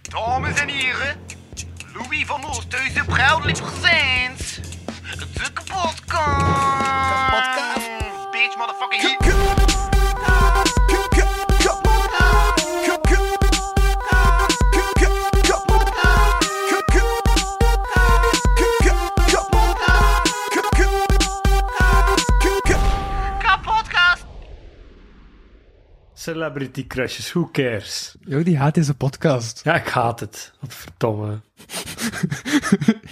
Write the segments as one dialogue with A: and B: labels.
A: Dames en heren, Louis van Oosthuizen, proudly presents de kapotkast.
B: Kapotkast.
A: Bitch, motherfucking hit. Kapotkast.
C: Celebrity crushes, who cares?
D: Jo, die haat deze podcast.
C: Ja, ik haat het. Wat verdomme.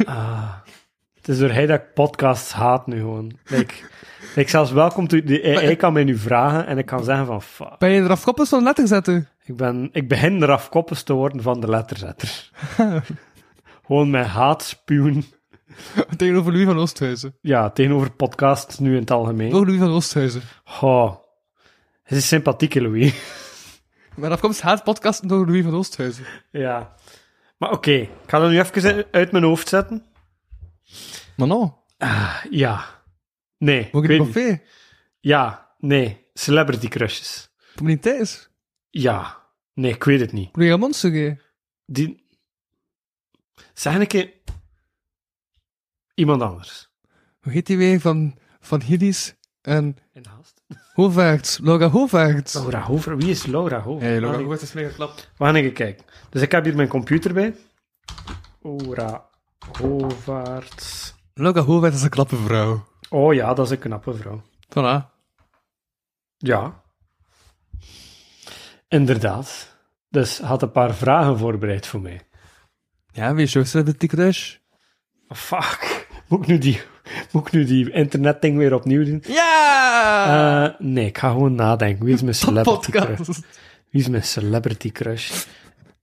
C: ah. Het is door hij dat ik podcasts haat nu gewoon. Like, like zelfs welkom to... de AI kan mij nu vragen en ik kan zeggen van... Fuck.
D: Ben je eraf koppels van letter zetten?
C: Ik, ben, ik begin eraf koppels te worden van de letterzetter. gewoon mijn haat spuwen.
D: Tegenover Louis van Oosthuizen.
C: Ja, tegenover podcasts nu in het algemeen.
D: Voor Louis van Oosthuizen.
C: Oh. Het is sympathieke Louis.
D: Mijn afkomst haat podcasten door Louis van Oosthuizen.
C: Ja. Maar oké, ik ga dat nu even uit mijn hoofd zetten.
D: Maar nou,
C: Ja. Nee.
D: moet
C: ik
D: ik in
C: weet
D: het
C: niet.
D: café?
C: Ja. Nee. Celebrity crushes.
D: Kom je niet thuis?
C: Ja. Nee, ik weet het niet.
D: Moet je gaan monster gaan?
C: Die... Zeg een keer... Iemand anders.
D: Hoe heet die weer van, van Hiddies en
C: In haast.
D: Hovaerts? Laura Hovaerts.
C: Laura Ah, Hover. Wie is Laura Hover? Laura
D: Hovaerts is mega klap.
C: We gaan even kijken. Dus ik heb hier mijn computer bij. Laura Hovaerts.
D: Laura Hovaerts is een knappe vrouw.
C: Oh ja, dat is een knappe vrouw.
D: Voilà.
C: Ja. Inderdaad. Dus had een paar vragen voorbereid voor mij.
D: Ja, wie is jouw celebrity crush?
C: Fuck. Moet ik nu die, moet ik nu die internetding weer opnieuw doen?
D: Ja!
C: Eh, nee, ik ga gewoon nadenken. Wie is mijn celebrity crush?
D: podcast.
C: Wie is mijn celebrity crush?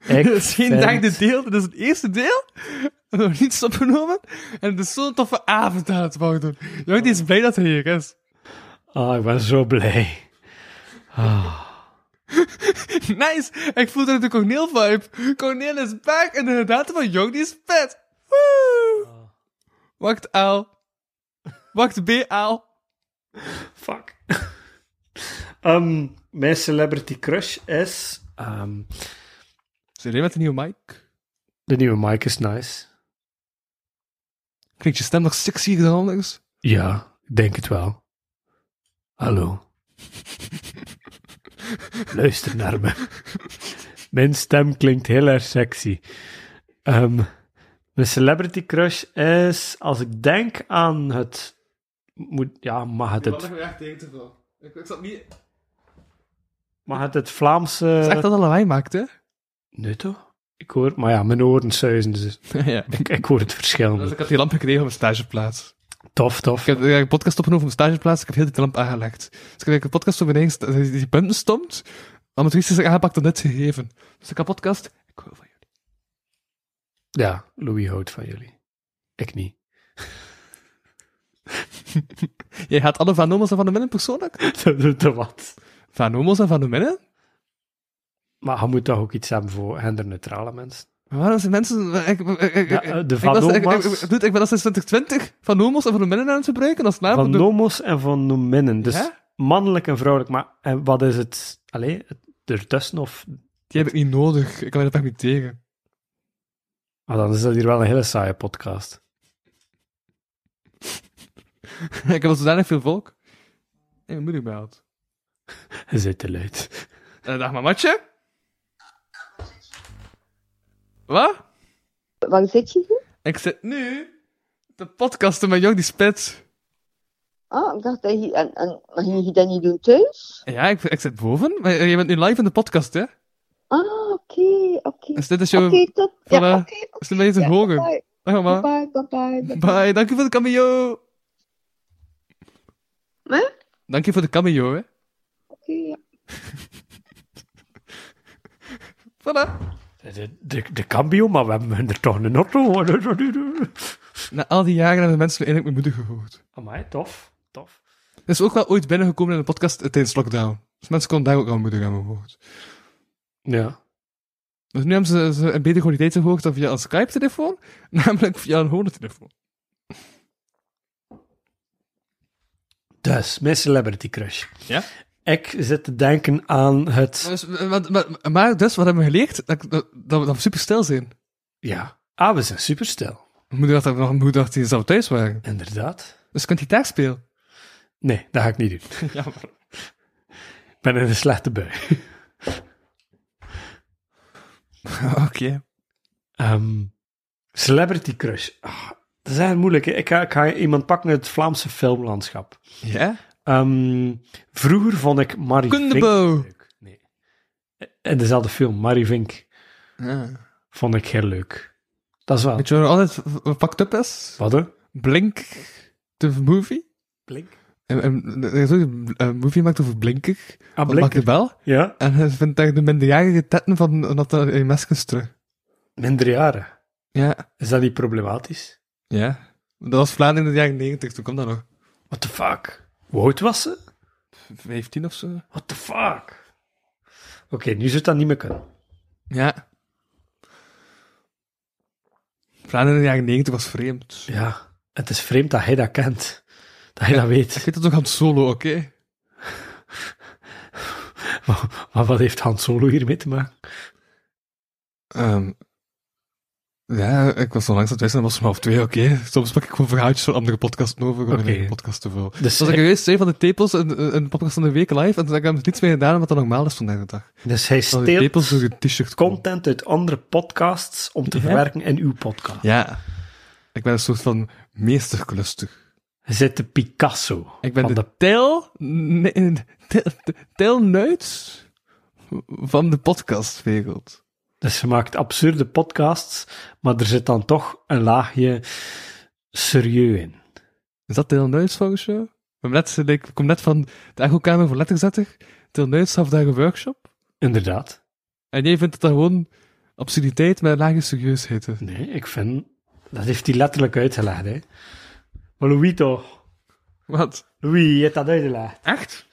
D: Dit is geen
C: vind-
D: derde deel, dit is het eerste deel. We hebben nog niets opgenomen. En het is zo'n toffe avond aan het worden. Jordi is blij dat hij hier is.
C: Ah, ik ben zo blij.
D: Nice! Ik voel dat de Corneel-vibe. Corneel is back en de gedaante van Jordi is vet. Woe! Wacht Aal. Wacht B Aal.
C: Fuck. Ehm, mijn celebrity crush is... ehm,
D: Zit je met een nieuwe mic?
C: de nieuwe Mike is nice.
D: Klinkt je stem nog sexier dan anders?
C: Ja, ik denk het wel. Hallo. Luister naar me. Mijn stem klinkt heel erg sexy. Ehm, mijn celebrity crush is, als ik denk aan het... Moet, ja, mag het het,
D: me echt tegen te veel. Ik, ik zat niet... Het
C: mag het, het
D: is echt
C: Vlaamse...
D: dat het lawaai maakt, hè?
C: Nee toch? Ik hoor... Maar ja, mijn oren suizen, dus
D: ja.
C: ik, ik hoor het verschil.
D: Dus
C: niet.
D: ik had die lamp gekregen op mijn stageplaats.
C: Tof, tof.
D: Ik heb eh, een podcast opgenomen op mijn stageplaats. Ik heb heel die lamp aangelegd. Dus ik heb eigenlijk een podcast op ineens dat die die punten stomt. Amatrice is aangepakt en net gegeven. Dus ik heb een podcast. Ik hou van jullie.
C: Ja, Louis houdt van jullie. Ik niet.
D: Jij gaat alle Van Omos en Van de Minnen persoonlijk?
C: Dat doet er wat.
D: Van Omos en Van de Minnen?
C: Maar je moet toch ook iets hebben voor genderneutrale mensen?
D: Maar Waarom zijn mensen... Ik, ik, ik, ik,
C: Ja, eh, de
D: ik was- ik-
C: Van
D: ik-
C: Omos.
D: ik- dude, ik ben al sinds 2020 Van Omos en Van de Minnen aan het gebruiken als naam.
C: Van
D: Ik Ah, bedoel-
C: nomos en van nominnen. Dus
D: Ja?
C: mannelijk en vrouwelijk. Maar en wat is het? Allee, het ertussen of...
D: Die heb ik niet nodig. Ik kan me dat echt niet tegen.
C: Ah, dan is dat hier wel een hele saaie podcast.
D: ik heb al zodanig veel volk. En mijn moeder belt.
C: Je zit te luid.
D: Eh, dag, mamatje. Wat?
E: Waar zit je hier?
D: Ik zit nu de podcasten met Jordi Spits.
E: Ah, ik dacht dat je... En, en, maar ging je dat niet dus? doen thuis?
D: Ja, ik, ik zit boven. Maar je bent nu live in de podcast, hè?
E: Ah, oké, oké.
D: Dus dit is
E: Oké,
D: jouw...
E: top.
D: voilà.
E: Ja, oké. oké.
D: Is dit bij je te
E: Ja,
D: horen?
E: bye-bye.
D: Dag, mama.
E: Bye-bye, bye-bye, bye-bye.
D: Bye, dank je voor de cameo.
E: Hè?
D: Dank je voor de cameo, hè?
E: Oké, ja.
D: Voilà.
C: De, de, de cambio, maar we hebben er toch een auto.
D: Na al die jaren hebben mensen eindelijk mijn moeder gehoord.
C: Amai, tof. Tof.
D: Dat is ook wel ooit binnengekomen in de podcast eh, tijdens lockdown. Dus mensen konden daar ook al mijn moeder hebben gehoord.
C: Ja.
D: Dus nu hebben ze, ze een betere kwaliteit gehoord dan via een Skype-telefoon. Namelijk via een gewone telefoon.
C: Dus, mijn celebrity crush.
D: Ja?
C: Ik zit te denken aan het...
D: Dus, maar, maar, maar dus, wat hebben we geleerd? Dat, dat, dat we dan super stil zijn.
C: Ja. Ah, we zijn superstil.
D: Mijn moeder dacht dat we nog mijn moeder dacht dat die zelf thuis waren.
C: Inderdaad.
D: Dus je kunt gitaar spelen.
C: Nee, dat ga ik niet doen.
D: Ja, maar...
C: Ik ben in een slechte bui.
D: Oké.
C: Ehm, celebrity crush. Ah, dat is eigenlijk moeilijk. hè. Ik ga, ik ga iemand pakken uit het Vlaamse filmlandschap.
D: Ja?
C: Ehm, vroeger vond ik Marie
D: Kundebo.
C: Vink leuk. Nee. In dezelfde film, Marie Vink,
D: ja.
C: vond ik heel leuk. Dat is wel...
D: Weet je wat er altijd v- fucked up is?
C: Wat, hè?
D: Blink the movie.
C: Blink?
D: En, en, er is ook een een movie gemaakt over Blinker.
C: Ah,
D: Wat maakt
C: Blinker.
D: de bel?
C: Ja,
D: En hij vindt daar de minderjarige tetten van Nathalie in Meskens terug.
C: minder jaren.
D: Ja.
C: Is dat niet problematisch?
D: Ja. Dat was Vlaanderen in de jaren 90, toen kwam dat nog.
C: What the fuck? Hoe oud was ze?
D: 15 of zo.
C: What the fuck? Oké, nu zit dat niet meer kunnen.
D: Ja. Vlaanderen in de jaren 90 was vreemd.
C: Ja, het is vreemd dat hij dat kent. Dat hij dat weet.
D: Ik weet dat toch aan het solo, oké?
C: Maar, maar wat heeft Han Solo hiermee te maken?
D: Ehm, ja, ik was onlangs aan het wisselen, was om half twee, oké. Soms pak ik gewoon verhaaltjes van andere podcasten over, om
C: Oké.
D: een eigen podcast te vullen.
C: Dus,
D: Zoals ik
C: hij,
D: geweest zei van de tepels, een, een podcast van de week live, en toen heb ik er niets mee gedaan, wat dat normaal is vandaag de dag.
C: dus hij
D: Dat de tepels door
C: steelt
D: je t-shirt komen.
C: content uit andere podcasts om te
D: Ja.
C: verwerken in uw podcast.
D: Ja. Ik ben een soort van meesterkluster.
C: Hij zit de Picasso.
D: Ik ben
C: van
D: de, tel... Nee, tel, tel Nuits van de podcastwereld.
C: Dus ze maakt absurde podcasts, maar er zit dan toch een laagje serieus in.
D: Is dat Deel Nuits volgens jou? Ik, ben net, ik kom net van de echo-kamer voor letterzetter. Deel Nuits gaf daar een workshop.
C: Inderdaad.
D: En jij vindt dat dat gewoon absurditeit met een lage serieusheid is.
C: Nee, ik vind... Dat heeft hij letterlijk uitgelegd, hè. Maar Louis toch.
D: Wat?
C: Louis, je hebt dat uitgelegd.
D: Echt?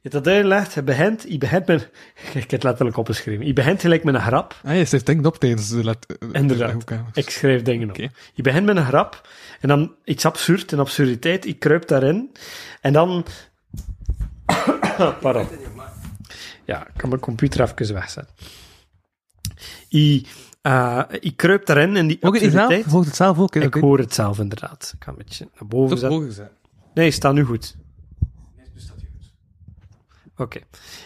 C: Je hebt dat uitgelegd. Je begint... Je begint met... Ik heb het letterlijk opgeschreven. Je begint gelijk met een grap.
D: Ah, je steekt denk op tijdens de, let, de
C: Inderdaad.
D: echokamer.
C: Ik schrijf dingen
D: Oké.
C: op. Je begint met een grap en dan iets absurd, een absurditeit. Ik kruip daarin en dan. Pardon. Ja, ik kan mijn computer even wegzetten. Ik, eh, ik kruip daarin en die
D: Ook in jezelf?
C: absurditeit.
D: Je hoort het zelf ook, hè?
C: Ik hoor het zelf inderdaad. Ik ga een beetje naar boven zetten. Nee, staat nu goed. Oké.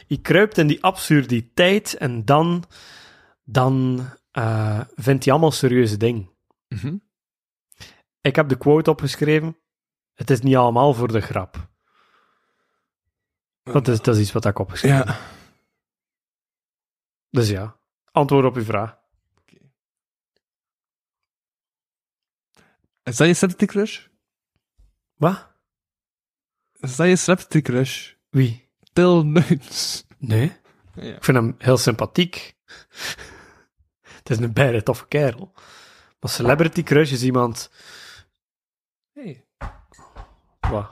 C: Je kruipt in die absurditeit en dan, dan eh, vindt hij allemaal serieuze dingen.
D: Mhm.
C: Ik heb de quote opgeschreven. Het is niet allemaal voor de grap. Dat is, dat is iets wat ik opgeschreven heb.
D: Ja.
C: Dus ja, antwoord op uw vraag.
D: Is dat je celebrity crush?
C: Wat?
D: Is dat je celebrity crush?
C: Wie?
D: Til Nuits.
C: Nee.
D: Ja.
C: Ik vind hem heel sympathiek. het is een bijna toffe kerel. Maar celebrity crush is iemand...
D: Hey.
C: Wat?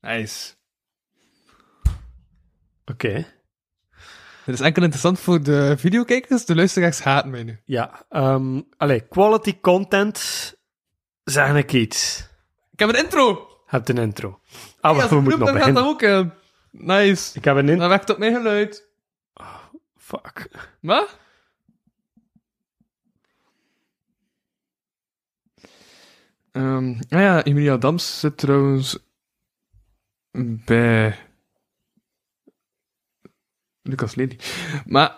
D: Nice.
C: Oké.
D: Dit is enkel interessant voor de videokijkers, de luisteraars haten mij nu.
C: Ja, ehm allee, quality content zeg ik iets.
D: Ik heb een intro!
C: Heb een intro. Ah, wacht,
D: als
C: we
D: ik
C: moeten
D: roep,
C: nog
D: dan gaat dat
C: beginnen.
D: ook in. Nice.
C: Ik heb een intro.
D: Dan werkt op mijn geluid.
C: Fuck.
D: Wat? Ehm nou ja, Emilia Dams zit trouwens bij Lucas Lely. Maar,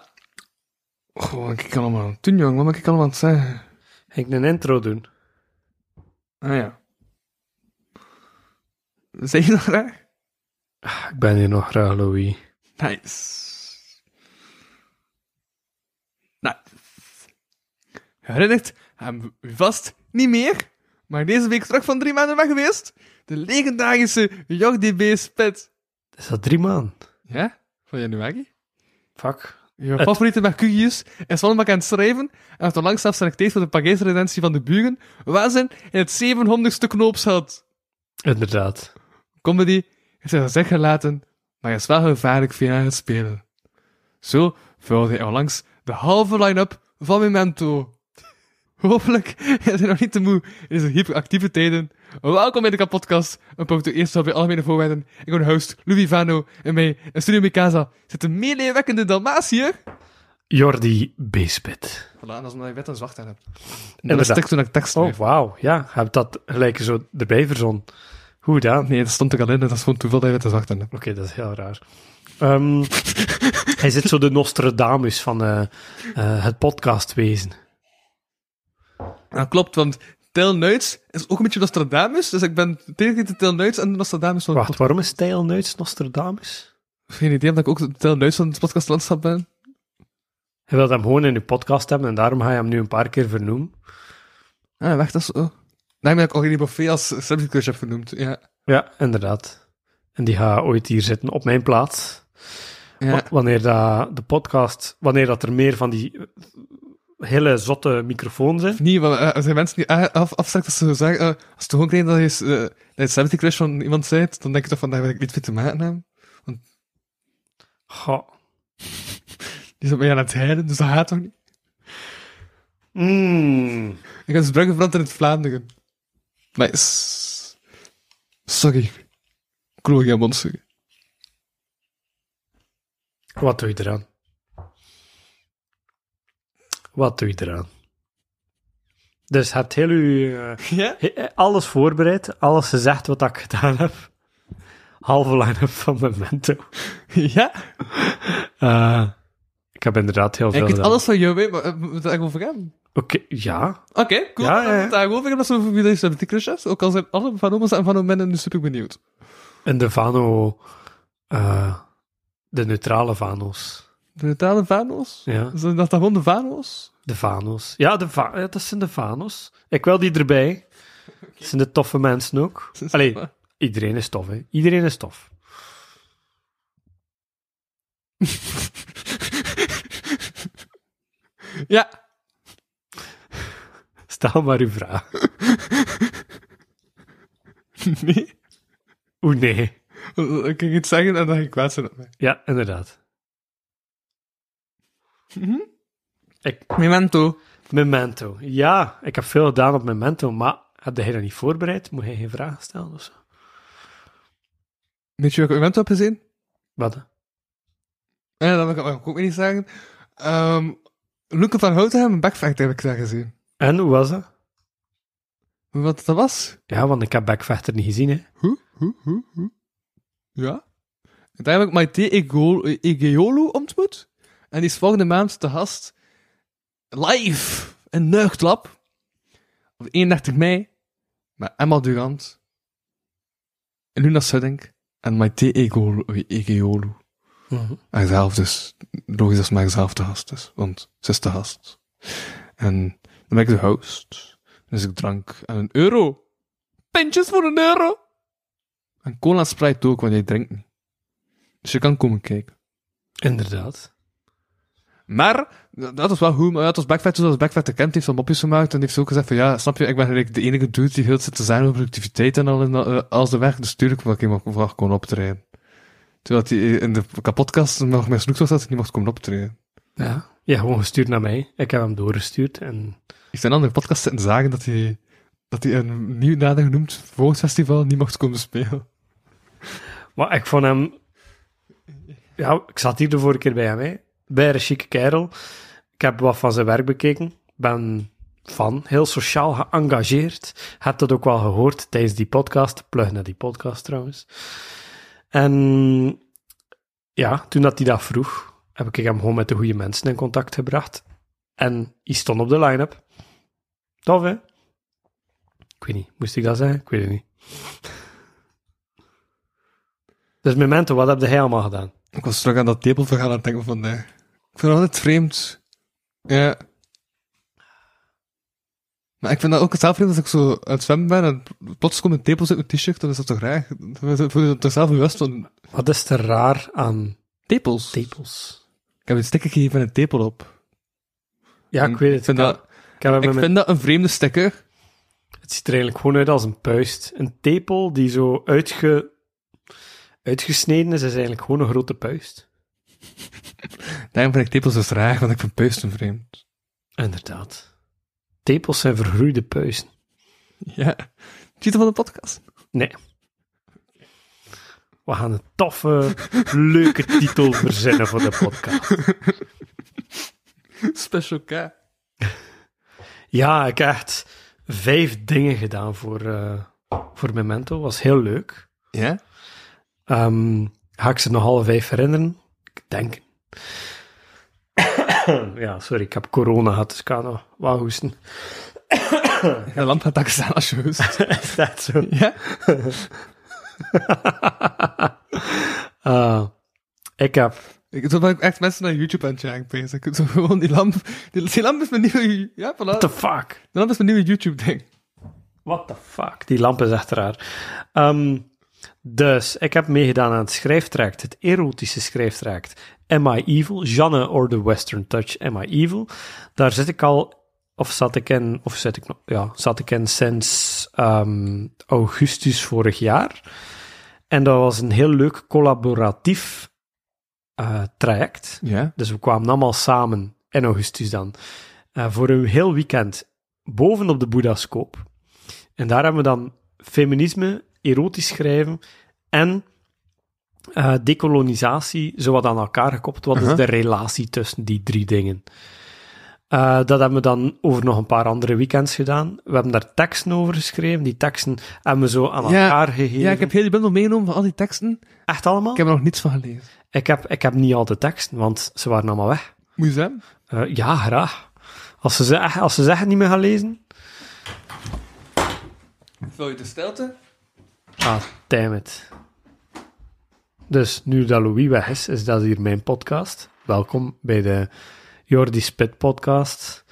D: goh, wat kan ik allemaal aan het doen, jong? Wat mag ik allemaal aan het zeggen?
C: Ging ik een intro doen?
D: Ah ja. Zeg je dat graag?
C: Ah, Ik ben hier nog graag, Louis.
D: Nice. Nou, herinnert hem u vast niet meer, maar deze week terug van drie maanden weg geweest. De legendarische Jordi B. Spit.
C: Is dat drie maanden?
D: Ja, van januari.
C: Fuck.
D: Je favoriete Mercurius is wel maar aan het schrijven en heeft onlangs zelfs selecteerd voor de Parijs-redentie van de buren, waar ze in het 700ste knoopsgat.
C: Inderdaad.
D: Comedy is hij zich gelaten, maar is wel gevaarlijk via het spelen. Zo vulde hij onlangs de halve line-up van Memento. Hopelijk is hij nog niet te moe in deze hyperactieve tijden. Welkom bij de podcast, een podcast eerst op bij algemene voorwaarden. Ik ben de host Louis Vano en mij in Studio Mikasa zit een meeleerwekkende Dalmatiër.
C: Jordi Beespit.
D: Voilà, en dat is omdat je wet en zwart aan hebt. En dat
C: Inderdaad.
D: is tekst toen ik tekst
C: Oh,
D: schreef.
C: wauw. Ja, heb dat gelijk zo erbij verzonnen. Hoe gedaan.
D: Nee, dat stond er al in, dat is gewoon toeval dat je wet en zwart aan hebt.
C: Oké, dat is heel raar. Ehm, hij zit zo de Nostradamus van eh, eh, het podcastwezen.
D: Nou, klopt, want Tel Nuits is ook een beetje Nostradamus, dus ik ben tegen de Tel Nuits en de Nostradamus van...
C: Wacht, waarom is Tijl Nuits Nostradamus?
D: Geen idee, omdat ik ook de Tel Nuits van het podcastlandschap ben.
C: Je wilt hem gewoon in je podcast hebben en daarom ga je hem nu een paar keer vernoemen.
D: Ah, wacht, dat is... Oh. Daarom heb ik Aurélie Boffé als subject coach heb genoemd, ja.
C: Ja, inderdaad. En die gaat ooit hier zitten op mijn plaats.
D: Ja,
C: Wa- Wanneer dat de podcast, wanneer dat er meer van die eh, hele zotte microfoons zijn.
D: niet, want eh, er zijn mensen die a- af, afstrekt als ze zo zeggen, eh, als het gewoon krijgen dat je, eh, dat je celebrity crush van iemand bent, dan denk je toch van, daar wil ik niet veel te maken hebben.
C: Goh.
D: Die is op mij aan het heiden, dus dat gaat toch niet?
C: Mm.
D: Ik heb dus bruggen veranderd in het Vlaanderen. Nice. Sorry. Ik wil geen mond zeggen.
C: Wat doe je eraan? Wat doe je eraan? Dus hebt heel uw, eh,
D: Ja?
C: He- eh, Alles voorbereid, alles gezegd wat ik gedaan heb. Halve line-up van Memento.
D: Ja?
C: Eh, ik heb inderdaad heel veel
D: Ik weet
C: gedaan.
D: alles van jou weet, maar eh, moet het eigenlijk over gaan?
C: Oké, ja.
D: Oké, cool.
C: Ja, ja,
D: Dan moet
C: ja.
D: het eigenlijk over gaan, dat is over wie deze celebrity crush is. Ook al zijn alle van oma's en van omen en nu super benieuwd.
C: En de Vano... eh, de neutrale Vano's.
D: De neutrale Vanos?
C: Ja,
D: Zijn dat dan gewoon de Vanos?
C: de Vano's. Ja, de va- ja, dat zijn de Vano's. Ik wil die erbij. Dat zijn de toffe mensen ook. Allee, iedereen is tof, hè. Iedereen is tof.
D: Ja.
C: Stel maar uw vraag.
D: Nee.
C: Oeh, nee.
D: Ik ging iets zeggen en dan ging ik kwaad zijn op mij.
C: Ja, inderdaad. Ik,
D: Memento.
C: Memento. Ja, ik heb veel gedaan op Memento, maar heb jij dat niet voorbereid? Moet jij geen vragen stellen of zo?
D: Weet je welke Memento heb gezien?
C: Wat? hè?
D: Ja, dat wil ik ook weer niet zeggen. Ehm Luca van Houtenham, Backfact heb ik daar gezien.
C: En hoe was dat?
D: Wat dat was?
C: Ja, want ik heb Backvechter niet gezien, hè.
D: Hoe, hoe, hoe, hoe. Ja. En daar heb ik Maite Ego- Egeolu ontmoet. En die is volgende maand te gast live in Neugdlab. Op 31 mei. Met Emma Durant. Luna Sudding. En Maite Ego- Egeolu. En zelf dus. Logisch dat ze maar zelf te gast is. Want ze is te gast. En dan ben ik de host. Dus ik drank aan een euro. Pintjes voor een euro. En cola sprite ook, want jij drinkt niet. Dus je kan komen kijken.
C: Inderdaad.
D: Maar, dat dat was wel goed, maar dat was Backfat, zoals Backfat de kent, heeft van mopjes gemaakt en die heeft ook gezegd van, ja, snap je, ik ben eigenlijk de enige dude die heel zit te zijn over productiviteit en al in, eh, als de weg, dus tuurlijk wil ik iemand vraag kon optreden. Terwijl hij in de kapotkast nog mijn snoek was dat hij niet mocht komen optreden.
C: Ja. Ja, gewoon gestuurd naar mij. Ik heb hem doorgestuurd en...
D: Ik ben aan de podcast zitten zagen dat hij, dat hij een nieuw nader genoemd volksfestival niet mocht komen spelen.
C: Maar ik vond hem... Ja, ik zat hier de vorige keer bij hem, hè. Bij een chique kerel. Ik heb wat van zijn werk bekeken. Ben fan. Heel sociaal geëngageerd. Heb dat ook wel gehoord tijdens die podcast. Plug naar die podcast, trouwens. En... Ja, toen dat hij dat vroeg, heb ik hem gewoon met de goede mensen in contact gebracht. En hij stond op de line-up. Tof, hè? Ik weet niet. Moest ik dat zeggen? Ik weet het niet. Dus Memento, wat heb jij allemaal gedaan?
D: Ik was terug aan dat tepelverhaal aan het denken van, eh, ik vind het altijd vreemd. Ja. Maar ik vind dat ook zelf vreemd als ik zo aan het zwemmen ben en plots komt een tepels uit mijn t-shirt, dan is dat toch raar? Dan voel je toch zelf bewust van,
C: Wat is er raar aan
D: tepels?
C: tepels?
D: Ik heb een sticker gegeven met een tepel op.
C: Ja, ik
D: En
C: weet het.
D: vind
C: Ik
D: dat-
C: heb- ik heb hem
D: Ik
C: in mijn-
D: vind dat een vreemde sticker.
C: Het ziet er eigenlijk gewoon uit als een puist. Een tepel die zo uitge... uitgesneden is, is eigenlijk gewoon een grote puist.
D: Daarom vind ik tepels dus raar, want ik vind puisten vreemd.
C: Inderdaad. Tepels zijn vergroeide puisten.
D: Ja. Titel van de podcast?
C: Nee. We gaan een toffe, leuke titel verzinnen voor de podcast.
D: Special K.
C: Ja, ik heb echt vijf dingen gedaan voor, eh, voor Memento. Was heel leuk.
D: Ja?
C: Ehm, ga ik ze nog alle vijf herinneren? Ik denk. ja, sorry, ik heb corona gehad, dus ik kan nog wat hoesten.
D: De lamp gaat daar staan als je hoest.
C: Is dat zo?
D: ja?
C: Ah, ik heb...
D: Ik, zo ben ik echt mensen naar YouTube aan het jagen bezig. Zo gewoon die lamp. Die, die lamp is mijn nieuwe... Ja, voilà.
C: What the fuck?
D: De lamp is mijn nieuwe YouTube-ding.
C: What the fuck? Die lamp is echt raar. Ehm, dus, ik heb meegedaan aan het schrijftraject, het erotische schrijftraject. Am I Evil? Janne or the Western Touch, Am I Evil? Daar zit ik al, of zat ik in, of zit ik nog, ja, zat ik in sinds ehm, augustus vorig jaar. En dat was een heel leuk collaboratief eh, traject.
D: Ja?
C: Dus we kwamen allemaal samen, in augustus dan, eh, voor een heel weekend bovenop de Boeddhascoop. En daar hebben we dan feminisme, erotisch schrijven en eh, decolonisatie zowat aan elkaar gekoppeld. Wat
D: Uh-huh.
C: is de relatie tussen die drie dingen? Eh, dat hebben we dan over nog een paar andere weekends gedaan. We hebben daar teksten over geschreven. Die teksten hebben we zo aan
D: Ja,
C: elkaar gegeven.
D: Ja, ik heb heel die bundel meegenomen van al die teksten.
C: Echt allemaal?
D: Ik heb er nog niets van gelezen.
C: ik, heb, ik heb niet al de teksten, want ze waren allemaal weg.
D: Moet je zeggen?
C: Eh, ja, graag. Als ze, ze- als ze zeggen niet meer gaan lezen.
D: Vul je de stilte?
C: Ah, damn it. Dus nu dat Louis weg is, is dat hier mijn podcast. Welkom bij de Jordi Spit podcast.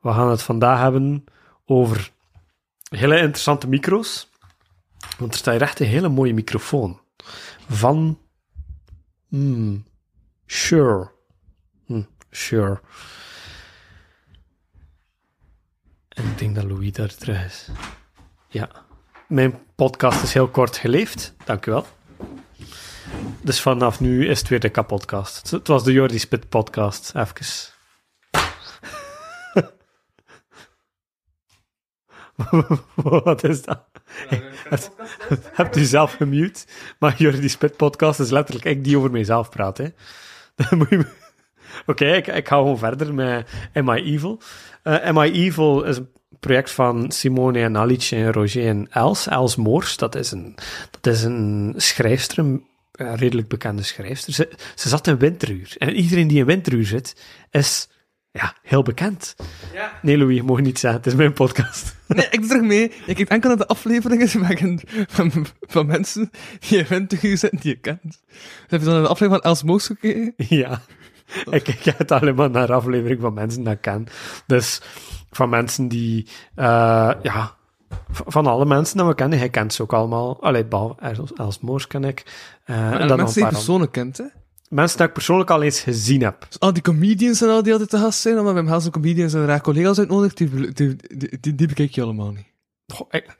C: We gaan het vandaag hebben over hele interessante micro's. Want er staat hier echt een hele mooie microfoon. Van... Hmm, sure. Hmm, sure. En ik denk dat Louis daar terug is. Ja. Mijn podcast is heel kort geleefd. Dank u wel. Dus vanaf nu is het weer de kapodcast. Het- Het was de Jordi Spit podcast. Even. Wat is dat? Hebt u zelf gemute? Maar Jordi Spit podcast is letterlijk ik die over mezelf praat. Hè? Dan moet je... me- Oké, ik, ik ga gewoon verder met Am I Evil? Eh, Am I Evil is een project van Simone en Alice en Roger en Els. Els Moors, dat is een, dat is een schrijfster, een eh, redelijk bekende schrijfster. Ze, ze zat in Winteruur. En iedereen die in Winteruur zit, is ja, heel bekend.
D: Ja.
C: Nee, Louis, je mag niet zeggen, het is mijn podcast.
D: Nee, ik doe terug mee. Ik kijk enkel naar de afleveringen van, van, van mensen die je bent toegezet die je kent. Dus heb je dan een aflevering van Els Moos gekeken?
C: Ja. Ik kijk het alleen maar naar aflevering van mensen dat ik ken. Dus van mensen die, eh, ja, v- van alle mensen dat we kennen, hij kent ze ook allemaal. Allee, behalve Els- Els Moors ken ik. Eh, en dan nog een
D: mensen die
C: paar
D: je
C: andere.
D: persoonlijk kent, hè?
C: mensen dat ik persoonlijk al eens gezien heb.
D: Dus al die comedians en al die altijd te gast zijn, omdat we hem zo'n comedians en raar collega's uitnodigt, die, bel- die, die, die, die bekijk je allemaal niet.
C: Goh, ik,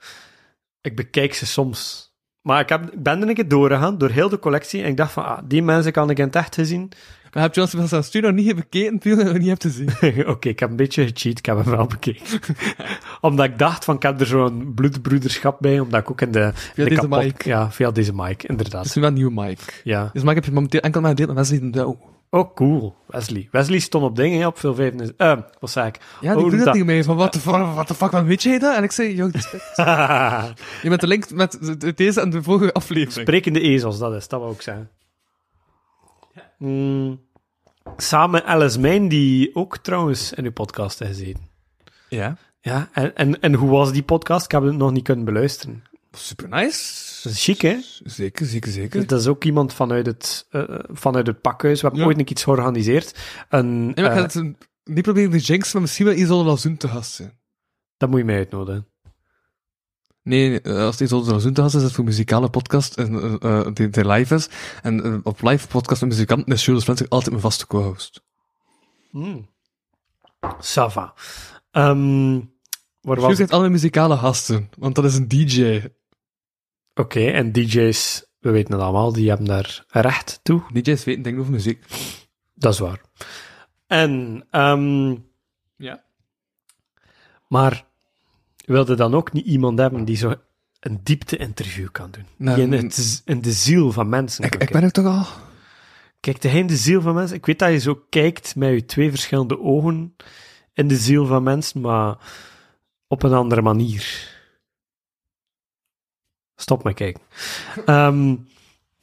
C: ik bekijk ze soms. Maar ik, heb, ik ben er een keer doorgegaan, door heel de collectie. En ik dacht van, ah, die mensen kan ik in het echt gezien.
D: Maar heb je ons van zijn studio nog niet bekeken, veel dat we niet hebt te zien.
C: Oké, ik heb een beetje gecheat, ik heb hem wel bekeken. omdat ik dacht van, ik heb er zo'n bloedbroederschap bij, omdat ik ook in de... Via
D: deze mic.
C: Ja, via deze mic,
D: Dat is
C: inderdaad.
D: nu wel een nieuwe mic.
C: Ja.
D: Dus mic heb je momenteel enkel maar een deel, maar mensen die doen, oh.
C: Oh, cool. Wesley. Wesley stond op dingen, hè, op veel vijfden. Eh, wat zei ik?
D: Ja, die
C: oh,
D: doen
C: doe
D: dat tegen mij, van what the fuck, what the fuck, wat weet jij dat? En ik zei, joh, je bent de link met de- de- deze en de vorige aflevering.
C: Sprekende ezels, dat is, dat wou ik zeggen. Mm, samen Alice Mijn, die ook trouwens in uw podcast heeft gezeten.
D: Ja.
C: Ja, en, en, en hoe was die podcast? Ik heb het nog niet kunnen beluisteren.
D: Super nice.
C: Dat is chic, hè?
D: Zeker, zeker, zeker.
C: Dus dat is ook iemand vanuit het, eh, eh, vanuit het pakhuis. We hebben
D: Ja.
C: ooit een keer iets georganiseerd. Een,
D: Nee, maar ik
C: eh,
D: ga het een- niet proberen de jinx, maar misschien wel Isolde Lazoen te gast zijn.
C: dat moet je mij uitnodigen.
D: Nee, nee, eh, als het Isolde Lazoen te gast is, is het voor een muzikale podcast en, eh, eh, die, die live is. En eh, op live podcast met muzikanten is Jules Flenser altijd mijn vaste co-host. Hmm.
C: Mm. Sava. Ehm, waar was
D: Jules
C: ik?
D: heeft alle muzikale gasten, want dat is een DJ.
C: Oké, en DJ's, we weten het allemaal, die hebben daar recht toe.
D: DJ's weten dingen over muziek.
C: Dat is waar. En ehm,
D: Ja.
C: Maar wilde dan ook niet iemand hebben die zo een diepte-interview kan doen.
D: Nou,
C: die in, het z- in de ziel van mensen
D: Ik,
C: kan
D: ik
C: kijken.
D: ben ook toch al...
C: Kijkt hij in de ziel van mensen? Ik weet dat je zo kijkt met je twee verschillende ogen in de ziel van mensen, maar op een andere manier. Stop met kijken. Ehm,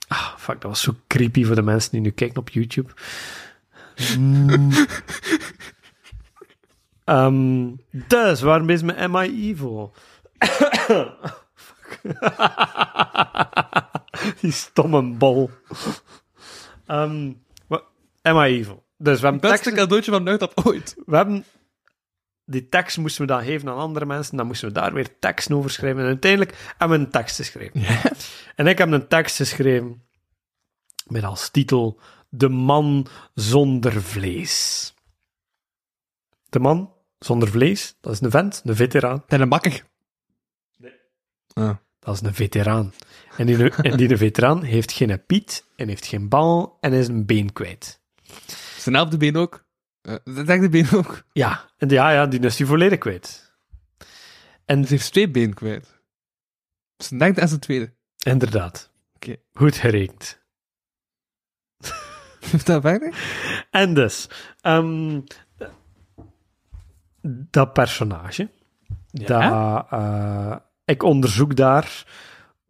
C: ah, fuck, dat was zo creepy voor de mensen die nu kijken op YouTube. Mm. Ehm, dus, waarom bezig met Am I Evil? Fuck. die stomme bal. Ehm, wa- Am I Evil? Dus we hebben
D: Beste
C: teksten
D: cadeautje van Nuchtap ooit.
C: we hebben die tekst moesten we dan geven aan andere mensen, dan moesten we daar weer teksten over schrijven. En uiteindelijk hebben we een tekst geschreven. En ik heb een tekst geschreven met als titel De man zonder vlees. De man zonder vlees, dat is een vent, een veteraan.
D: Ben een makker.
C: Dat is een veteraan. En die, en die veteraan heeft geen piet en heeft geen bal en is een been kwijt.
D: Zijn naam op de been ook. Eh, Zijn dek de been ook.
C: Ja, en die- ja, ja, die is die volledig kwijt. En
D: Ze heeft twee benen kwijt. Zijn dek en zijn tweede.
C: Inderdaad.
D: Oké.
C: Goed gerekend.
D: Heeft dat weinig?
C: En dus, ehm, dat personage, dat, eh, ik onderzoek daar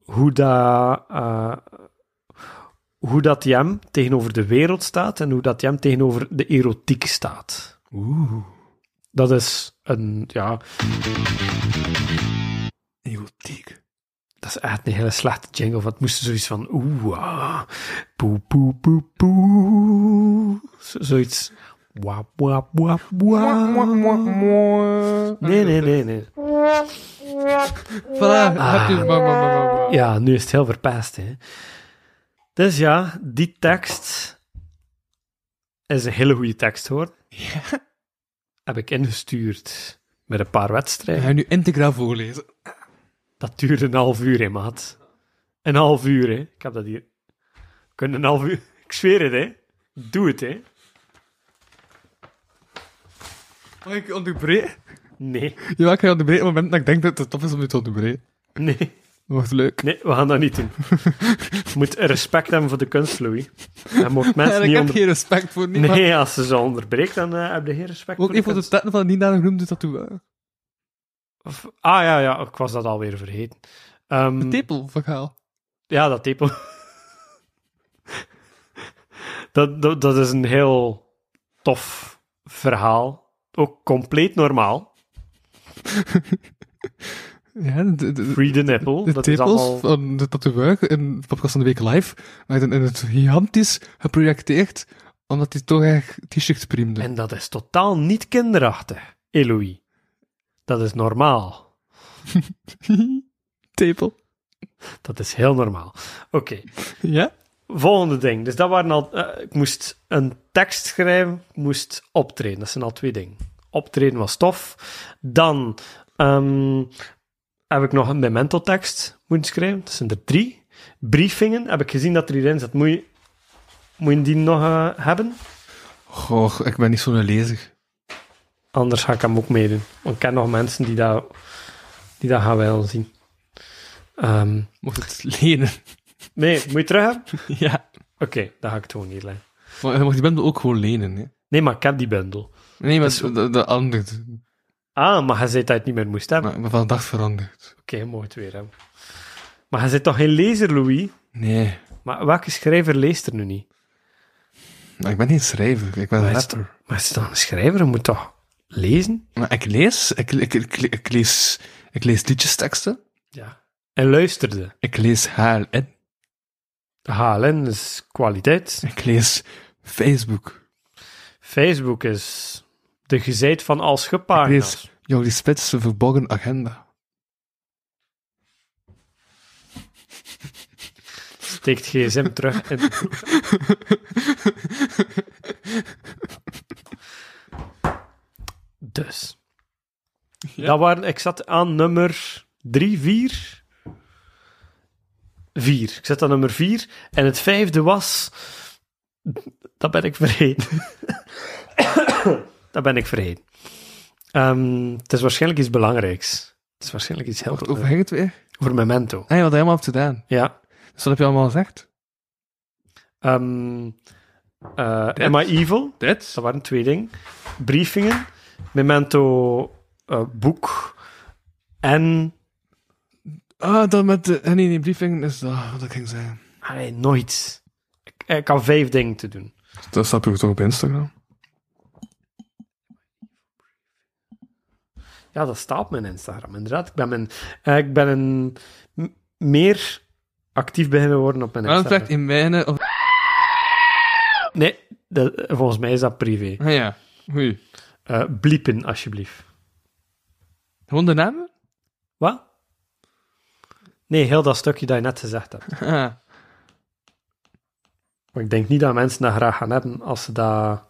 C: hoe dat, eh, hoe dat die hem tegenover de wereld staat en hoe dat die hem tegenover de erotiek staat.
D: Oeh.
C: Dat is een, ja,
D: Erotiek.
C: dat is echt een hele slechte jingle, want het moest zoiets van, oeh, ah, poe, poe, poe, poe, Zo- zoiets, wap, wap, wap, wap. Nee, nee, nee, nee.
D: Voilà, heb je het. Maar, maar, maar, maar, maar.
C: Ja, nu is het heel verpest, hè. Dus ja, die tekst is een hele goede tekst, hoor. Heb ik ingestuurd met een paar wedstrijden.
D: Ik ga nu integraal voorlezen.
C: Dat duurde een half uur, hè, maat. Een half uur, hè. Ik heb dat hier. We kunnen een half uur... Ik zweer het, hè. Doe het, hè.
D: Mag ik je onderbreken?
C: Nee,
D: Ja, ik ga je onderbreken op het moment dat ik denk dat het tof is om je te onderbreken.
C: nee,
D: Dat wordt leuk.
C: nee. We gaan dat niet doen. Je moet respect hebben voor de kunst, Louis. Je mocht mensen
D: En ik
C: niet
D: heb
C: onder...
D: geen respect voor niemand.
C: Nee, als ze zo onderbreekt, dan eh, heb je geen respect
D: Ook
C: voor de
D: even voor
C: kunst.
D: de tetten van Nina de Groen doet dat toe. eh,
C: Of- Ah ja, ja, ik was dat alweer vergeten. Ehm,
D: Het tepelverhaal.
C: Ja, dat tepel. dat, dat, dat is een heel tof verhaal. Ook compleet normaal.
D: Ja, de, de, de-
C: Free the nipple.
D: de
C: dat is
D: tepels
C: allemaal...
D: van de tatoeage in de podcast van de week live werden in het gigantisch geprojecteerd, omdat die toch echt t-shirts priemde.
C: En dat is totaal niet kinderachtig, Eloï. Dat is normaal.
D: Tepel.
C: Dat is heel normaal. Oké,
D: Ja?
C: volgende ding. Dus dat waren al... eh, ik moest een tekst schrijven, ik moest optreden. Dat zijn al twee dingen. Optreden was tof. Dan ehm, heb ik nog een memento-tekst moeten schrijven. Dat zijn er drie. Briefingen heb ik gezien dat er hierin zat. Moet je, moet je die nog eh, hebben?
D: Goh, ik ben niet zo lezig.
C: Anders ga ik hem ook meedoen. Want ik ken nog mensen die dat, die dat gaan wel zien. Ehm,
D: Mocht het lenen.
C: nee, moet je terug hebben? Oké,
D: ja.
C: dan ga ik het gewoon niet leggen.
D: Maar je mag die bundel ook gewoon lenen, hè?
C: Nee, maar ik heb die bundel.
D: Nee, maar de, de andere.
C: Ah, maar hij zei dat je het niet meer moest hebben.
D: Maar ik ben van dag veranderd.
C: Oké, je mag het weer hebben. Maar hij zit toch geen lezer, Louis?
D: Nee.
C: Maar welke schrijver leest er nu niet?
D: Maar ik ben geen schrijver, ik ben
C: Maar
D: een
C: is het-
D: rapper.
C: Maar is het dan een schrijver? Hij moet toch lezen?
D: Maar ik lees, ik, ik, ik, ik lees, ik lees liedjesteksten,
C: Ja. En luisterde.
D: ik lees HLN,
C: HLN is kwaliteit.
D: ik lees Facebook.
C: Facebook is de gezijd van als
D: Ik lees-
C: gepagina's.
D: Jordi Spits, een verborgen agenda.
C: Steekt gsm terug in. Dus. Dat waren, ik zat aan nummer 3, 4. 4. Ik zat aan nummer 4. En het vijfde was. Dat ben ik vergeten. dat ben ik vergeten. Ehm, het is waarschijnlijk iets belangrijks. Het is waarschijnlijk iets heel
D: Wacht,
C: belangrijks.
D: over ging het weer?
C: Over Memento.
D: Ah, je had helemaal op gedaan.
C: Ja.
D: Dus wat heb je allemaal gezegd?
C: Ehm eh, Am I Evil?
D: Dit?
C: Dat waren twee dingen. Briefingen, Memento eh, boek en
D: Ah, dat met de... eh, Nee, nee, briefing is dat, wat ik ging zeggen.
C: allee, nog iets. Ik, ik had vijf dingen te doen.
D: Dat snap je toch op Instagram?
C: Ja, dat staat op mijn Instagram, inderdaad. Ik ben, mijn, eh, ik ben een, m- meer actief beginnen worden op mijn
D: Waarom
C: Instagram.
D: vraagt Ah, in mijne... Of...
C: Nee, dat- volgens mij is dat privé.
D: Ah ja, Oei.
C: Eh bliepen, alsjeblieft.
D: Gewoon de namen?
C: Wat? Nee, heel dat stukje dat je net gezegd hebt.
D: Ah.
C: Maar ik denk niet dat mensen dat graag gaan hebben als ze dat,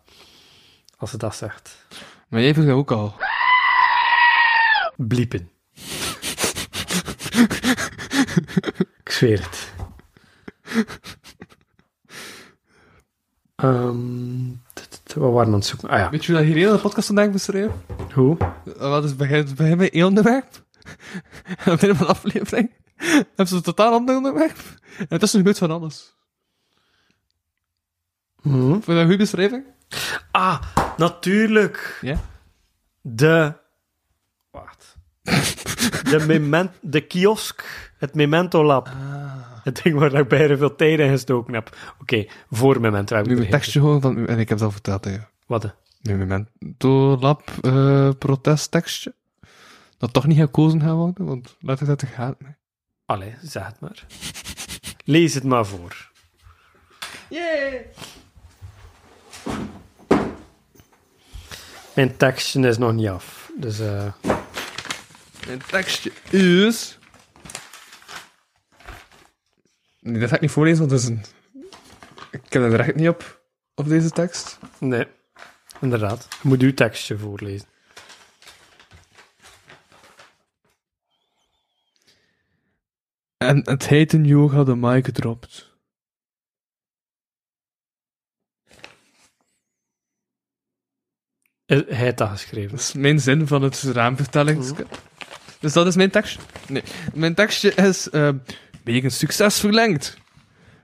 C: als ze dat zegt.
D: Maar jij vroeg dat ook al.
C: Bliepen. ik zweer het. Ehm, t- t- t- we waren aan het zoeken. Ah ja,
D: Weet je hoe dat hier heel de podcast vandaag beschreef?
C: hoe?
D: Eh, Wat is begin, begin bij één onderwerp? En op het einde van de aflevering hebben ze een totaal ander onderwerp. En het is een gebeurt van alles.
C: Hm?
D: Vond je dat een goede beschrijving?
C: Ah, natuurlijk.
D: Ja?
C: De. Wacht. De, memen, de kiosk, het Memento Lab. Het ding waar ik bijna veel tijd in gestoken heb. Oké, voor Memento heb ik
D: Nu
C: er
D: mijn
C: geen-
D: tekstje gewoon van... En ik heb het al verteld, hè.
C: Wat? eh?
D: Nu mijn mentor lab eh, protesttekstje. Dat toch niet gekozen gaat worden, want laat het uit de gaten. hè.
C: Allee, zeg het maar. Lees het maar voor. Mijn tekstje is nog niet af. Dus eh,
D: Mijn tekstje is... Nee, dat ga ik niet voorlezen, want dat is een... Ik heb het recht niet op, op deze tekst.
C: nee, inderdaad. Je moet uw tekstje voorlezen.
D: En het heten yoga de mic gedropt.
C: Eh, Hij heeft dat
D: Dat
C: geschreven.
D: is mijn zin van het raamvertelling. Dus dat is mijn tekstje. Nee, mijn tekstje is... eh, wegens succes verlengd.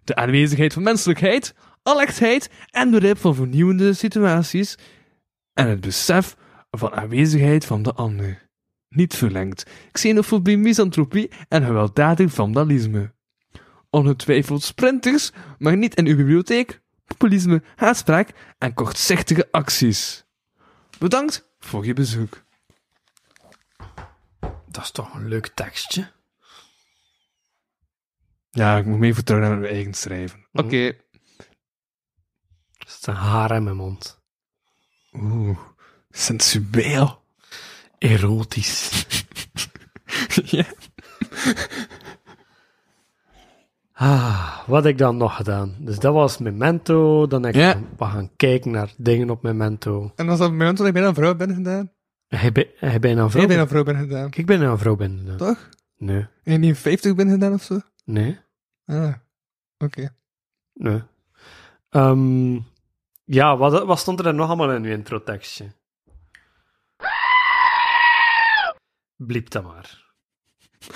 D: De aanwezigheid van menselijkheid, alertheid en begrip van vernieuwende situaties en het besef van aanwezigheid van de ander. Niet verlengd. Xenofobie, misantropie en gewelddadig vandalisme. Ongetwijfeld sprinters, maar niet in uw bibliotheek. Populisme, haatspraak en kortzichtige acties. Bedankt voor je bezoek.
C: Dat is toch een leuk tekstje?
D: Ja, ik moet mee vertrouwen naar mijn eigen schrijven. Oké.
C: Er zit een haar in mijn mond.
D: Oeh, sensueel.
C: Erotisch.
D: ja.
C: Ah, wat heb ik dan nog gedaan? Dus dat was Memento. Dan heb ik
D: Ja.
C: gaan- we gaan kijken naar dingen op Memento.
D: En als dat moment dat ik bijna een vrouw ben gedaan?
C: Hij bij- hij bijna een
D: Vrouw
C: vrouw.
D: ik bijna een vrouw ben gedaan.
C: Ik ben een vrouw binnen.
D: Toch?
C: Nee.
D: En die 50 ben gedaan of zo?
C: Nee.
D: Ah, oké.
C: Nee. Ehm, ja, wat, wat stond er dan nog allemaal in uw introtekstje? Bliep dat maar.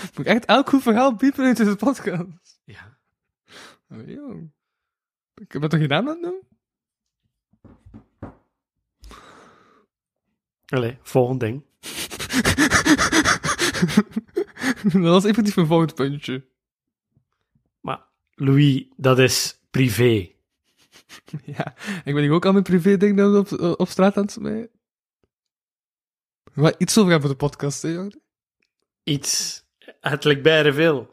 D: Moet ik echt elk goed verhaal piepen uit deze podcast?
C: Ja.
D: Oh, joh. Ik heb het toch gedaan aan het doen?
C: Allee, volgend ding.
D: dat was effectief mijn volgend puntje.
C: Maar Louis, dat is privé.
D: Ja, ik ben hier ook al mijn privé ding dat we op, op straat aan het smijten. Maar iets over hebben voor de podcast, hè, Jordi?
C: Iets. Het lijkt bijna veel.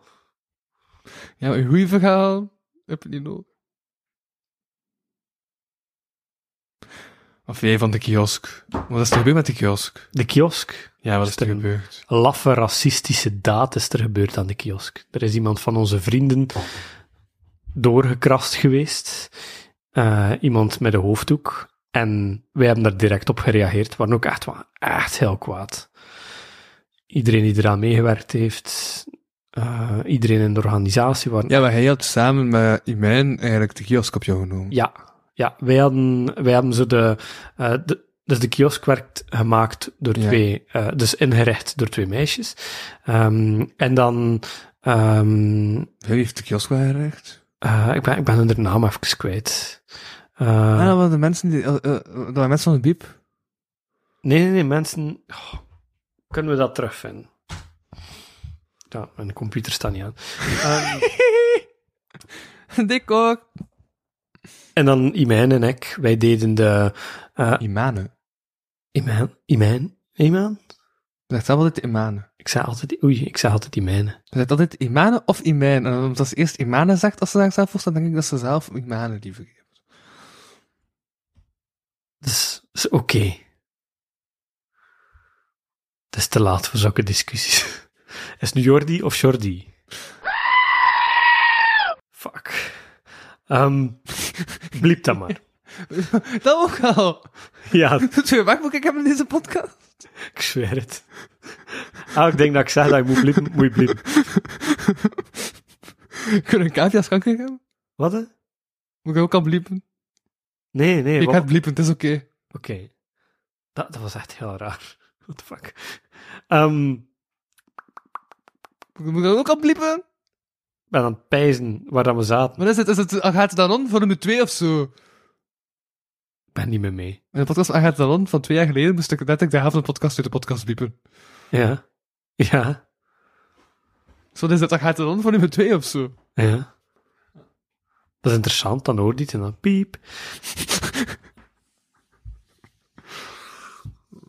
D: Ja, maar een goeie verhaal heb je niet nodig. Of jij van de kiosk. Wat is er gebeurd met de kiosk?
C: De kiosk.
D: Ja, wat is er gebeurd?
C: Laffe racistische daad is er gebeurd aan de kiosk. Er is iemand van onze vrienden doorgekrast geweest. Eh, iemand met een hoofddoek. En wij hebben daar direct op gereageerd. We waren ook echt, wa- echt heel kwaad. Iedereen die eraan meegewerkt heeft. eh, iedereen in de organisatie. Waren,
D: Ja, maar hij had samen met Iman eigenlijk de kiosk op jou genomen.
C: ja, ja wij, hadden, wij hebben zo de, eh, de, Dus de kiosk werd gemaakt door
D: Ja.
C: twee, eh, dus ingericht door twee meisjes. Ehm, en dan, ehm,
D: Wie heeft de kiosk wel gerecht?
C: eh, ik, ben, ik ben hun naam even kwijt. Eh,
D: Ah, wel de mensen die, eh, eh, dat waren mensen van de biep.
C: Nee, nee, nee, mensen. Oh, kunnen we dat terugvinden? Ja, mijn computer staat niet aan. Ehm,
D: Dik ook.
C: en dan Imijn en ik, wij deden de. eh
D: Imane.
C: Imijn? Imijn? Imijn?
D: Zegt dat altijd Imane.
C: Ik zei altijd. Oei, ik zei altijd Imijn.
D: Zegt altijd Imane of Imane. En omdat ze eerst Imane zegt als ze zichzelf voorstelt, dan denk ik dat ze zelf Imane liever geeft.
C: Dus is oké. Het is te laat voor zulke discussies. Is het nu Jordi of Jordi? Fuck. Ehm bliep dat maar.
D: Dat ook al.
C: Ja,
D: Twee wachtboek ik heb in deze podcast.
C: Ik zweer het. Elk ding dat ik zeg dat ik moet bliepen, moet je bliepen.
D: Kunnen we Katia's kanker hebben?
C: Wat? hè?
D: Moet ik ook al bliepen?
C: Nee, nee.
D: Ik
C: wat-
D: heb bliepen, het is oké.
C: Oké. Dat, dat was echt heel raar. What the fuck. Ehm,
D: Moet ik dat ook al bliepen?
C: ik ben aan het pijzen waar dan we zaten.
D: Wat is het? Is het Agathe Danon van nummer 2 of zo?
C: Ik ben niet meer mee.
D: In de podcast van Agathe Danon van twee jaar geleden moest ik net ik de helft van de podcast uit de podcast bliepen.
C: Ja. Ja.
D: Zo, is het Agathe Danon van nummer 2 of zo?
C: Ja. Dat is interessant, dan hoor je dit en dan piep.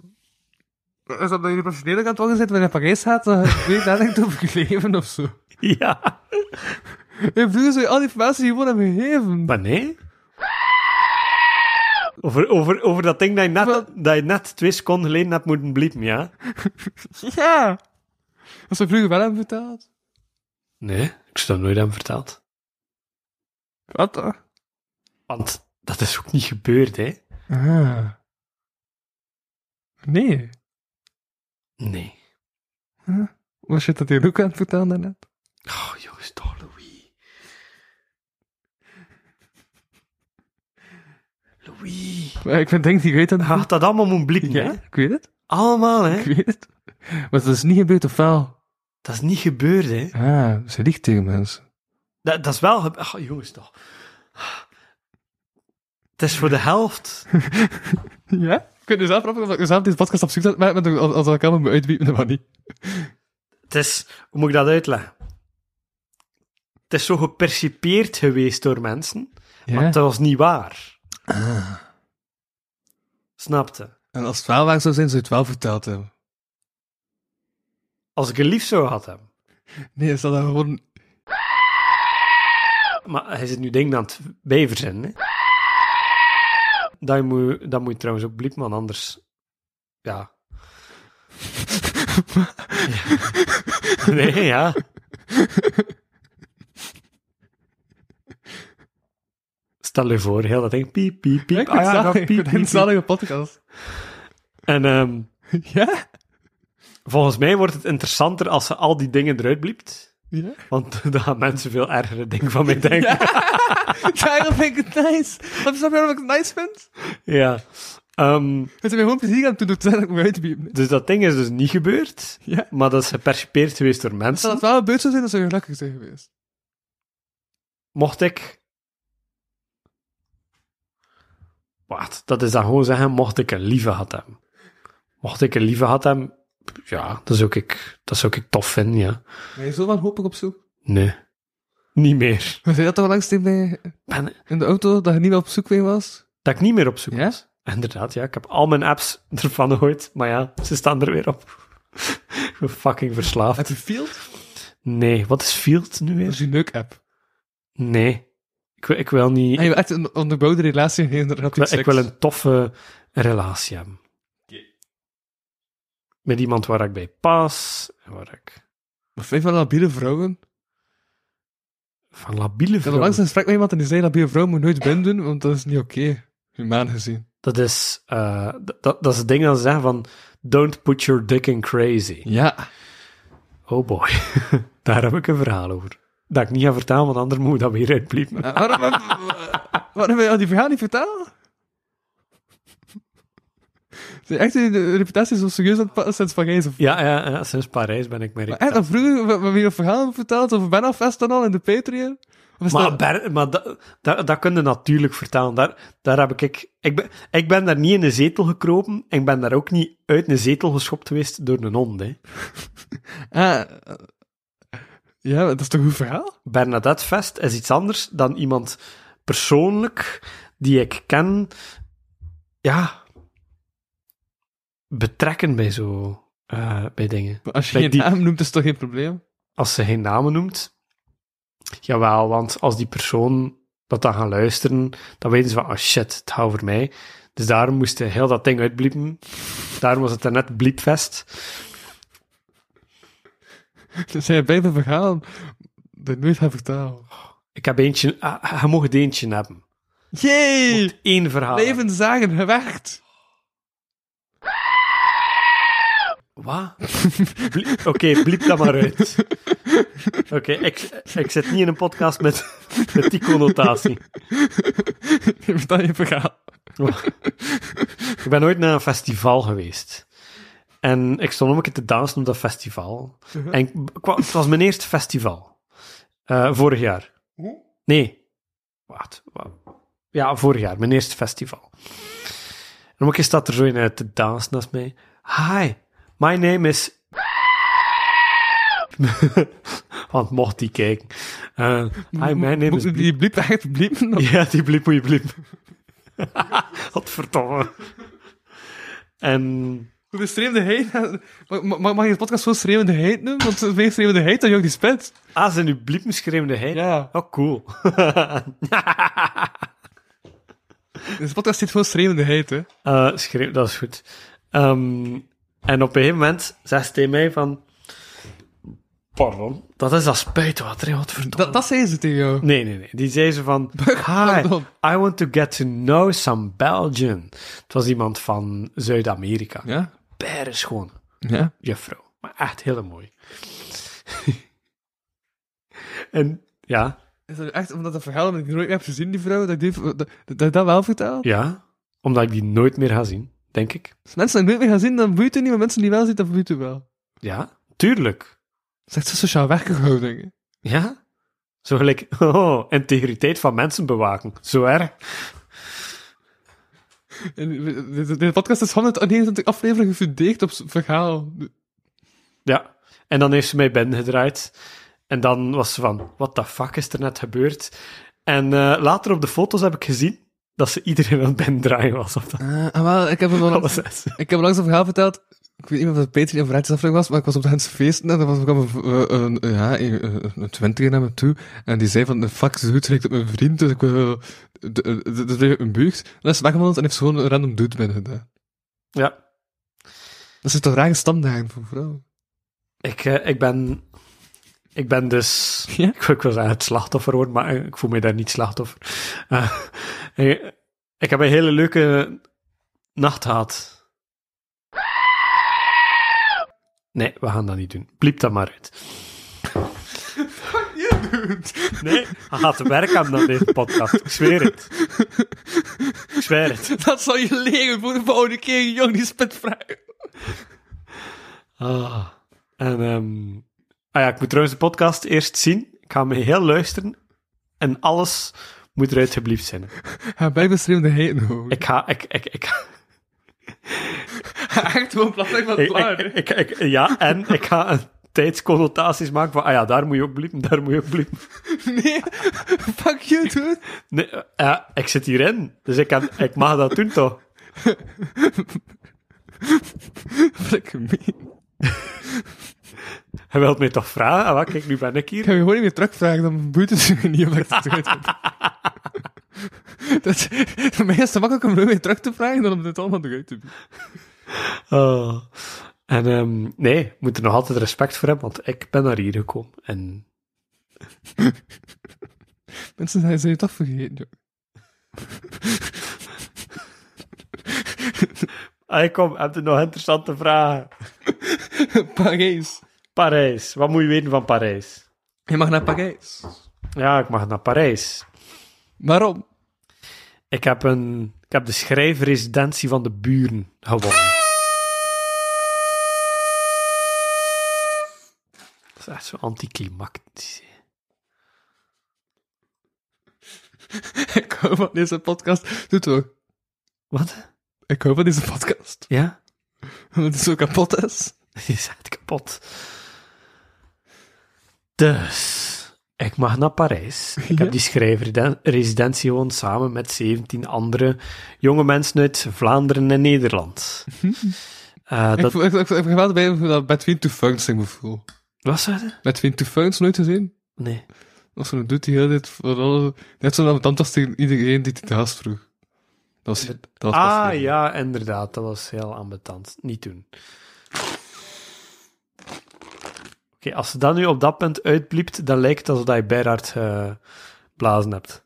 D: Is dat je professioneel aan het worden zit, wanneer je in Parijs gaat, dan weet je nadenkt over je leven of zo.
C: Ja.
D: Je vroeger zo al die informatie gewoon hebben gegeven.
C: Maar nee. Over, over, over dat ding dat je, net,
D: Wel-
C: dat je net twee seconden geleden hebt moeten bliepen, ja?
D: Ja! Dat ze vroeger wel hebben verteld.
C: Nee, ik zou dat nooit hebben verteld.
D: Wat dan?
C: Want dat is ook niet gebeurd, hè?
D: Ah. Nee.
C: Nee.
D: Was je dat hier ook aan het vertellen daarnet?
C: Oh, jongens, toch, Louis. Louis.
D: Maar Eh, ik vind denk die weet dat
C: Je had dat allemaal moeten bliepen,
D: Ja,
C: hè?
D: ik Ah, weet het. Eh?
C: Allemaal, hè?
D: Ik weet het. Maar dat is niet gebeurd of wel?
C: Dat is niet gebeurd, hè?
D: Ah, ze liegt tegen mensen.
C: Dat, dat is wel... gebe- Oh, jongens, toch. Het is voor de helft.
D: Ja? Kun je zelf afvragen of ik zelf deze podcast op zoek zet, maar met- als, als ik allemaal moet uitwiepen, dan maar niet.
C: Het is... Hoe moet ik dat uitleggen? Het is zo gepercipieerd geweest door mensen, maar
D: Ja.
C: dat was niet waar. Snapte?
D: En als het wel waar zou zijn, zou je het wel verteld hebben.
C: Als ik een lief zou gehad hebben.
D: Nee, is dat dan gewoon...
C: Maar hij zit nu dingen aan het bijverzinnen. hè. Dat moet, dat moet je trouwens ook bliepen, want anders... Ja. ja. Nee, ja. Stel je voor, heel dat ding, piep, piep, piep.
D: Ik
C: Ah, ja, dan piep, piep,
D: een
C: piep.
D: zalige podcast.
C: En ehm,
D: Ja?
C: volgens mij wordt het interessanter als ze al die dingen eruit bliept.
D: Ja?
C: Want dan gaan mensen veel ergere dingen van mij denken.
D: Daarom vind ik het nice. Dat snap je waarom ik het nice vind?
C: Ja. Ehm,
D: Het is weer gewoon plezier aan het doen door te zeggen dat ik me uitwiepen.
C: dus dat ding is dus niet gebeurd.
D: Ja?
C: Maar dat is gepercipeerd geweest door
D: Zou
C: mensen.
D: dat wel gebeurd zou zijn, dan zou je gelukkig zijn geweest.
C: Mocht ik. Wat? Dat is dan gewoon zeggen, mocht ik een lieve had hebben. Mocht ik een lieve had hebben, ja, dat zou ik, dat zou ik tof vinden, ja.
D: Ben je zo wanhopig op zoek?
C: Nee. Niet meer.
D: We zeiden dat toch langs bij
C: Ben,
D: in de auto, dat je niet meer op zoek weer was?
C: dat ik niet meer op zoek
D: Ja?
C: was. Inderdaad, ja. Ik heb al mijn apps ervan ooit, maar ja, ze staan er weer op. ik ben fucking verslaafd.
D: Heb je Field?
C: Nee, wat is Field nu
D: Dat
C: weer?
D: is je neuk-app.
C: Nee. Ik, wil- ik wil niet...
D: En je hebt echt een onderbouwde relatie geen
C: Ik wil,
D: relatief
C: ik wil een toffe relatie hebben. Met iemand waar ik bij pas, en waar ik
D: Maar vind je wel labiele vrouwen?
C: van labiele
D: Ik had onlangs
C: vrouwen...
D: een gesprek met iemand en die zei labiele vrouwen moet nooit binden doen, want dat is niet oké. Humaan gezien.
C: Dat is, eh, dat, dat dat is het ding dat ze zeggen van... Don't put your dick in crazy.
D: Ja.
C: Oh boy. Daar heb ik een verhaal over. Dat ik niet ga vertellen, want anders moet ik dat weer uitbliepen.
D: Eh, waarom, waarom wil je al die verhaal niet vertellen? Ze echt de reputatie zo serieus aan het pakken sinds Parijs. Of...
C: Ja, ja, ja, sinds Parijs ben ik mijn
D: Maar echt,
C: reputatie.
D: dat vroeger, we hebben hier een verhaal verteld over Benafest en al in de Patreon. Of is
C: Maar,
D: dat-
C: Ber- maar dat, dat, dat kun je natuurlijk vertellen. Daar, daar heb ik, ik, ik, ben, ik ben daar niet in een zetel gekropen. Ik ben daar ook niet uit een zetel geschopt geweest door een hond. Hè.
D: Ah, eh, ja, maar dat is toch een goed verhaal?
C: Bernadette Vest is iets anders dan iemand persoonlijk die ik ken. Ja, betrekken bij zo eh, bij dingen.
D: Maar als je
C: Bij
D: geen
C: die-
D: naam noemt, is het toch geen probleem?
C: Als ze geen namen noemt, jawel, want als die persoon dat dan gaat luisteren, dan weten ze van, oh shit, het gaat over mij. Dus daarom moest hij heel dat ding uitbliepen. Daarom was het daarnet bliepvest.
D: Er zijn beide verhalen die ik nooit gaan vertalen.
C: Ik heb eentje, ah, hij mocht eentje hebben.
D: Jee!
C: Eén verhaal.
D: Leven zagen gewerkt!
C: Wat? Blie- Oké, bliep dat maar uit. Oké, ik, ik zit niet in een podcast met, met die connotatie.
D: Je vertelt je verhaal.
C: Ik ben ooit naar een festival geweest. En ik stond om een keer te dansen op dat festival. En ik kwam- het was mijn eerste festival. Eh, vorig jaar. Nee. Wacht. wa- Ja, vorig jaar. Mijn eerste festival. En om een keer staat er zo in te dansen naast mij. Hi, my name is... Want mocht die kijken. Eh, hi, my name is...
D: Moet- Die bliep echt bliepen. of-
C: Ja, die bliep moet je bliep. Godverdomme. En
D: Hoe de schreeuwende heid... Mag, mag, mag je de podcast zo schreeuwende heid noemen? Want het is meer schreeuwende heid dan Jong die Spit.
C: ah, zijn uw bliepen schreeuwde hij.
D: Ja.
C: Oh, cool.
D: Dus de podcast zit gewoon schreeuwende heid, hè.
C: Eh, schreeuw, dat is goed. Ehm, en op een gegeven moment zegt hij mij van... Pardon? Dat is dat spuitwater, hè, godverdomme.
D: Dat, dat zeiden ze tegen jou.
C: Nee, nee, nee. Die zei ze van... Hi,
D: Pardon.
C: I want to get to know some Belgian. Het was iemand van Zuid-Amerika. Ja.
D: Ja?
C: Berenschoon.
D: Ja?
C: juffrouw. Maar echt heel mooi. en ja,
D: Is dat echt omdat dat verhaal dat ik nooit meer heb gezien, die vrouw, dat ik, die, dat, dat, ik dat wel vertel?
C: ja, omdat ik die nooit meer ga zien, denk ik.
D: Als mensen die ik nooit meer gaan zien, dan boeit het niet, maar mensen die wel zien, dat boeit het wel.
C: Ja, tuurlijk.
D: Dat is echt zo'n sociaal werkenhouding. hè.
C: Ja. Zo gelijk, oh, integriteit van mensen bewaken. Zo erg.
D: En de, podcast is 129 afleveringen verdedigd op zo'n verhaal.
C: Ja. En dan heeft ze mij binnengedraaid. En dan was ze van, what the fuck is er net gebeurd? En eh, later op de foto's heb ik gezien dat ze iedereen aan het binnendraaien was. Op dat,
D: Ah, wel, ik heb hem
C: op dat
D: langs,
C: zes.
D: ik heb langs een verhaal verteld. Ik weet niet of het Patreon of Rijtjes aflevering was, maar ik was op de Hense feesten en er was kwam een, eh, een, eh, ja, een, een twintiger naar me toe. En die zei van, de fuck, ze doet direct op mijn vriend, dus ik wil... de- eh, de- de- Dat is een buurt. En dan is ze weggewandeld en heeft ze gewoon een random dude binnen gedaan.
C: Ja.
D: Dat is toch rare standaarden voor vrouwen?
C: Ik, eh, ik ben... Ik ben dus...
D: Ja?
C: Ik, ik wil zeggen het slachtoffer worden, maar eh, ik voel me daar niet slachtoffer. Eh, eh, ik heb een hele leuke nacht gehad. Nee, we gaan dat niet doen. Bliep dat maar uit.
D: Je doet!
C: Nee, hij gaat werk aan aan deze podcast. Ik zweer het. Ik zweer het.
D: Dat zal je leren voor de volgende keer, jong, die spitvraag.
C: Ah. En, ehm, ah ja, ik moet trouwens de podcast eerst zien. Ik ga me heel luisteren. En alles moet eruit geblieft zijn.
D: Ja, bij beschreven heen hoor.
C: Ik ga... Ik, ik, ik,
D: Echt gewoon plastic van
C: Ik- ik- ik- ik- ja, en ik ga een tijdsconnotaties maken van, ah ja, daar moet je op bliepen, daar moet je op bliepen.
D: Nee, fuck you, dude.
C: Nee, eh, eh, ik zit hierin, dus ik, kan, ik mag dat doen toch?
D: Flik me.
C: Je wilt mij toch vragen? Ah, wel, kijk, nu ben ik
D: Ik
C: hier.
D: ga je gewoon niet meer terugvragen, dan boeit het je niet of ik het eruit heb. Dat is- Voor mij is het makkelijk om gewoon weer terug te vragen dan om dit allemaal eruit te doen.
C: Oh. En ehm, nee, je moet er nog altijd respect voor hebben, want ik ben naar hier gekomen. En
D: Mensen zijn, zijn je toch vergeten, joh.
C: ah, kom, heb je nog interessante vragen?
D: Parijs.
C: Parijs, wat moet je weten van Parijs?
D: Je mag naar Parijs.
C: Ja, ik mag naar Parijs.
D: Waarom?
C: Ik heb een Ik heb de schrijfresidentie van de buren gewonnen. Dat is echt zo anticlimactisch. hè.
D: Ik hou van deze podcast. Doe het ook.
C: Wat?
D: Ik hou van deze podcast.
C: Ja?
D: Omdat het zo kapot is.
C: Die is echt kapot. Dus, ik mag naar Parijs. Ik
D: Ja.
C: heb die schrijfresidentie gewonnen samen met 17 andere jonge mensen uit Vlaanderen en Nederland. Eh,
D: Ik
C: dat
D: voel- Ik ik- ik heb geweld bij hoe dat Between Two Ferns zich me voel.
C: was het?
D: Between Two Ferns nooit gezien?
C: Nee.
D: Of zo'n doet die heel dit voor alle... Net zo'n ambetant als tegen iedereen die het haast vroeg. Dat was... Dat was
C: Ah
D: niet.
C: ja, inderdaad. Dat was heel ambetant. Niet doen. Oké, als ze dat nu op dat punt uitbliept, dan lijkt het alsof dat je Berhard geblazen hebt.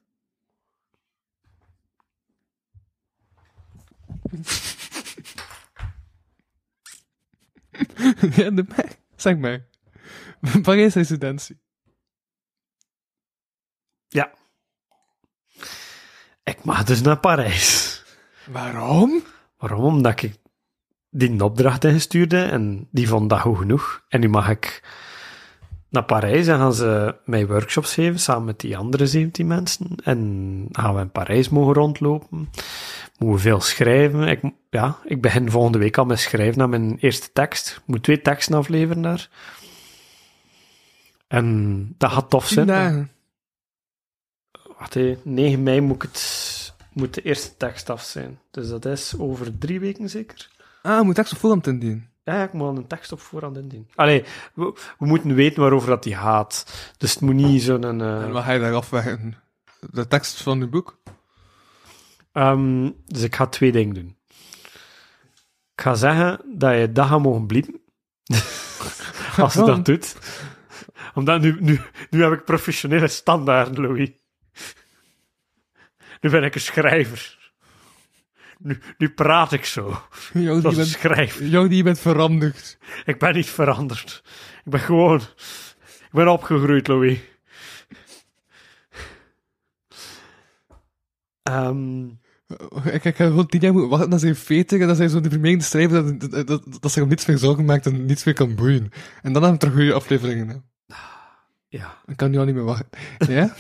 D: ja, de mij. Zeg mij. Parijs residentie.
C: Ja. Ik mag dus naar Parijs.
D: Waarom?
C: Waarom? Omdat ik die opdracht ingestuurde en die vond dat goed genoeg. En nu mag ik naar Parijs en gaan ze mij workshops geven samen met die andere 17 mensen. En gaan we in Parijs mogen rondlopen. Moeten we veel schrijven. Ik, mo- ja, ik begin volgende week al met schrijven naar mijn eerste tekst. Ik moet twee teksten afleveren daar. En dat gaat tof
D: Tien
C: zijn.
D: dagen.
C: Wacht, hé, 9 mei moet, ik het, moet de eerste tekst af zijn. Dus dat is over drie weken zeker?
D: Ah, je moet echt zo vol aan het indienen.
C: Ja, ja, ik moet al een tekst op voorhand indienen. Allee, we, we moeten weten waarover dat die gaat. Dus het moet niet zo'n... eh,
D: En wat ga je daar afwerken? De tekst van je boek?
C: ehm, dus ik ga twee dingen doen. Ik ga zeggen dat je dat gaat mogen bliepen. Als ze dat doet. Omdat nu, nu, nu heb ik professionele standaarden, Louis. Nu ben ik een schrijver. Nu, nu praat ik zo.
D: Jou die,
C: Zoals een
D: bent,
C: schrijver.
D: jou die bent veranderd.
C: Ik ben niet veranderd. Ik ben gewoon... Ik ben opgegroeid, Louis. Ehm,
D: Ik, ik heb gewoon tien jaar moeten wachten dat zijn 40 en dat zijn zo die vermeende schrijven dat, dat, dat, dat zich om niets meer zorgen maakt en niets meer kan boeien. En dan hebben we terug goede afleveringen. Hè.
C: ja.
D: Ik kan nu al niet meer wachten. Ja?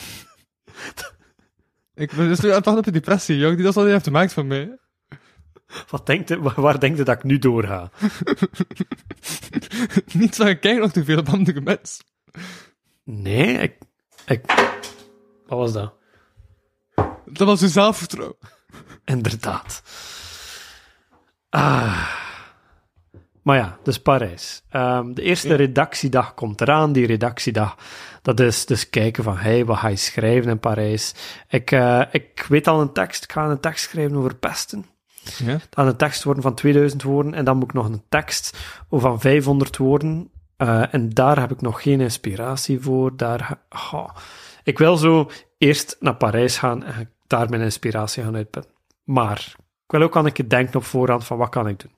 D: ik ben dus nu aan het wachten op je depressie, jong. Die dat al heeft gemaakt van mij.
C: Wat denkt je, waar, waar denkt je dat ik nu doorga?
D: Niet zo kijk nog te veel op andere mensen.
C: Nee, ik... ik wat was dat?
D: Dat was uw zelfvertrouwen.
C: Inderdaad. Ah. Maar ja, dus Parijs. Ehm, de eerste redactiedag komt eraan. Die redactiedag, dat is dus kijken van, hey, wat ga je schrijven in Parijs? Ik, eh, ik weet al een tekst. Ik ga een tekst schrijven over pesten.
D: Ja?
C: Dan een tekst worden van 2000 woorden en dan moet ik nog een tekst van 500 woorden. Eh, en daar heb ik nog geen inspiratie voor. Daar, ha- Goh. Ik wil zo eerst naar Parijs gaan en daar mijn inspiratie gaan uitputten. Maar ik wil ook aan een keer denken op voorhand van wat kan ik doen.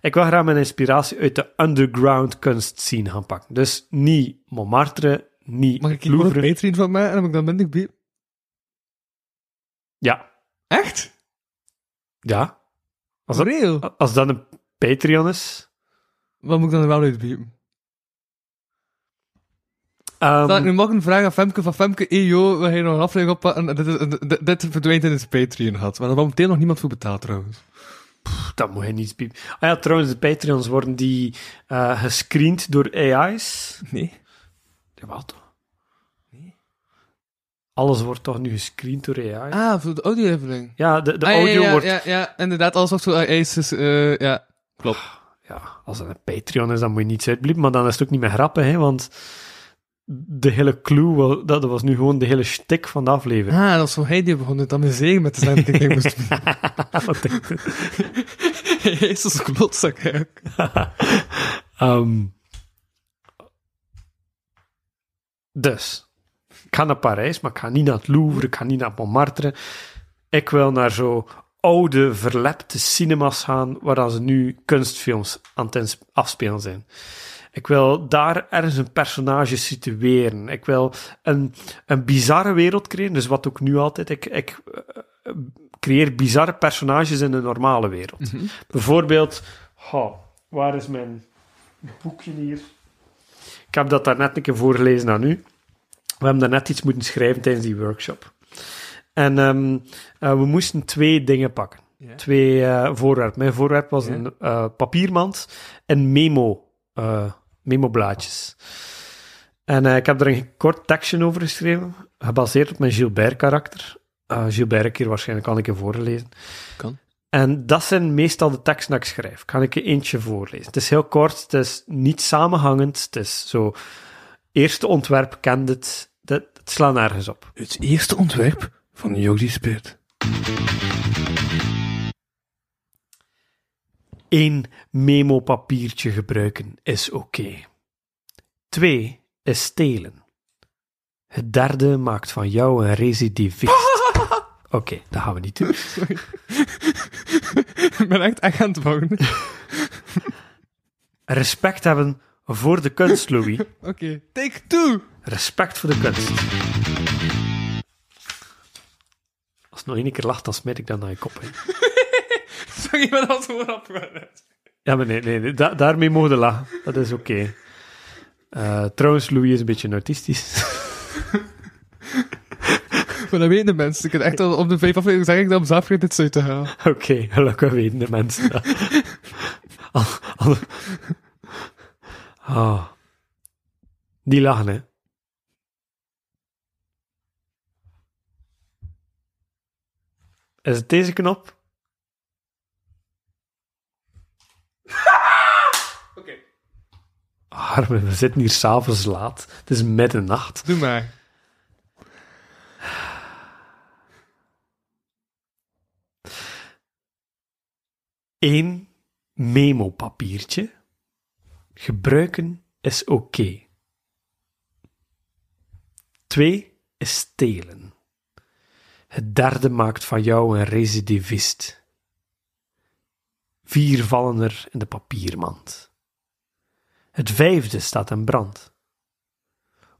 C: Ik wil graag mijn inspiratie uit de underground kunst zien gaan pakken. Dus niet Montmartre, niet
D: Mag ik hier gewoon
C: Louvre.
D: een Patreon van mij en dan heb ik dan minder bier?
C: Ja,
D: Echt?
C: ja. Als dat,
D: Real?
C: als dat een Patreon is.
D: Wat moet ik dan er wel uitbiepen?
C: Ehm,
D: Zal ik nu morgen vragen aan Femke van Femke, hey joh, we gaan hier nog een aflevering op en dit, is- dit, dit verdwijnt in het Patreon had. Maar daar heeft meteen nog niemand voor betaald trouwens.
C: Dat moet je niet piepen. Ah ja, trouwens, de Patreons worden die eh, gescreend door AI's.
D: Nee.
C: Jawel toch? Alles wordt toch nu gescreend door AI?
D: Ah, voor de audio-leveling.
C: Ja, de, de
D: Ah, ja,
C: audio
D: ja,
C: wordt... Ja.
D: Ja, ja, inderdaad, alles wat zo eh, is, is, eh, ja, klopt.
C: als het een Patreon is, dan moet je niets uitbliepen, maar dan is het ook niet meer grappig, hè, want de hele clue, wa- dat dat was nu gewoon de hele shtick van de aflevering.
D: Ah, dat is van hij die begon het amuseren met te zijn dat ik denk moest doen. Ah.
C: Wat denk je?
D: Jezus, klotzak eigenlijk.
C: Ehm, dus, ik ga naar Parijs, maar ik ga niet naar het Louvre, ik ga niet naar Montmartre. Ik wil naar zo oude, verlepte cinema's gaan, waar dan ze nu kunstfilms aan het ins- afspelen zijn. Ik wil daar ergens een personage situeren. Ik wil een, een bizarre wereld creëren, dus wat ook nu altijd. Ik, ik eh, creëer bizarre personages in de normale wereld. Bijvoorbeeld, goh, waar is mijn boekje hier? Ik heb dat daarnet een keer voorgelezen aan u. We hebben daarnet iets moeten schrijven tijdens die workshop. En ehm, eh, we moesten twee dingen pakken.
D: Ja.
C: Twee eh, voorwerpen. Mijn voorwerp was
D: Ja.
C: een eh, papiermand en memo, eh, memoblaadjes. En eh, ik heb er een kort tekstje over geschreven, gebaseerd op mijn Gilbert-karakter. Eh, Gilbert heb ik hier waarschijnlijk al een keer voorgelezen.
D: Kan.
C: En dat zijn meestal de teksten dat ik schrijf. Ik ga een keer eentje voorlezen. Het is heel kort, het is niet samenhangend. Het is zo... Eerste ontwerp kent het. Dat, het slaat nergens op.
D: Het eerste ontwerp van Jordi Speert.
C: Eén memopapiertje gebruiken is oké. Twee is stelen. Het derde maakt van jou een recidivist. Oké, dat gaan we niet doen.
D: Ik ben echt echt aan het wonen. Oké,
C: Respect hebben voor de kunst, Louis.
D: take two!
C: Respect voor de kunst. Als het nog één keer lacht, dan smijt ik dat naar je kop. hè.
D: Sorry, maar dat was gewoon opgewerkt.
C: Ja, maar nee, nee, nee, da- daarmee mogen we lachen. Dat is oké. Eh, trouwens, Louis is een beetje autistisch.
D: Maar dat weten de mensen. Ik heb echt al op de vijf afleveringen zeg ik dat om zelf weer dit zo te halen.
C: Oké, gelukkig weten de mensen dat. Al- al- Ah. Die lachen, hè. Is het deze knop?
D: Oké.
C: Arme, we zitten hier s'avonds laat. Het is middernacht.
D: Doe maar.
C: Eén memopapiertje. Gebruiken is oké. Twee is stelen. Het derde maakt van jou een recidivist. Vier vallen er in de papiermand. Het vijfde staat in brand.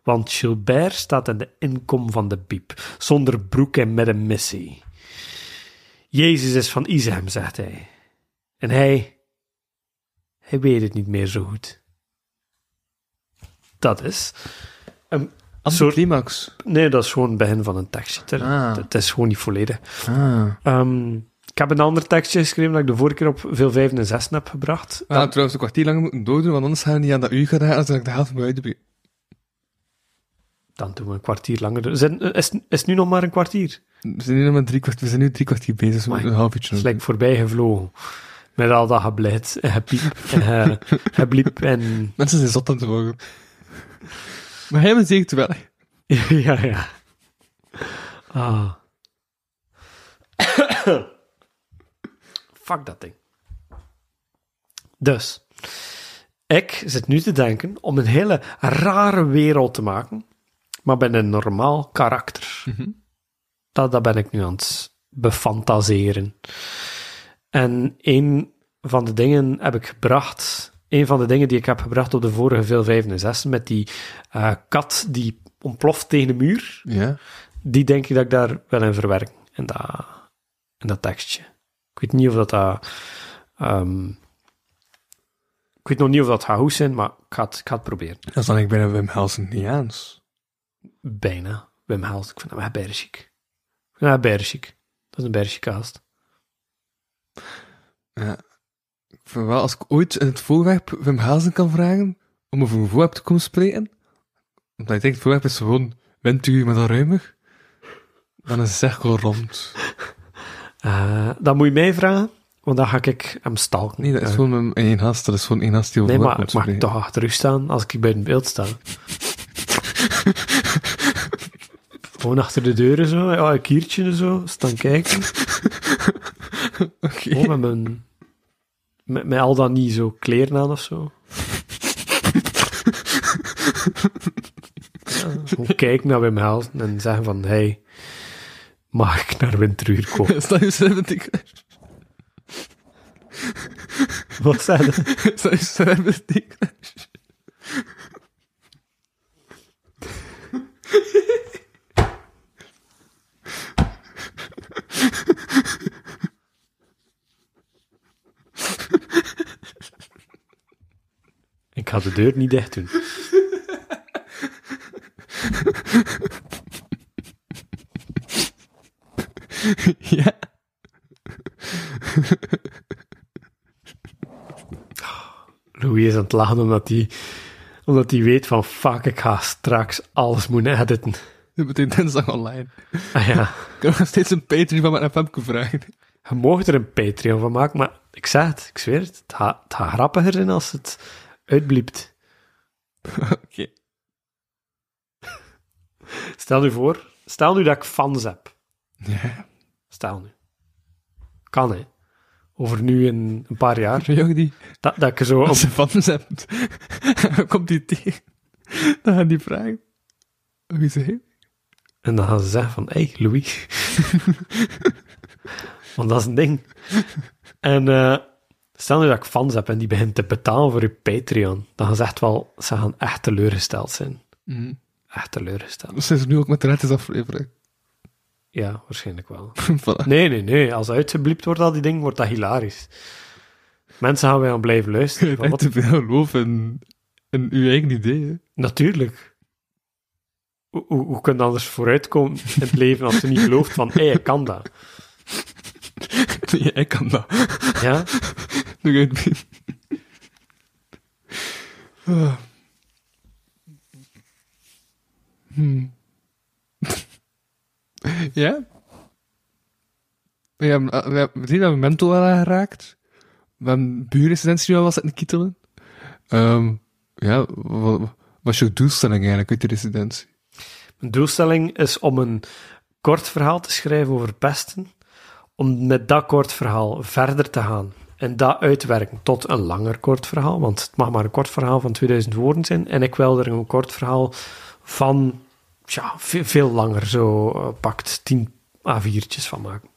C: Want Gilbert staat in de inkom van de piep, zonder broek en met een missie. Jezus is van Isem, zegt hij. En hij. Hij weet het niet meer zo goed. Dat is. Een soort.
D: Anticlimax.
C: Nee, dat is gewoon het begin van een tekstje. Het-
D: Ah.
C: Het is gewoon niet volledig.
D: Ah.
C: Ehm, ik heb een ander tekstje geschreven dat ik de vorige keer op veel vijfden en zessen heb gebracht.
D: We hadden trouwens een kwartier lang moeten doordoen, want anders gaan we niet aan dat uur gaan raken, als ik de helft van buiten ben.
C: Dan doen we een kwartier langer. Zijn- eh, is, is het nu nog maar een kwartier?
D: We zijn nu nog maar drie kwart, we zijn nu drie kwartier bezig, dus we
C: Amai.
D: moeten een half uurtje
C: Het is
D: nog
C: like voorbij gevlogen. Met al dat gebleid en gepiep en ge- gebliep en...
D: doen. Mensen zijn zot aan te worden. maar hij me zeker wel.
C: ja, ja. Ah. Fuck dat ding. Dus, ik zit nu te denken om een hele rare wereld te maken, maar met een normaal karakter. dat, dat ben ik nu aan het befantaseren. En een van de dingen heb ik gebracht, een van de dingen die ik heb gebracht op de vorige veel 5 en 6, met die eh, kat die ontploft tegen de muur,
D: Ja.
C: die denk ik dat ik daar wel in verwerk, in dat, in dat tekstje. Ik weet niet of dat... dat ehm, ik weet nog niet of dat gaat goed zijn, maar ik ga het, ik ga het proberen.
D: Dat is dan ik bijna Wim Helsen niet eens.
C: Bijna. Wim Held. Ik vind hem echt bijna chic. Ik vind hem echt bijna chic. Dat is een bijna chique gast.
D: Ja. Ik vind wel, als ik ooit in het voorwerp Wim Helsen kan vragen om over een voorwerp te komen spreken, omdat ik denk, het voorwerp is gewoon winduur met een ruimer, dan is de cirkel rond.
C: Eh, dat moet je mij vragen, want dan ga ik hem stalken.
D: Nee, dat is
C: Eh,
D: gewoon een één gast, dat is gewoon één gast die over
C: nee,
D: voorwerp
C: maar
D: komt
C: ik mag
D: spreken.
C: toch achter u staan als ik bij het beeld sta. Gewoon achter de deuren zo, ja, een kiertje en zo, staan kijken.
D: Oké.
C: Gewoon met mijn... Met, met al dan niet zo kleren aan of zo. Ja, gewoon kijken naar Wim Helsen en zeggen van, hey, mag ik naar Winteruur komen?
D: Stel je 70
C: Wat zei dat?
D: Stel je 70
C: ga de deur niet dicht doen.
D: ja.
C: Louis is aan het lachen omdat hij, omdat hij weet van fuck, ik ga straks alles moeten editen.
D: Meteen dinsdag online.
C: Ah ja,
D: Ik heb nog steeds een Patreon van mijn FMK vragen.
C: je mag er een Patreon van maken, maar ik zeg het, ik zweer het, het gaat het gaat grappiger zijn als het uitbliept.
D: Oké.
C: Stel nu voor, stel nu dat ik fans heb.
D: Ja.
C: Stel nu. Kan hè. Over nu een, een paar jaar.
D: Zo'n jongen die
C: Dat, dat ik er zo op
D: als ze van ons hebt, komt die tegen. Dan gaan die vragen. Wie is hij?
C: En dan gaan ze zeggen van, hé, hey, Louis. Want dat is een ding. En eh, stel nu dat ik fans heb en die begint te betalen voor je Patreon, dan gaan ze echt wel, ze gaan echt teleurgesteld zijn.
D: Mm.
C: Echt teleurgesteld.
D: Ze is nu ook met de is aflevering.
C: Ja, waarschijnlijk wel.
D: Voilà.
C: Nee, nee, nee. Als uitgebliept wordt al die ding, wordt dat hilarisch. Mensen gaan wij aan blijven luisteren.
D: Je
C: Van,
D: hebt
C: wat?
D: te veel geloof in, in uw eigen idee. Hè.
C: Natuurlijk. Hoe, hoe, hoe kun je anders vooruitkomen in het leven als je niet gelooft van, hé, ik kan dat.
D: Nee, ik kan dat.
C: Ja?
D: Nu ga je het doen. Ah. Hmm. ja? We hebben, eh, we hebben, we zien dat we mental wel aangeraakt. We hebben buurresidentie nu al was het in kittelen. Ehm, ja, wa- wa- wat is je doelstelling eigenlijk uit de residentie?
C: Mijn doelstelling is om een kort verhaal te schrijven over pesten, om met dat kort verhaal verder te gaan en dat uitwerken tot een langer kort verhaal, want het mag maar een kort verhaal van 2000 woorden zijn en ik wil er een kort verhaal van tja, veel, veel langer, zo eh, pakt 10 A4'tjes van maken.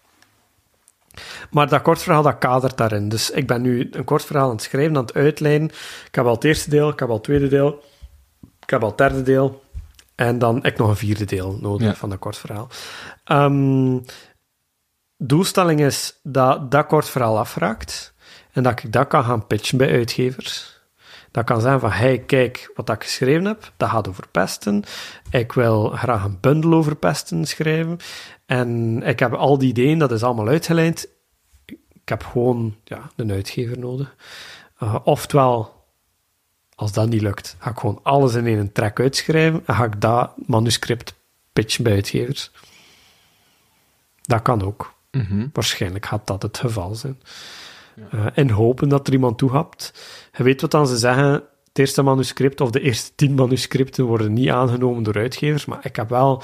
C: Maar dat kort verhaal, dat kadert daarin. Dus ik ben nu een kort verhaal aan het schrijven, aan het uitlijnen. Ik heb al het eerste deel, ik heb al het tweede deel, ik heb al het derde deel. En dan heb ik nog een vierde deel nodig
D: Ja.
C: van dat kort verhaal. Ehm, doelstelling is dat dat kort verhaal afraakt. En dat ik dat kan gaan pitchen bij uitgevers. Dat kan zijn van, hey, kijk wat dat ik geschreven heb. Dat gaat over pesten. Ik wil graag een bundel over pesten schrijven. En ik heb al die ideeën, dat is allemaal uitgeleid. Ik heb gewoon ja, een uitgever nodig. Eh, oftewel, als dat niet lukt, ga ik gewoon alles in één track uitschrijven en ga ik dat manuscript pitchen bij uitgevers. Dat kan ook. Waarschijnlijk gaat dat het geval zijn. Eh, en hopen dat er iemand toehapt. Je weet wat dan ze zeggen, het eerste manuscript of de eerste tien manuscripten worden niet aangenomen door uitgevers, maar ik heb wel...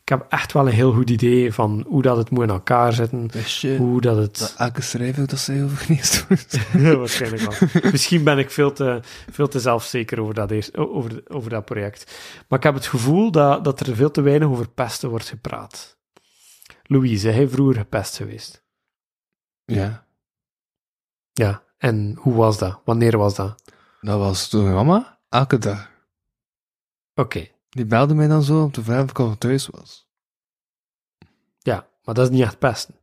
C: Ik heb echt wel een heel goed idee van hoe dat het moet in elkaar zitten.
D: Wist je
C: Hoe dat het...
D: elke schrijver dat zij over geneest
C: Ja, waarschijnlijk wel. Misschien ben ik veel te, veel te zelfzeker over dat, eerst, o- over, over dat project. Maar ik heb het gevoel dat, dat er veel te weinig over pesten wordt gepraat. Louise, hij vroeger gepest geweest.
D: Ja,
C: Ja, en hoe was dat? Wanneer was dat?
D: dat was door mijn mama. Elke dag.
C: Oké,
D: Die belde mij dan zo om te vragen of ik al thuis was.
C: ja, maar dat is niet echt pesten.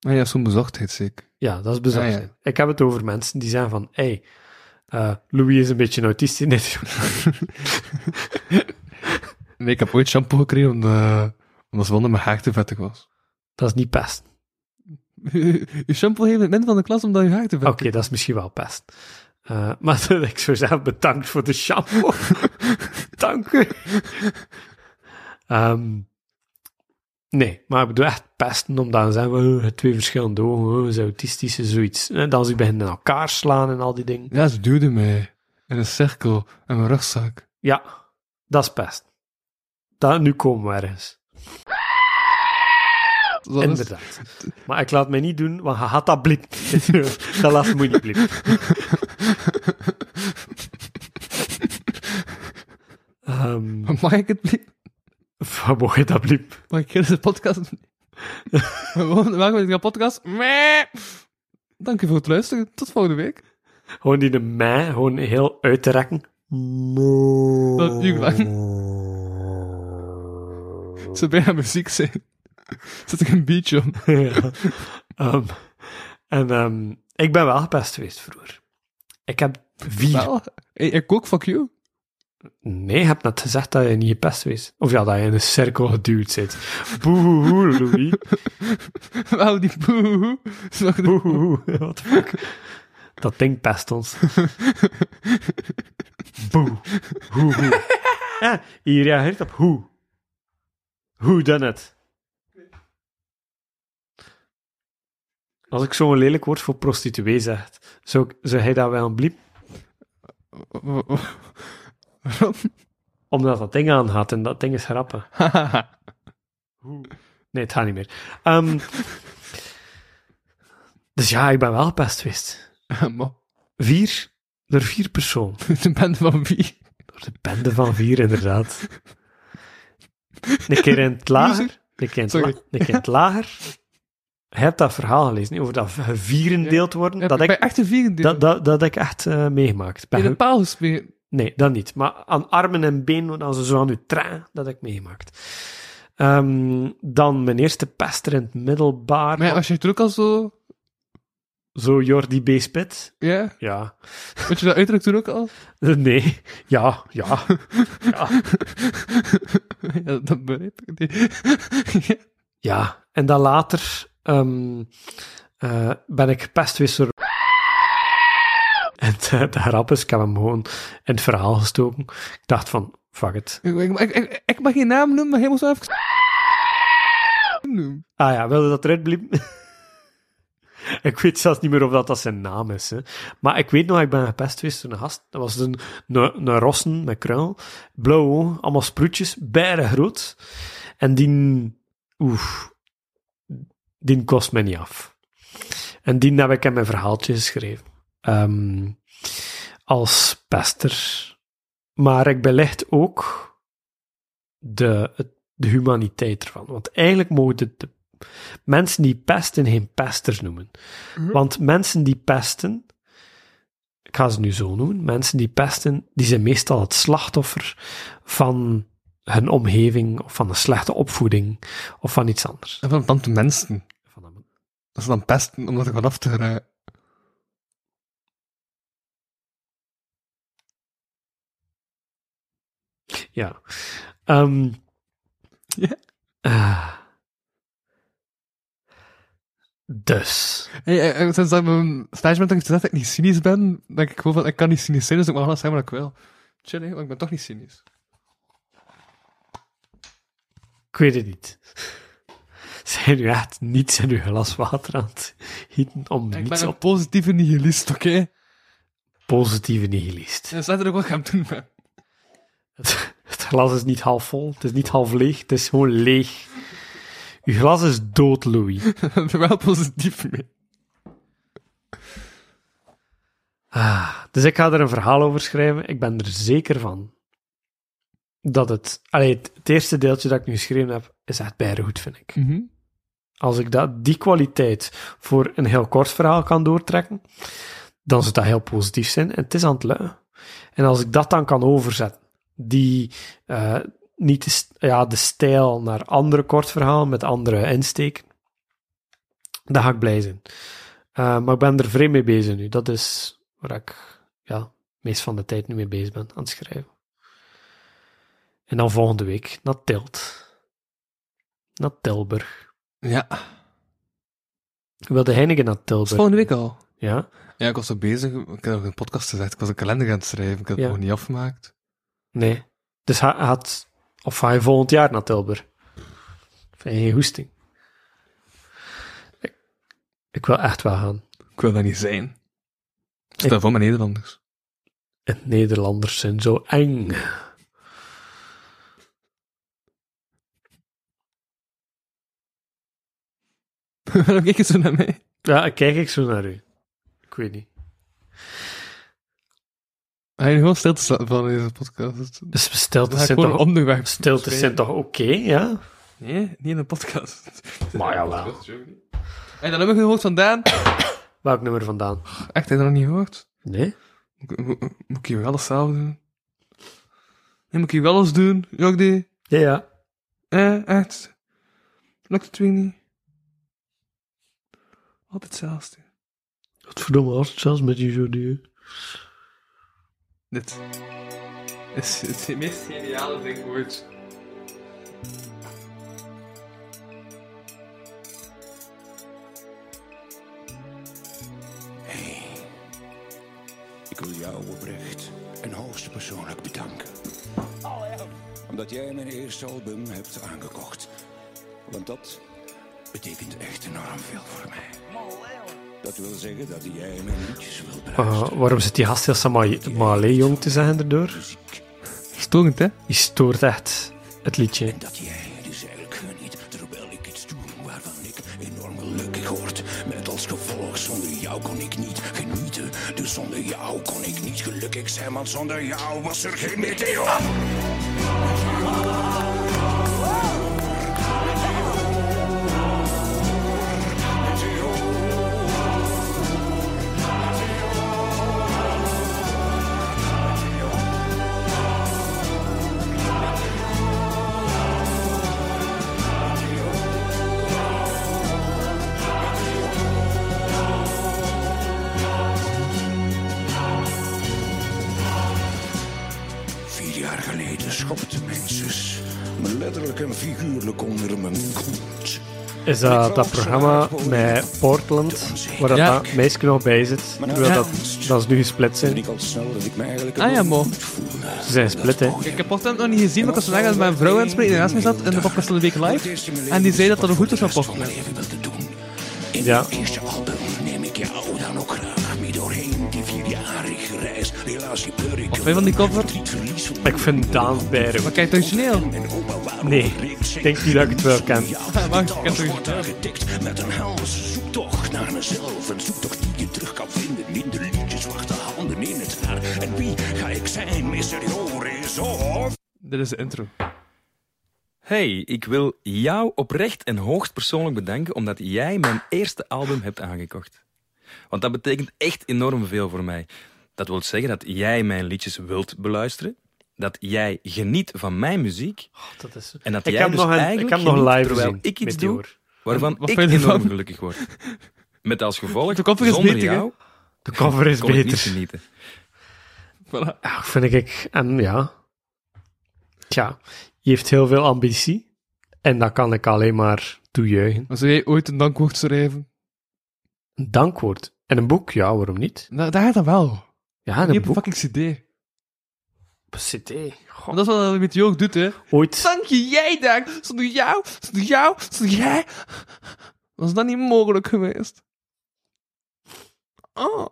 D: Maar Ah ja, zo'n bezochtheid zeker.
C: Ja, dat is bizar.
D: Ah, ja.
C: Ik heb het over mensen die zeggen van, hé, hey, eh, Louis is een beetje een autist. in dit
D: Nee, ik heb ooit shampoo gekregen omdat, omdat Zwanne mijn haar te vettig was.
C: Dat is niet pesten.
D: je shampoo heeft het midden van de klas omdat je haar te
C: Oké,
D: vettig
C: dat is misschien wel pest. Eh, maar dat ik zo zelf bedankt voor de shampoo. Oh, Dank u. Ehm, nee, maar ik bedoel echt pesten, omdat dan zijn we eh, twee verschillende ogen, eh, ze autistische, zoiets. En dan ze beginnen in elkaar slaan en al die dingen.
D: Ja, ze duwde mij in een cirkel in mijn rugzak.
C: Ja, dat is pest. Dat, nu komen we ergens.
D: Dat is-
C: Inderdaad. Maar ik laat mij niet doen, want je had dat bliep. dat laatste moet je niet bliep. Ehm,
D: Mag ik het niet?
C: wat mocht je dat bliep?
D: Mag ik de podcast niet? Gewoon, maken we een podcast? Meh. Dank u voor het luisteren. Tot volgende week.
C: Gewoon die de mij gewoon heel uit te rekken.
D: Dat is uur lang. Ze bijna muziek zijn. Zet ik een beatje om.
C: Ja. Ehm, en ehm, ik ben wel gepest geweest vroeger. Ik heb Vier.
D: Wel, ik, ik ook, fuck you.
C: Nee, je hebt net gezegd dat je niet gepest wees. Of ja, dat je in een cirkel geduwd zit. Boehoehoe, Louis.
D: Wel, die boehoe. Zag de-
C: Boehoehoe. What the fuck? Dat ding pest ons. Boe. Hoe, hoe. Ja, je reageert op hoe. Who done it? Als ik zo'n lelijk woord voor prostituee zeg, zou, ik- zou hij dat wel een bliep?
D: Waarom?
C: Omdat dat ding aangaat en dat ding is grappen. Nee, het gaat niet meer. Ehm, dus ja, ik ben wel gepest geweest.
D: Maar,
C: Vier, door vier personen.
D: de band van wie?
C: Door de bende van vier, inderdaad. Een keer in het lager. Een keer in het, la-
D: Sorry.
C: een keer in het lager. Je hebt dat verhaal gelezen, niet? over dat gevierendeeld worden.
D: Ja,
C: dat,
D: ik
C: ik,
D: ben echt een vierde.
C: dat, dat, dat heb ik echt eh, meegemaakt. Ben
D: In
C: ge-
D: een paal gespeeld.
C: Nee, dat niet. Maar aan armen en benen, als ze zo aan u tra, dat heb ik meegemaakt. Ehm, dan mijn eerste pester in het middelbaar.
D: Maar ja, was je toen ook al zo...
C: Zo Jordi B. Spit.
D: Ja?
C: Ja.
D: Weet je dat uiterlijk toen ook al?
C: Nee. Ja, ja.
D: Ja, dat begrijp ik niet. Ja.
C: Ja, en dan later ehm, eh, ben ik gepest geweest door... En de, de grap is, ik heb hem dus gewoon in het verhaal gestoken. Ik dacht van, fuck it.
D: Ik, ik, ik, ik- ik mag geen naam noemen, maar helemaal zo even... noemen.
C: Ah ja, wilde dat eruit blieb? ik weet zelfs niet meer of dat, dat zijn naam is. Hè. Maar ik weet nog, ik ben gepest geweest door een gast. Dat was een, een, een rossen met kruil. Blauw ogen, allemaal sproetjes, bijna groot. En die... Oef. Die kost mij niet af. En die heb ik in mijn verhaaltje geschreven. Ehm, als pester. Maar ik belicht ook de, het- de humaniteit ervan. Want eigenlijk mogen de, de mensen die pesten geen pesters noemen.
D: Mhm.
C: Want mensen die pesten, ik ga ze nu zo noemen, mensen die pesten, die zijn meestal het slachtoffer van hun omgeving of van een slechte opvoeding of van iets anders.
D: En van tante mensen.
C: Van een-
D: Dat ze dan pesten omdat ik vanaf te geraken.
C: Ja. Ehm,
D: Ja.
C: eh. dus.
D: Hey, eh, eh, sinds dat mijn stage dat ik gezegd dat ik niet cynisch ben, denk ik gewoon van, ik kan niet cynisch zijn, dus ik mag alles zeggen wat ik wil. Chill, hè, want ik ben toch niet cynisch.
C: Ik weet het niet. Zijn nu echt niets in uw glas water aan het gieten om
D: Ik
C: niets
D: ben een
C: op
D: positieve nihilist, oké?
C: positieve nihilist.
D: Dus dat is ook wat ik aan het doen ben.
C: Het, het glas is niet half vol, het is niet half leeg, het is gewoon leeg. Uw glas is dood, Louis.
D: Ik ben er wel positief mee.
C: Ah, dus ik ga er een verhaal over schrijven. Ik ben er zeker van dat het... Allee, het, het eerste deeltje dat ik nu geschreven heb, is echt bijna goed, vind ik.
D: Mhm.
C: Als ik dat, die kwaliteit voor een heel kort verhaal kan doortrekken, dan zou dat heel positief zijn. En het is aan het luien. En als ik dat dan kan overzetten, die, eh, niet de, st- ja, de stijl naar andere kort verhalen met andere insteek, dan ga ik blij zijn. Eh, maar ik ben er vreemd mee bezig nu. Dat is waar ik ja, meest van de tijd nu mee bezig ben aan het schrijven. En dan volgende week naar Tilt. Naar Tilburg.
D: Ja,
C: Wilde Heineken naar
D: dat is
C: Tilburg.
D: volgende week al.
C: Ja?
D: Ja, ik was zo bezig, ik had ook een podcast gezegd, ik was een kalender aan het schrijven, ik had het
C: Ja.
D: nog niet afgemaakt.
C: Nee. Dus hij had... Of ga je volgend jaar naar Tilburg? Of heb je geen hoesting? Ik, ik wil echt wel gaan.
D: Ik wil dat niet zijn. Stel voor met Nederlanders.
C: En Nederlanders zijn zo eng.
D: Waarom kijk je zo naar mij?
C: Ja, dan kijk ik zo naar u. Ik weet niet.
D: Hij is gewoon stil te staan van deze podcast.
C: Dus stiltes
D: Dat is
C: zijn
D: gewoon
C: toch,
D: onderweg.
C: stiltes zijn toch oké, ja?
D: Nee, niet in een podcast.
C: Maar jawel.
D: En dat nummer gehoord vandaan?
C: Welk nummer vandaan?
D: Echt, heb je dat nog niet gehoord?
C: Nee?
D: Moet, moet- moet ik hier wel eens zelf doen? Nee, moet ik hier wel eens doen? Jordi?
C: Ja, ja.
D: Eh, echt? Lukt het weer niet? Altijd hetzelfde.
C: Godverdomme, als het zelfs met die zo duur.
D: Dit is het meest geniale ding ooit.
B: Ik wil jou oprecht en hoogst persoonlijk bedanken. Omdat jij mijn eerste album hebt aangekocht. Want dat betekent echt enorm veel voor mij. Dat wil zeggen dat jij mijn liedjes wil beluisteren.
C: Ah, waarom zit die gast heel Samai- Malé jong te zeggen erdoor?
B: Muziek.
D: Storend, hè?
C: Die stoort echt het liedje.
B: En dat jij het is eigenlijk geniet, terwijl ik iets doe waarvan ik enorm gelukkig word. Met als gevolg, zonder jou kon ik niet genieten. Dus zonder jou kon ik niet gelukkig zijn, want zonder jou was er geen meteor. Vier jaar geleden schopte mijn zus me letterlijk en figuurlijk onder mijn kont.
C: Is dat dat programma met Portland, waar dat,
D: Ja.
C: dat meisje nog bij zit? Terwijl
D: Ja.
C: dat, dat ze nu gesplit
B: En
C: zijn.
B: ik al snel dat ik me eigenlijk
D: Ah ja, mo.
C: Ze zijn split, hè.
D: Ik heb Portland nog niet gezien, maar ik was vandaag met mijn vrouw aan het spreken die naast mij zat in de podcast van de week live. En die zei dat dat een goed was van Portland.
B: In
C: Ja.
B: ja. eerste album neem ik jou dan ook graag mee doorheen die vierjarige reis. Helaas gebeur ik
D: Wat vind je van die cover?
C: Ik vind Daan Beiren.
D: Maar kijk, het origineel.
C: Nee, ik denk niet dat ik het wel ken. Oh,
D: Maar ik heb het
B: Wordt aangetikt met een helse zoektocht naar mezelf. Een zoektocht die je terug kan vinden in de liedjes, wachten handen in het haar. En wie ga ik zijn, Mr. Joris Oh. of...
D: Dit is de intro.
F: Hey, ik wil jou oprecht en hoogst persoonlijk bedanken omdat jij mijn eerste album hebt aangekocht. Want dat betekent echt enorm veel voor mij. Dat wil zeggen dat jij mijn liedjes wilt beluisteren, dat jij geniet van mijn muziek
C: Dat is...
F: en dat
C: Ik
F: jij
C: heb
F: dus
C: nog een- ik
F: eigenlijk
C: heb nog
F: geniet
C: live
F: terwijl
C: gezien,
F: ik iets doe
C: Meteor.
F: waarvan
D: Wat
F: ik
D: vind je
F: enorm
D: ervan?
F: gelukkig word. Met als gevolg,
D: De koffer is
F: zonder
D: beter, hè?
F: jou
C: De cover is
F: kon ik niet
C: beter.
F: genieten.
D: Voilà.
C: Ja, vind ik. En ja. Tja, je heeft heel veel ambitie. En dat kan ik alleen maar toejuichen.
D: Maar zou jij ooit een dankwoord schrijven?
C: Een dankwoord. En een boek, ja, waarom niet?
D: Nou, daar gaat dat wel.
C: Ja, en
D: Niet
C: een
D: op een
C: boek.
D: fucking cd.
C: CD.
D: Maar dat is wat een meteor doet, hè.
C: Ooit.
D: Dank je jij daar. Zonder jou, zonder jou, zonder jij. Was dat niet mogelijk geweest? Oh.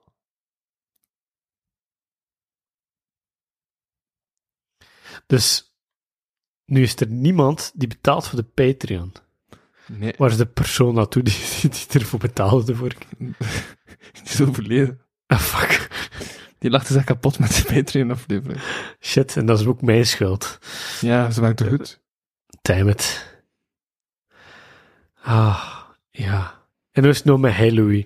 C: Dus nu is er niemand die betaalt voor de Patreon.
D: Nee,
C: Waar is de persoon naartoe die, die, die ervoor betaalde de vorige keer?
D: die is overleden.
C: Ah, fuck.
D: Die lachte zich kapot met de Patreon-aflevering.
C: Shit, en dat is ook mijn schuld.
D: Ja, ze maakt het goed.
C: Damn it. Ah, ja. En hoe is het nou met Hey Louis?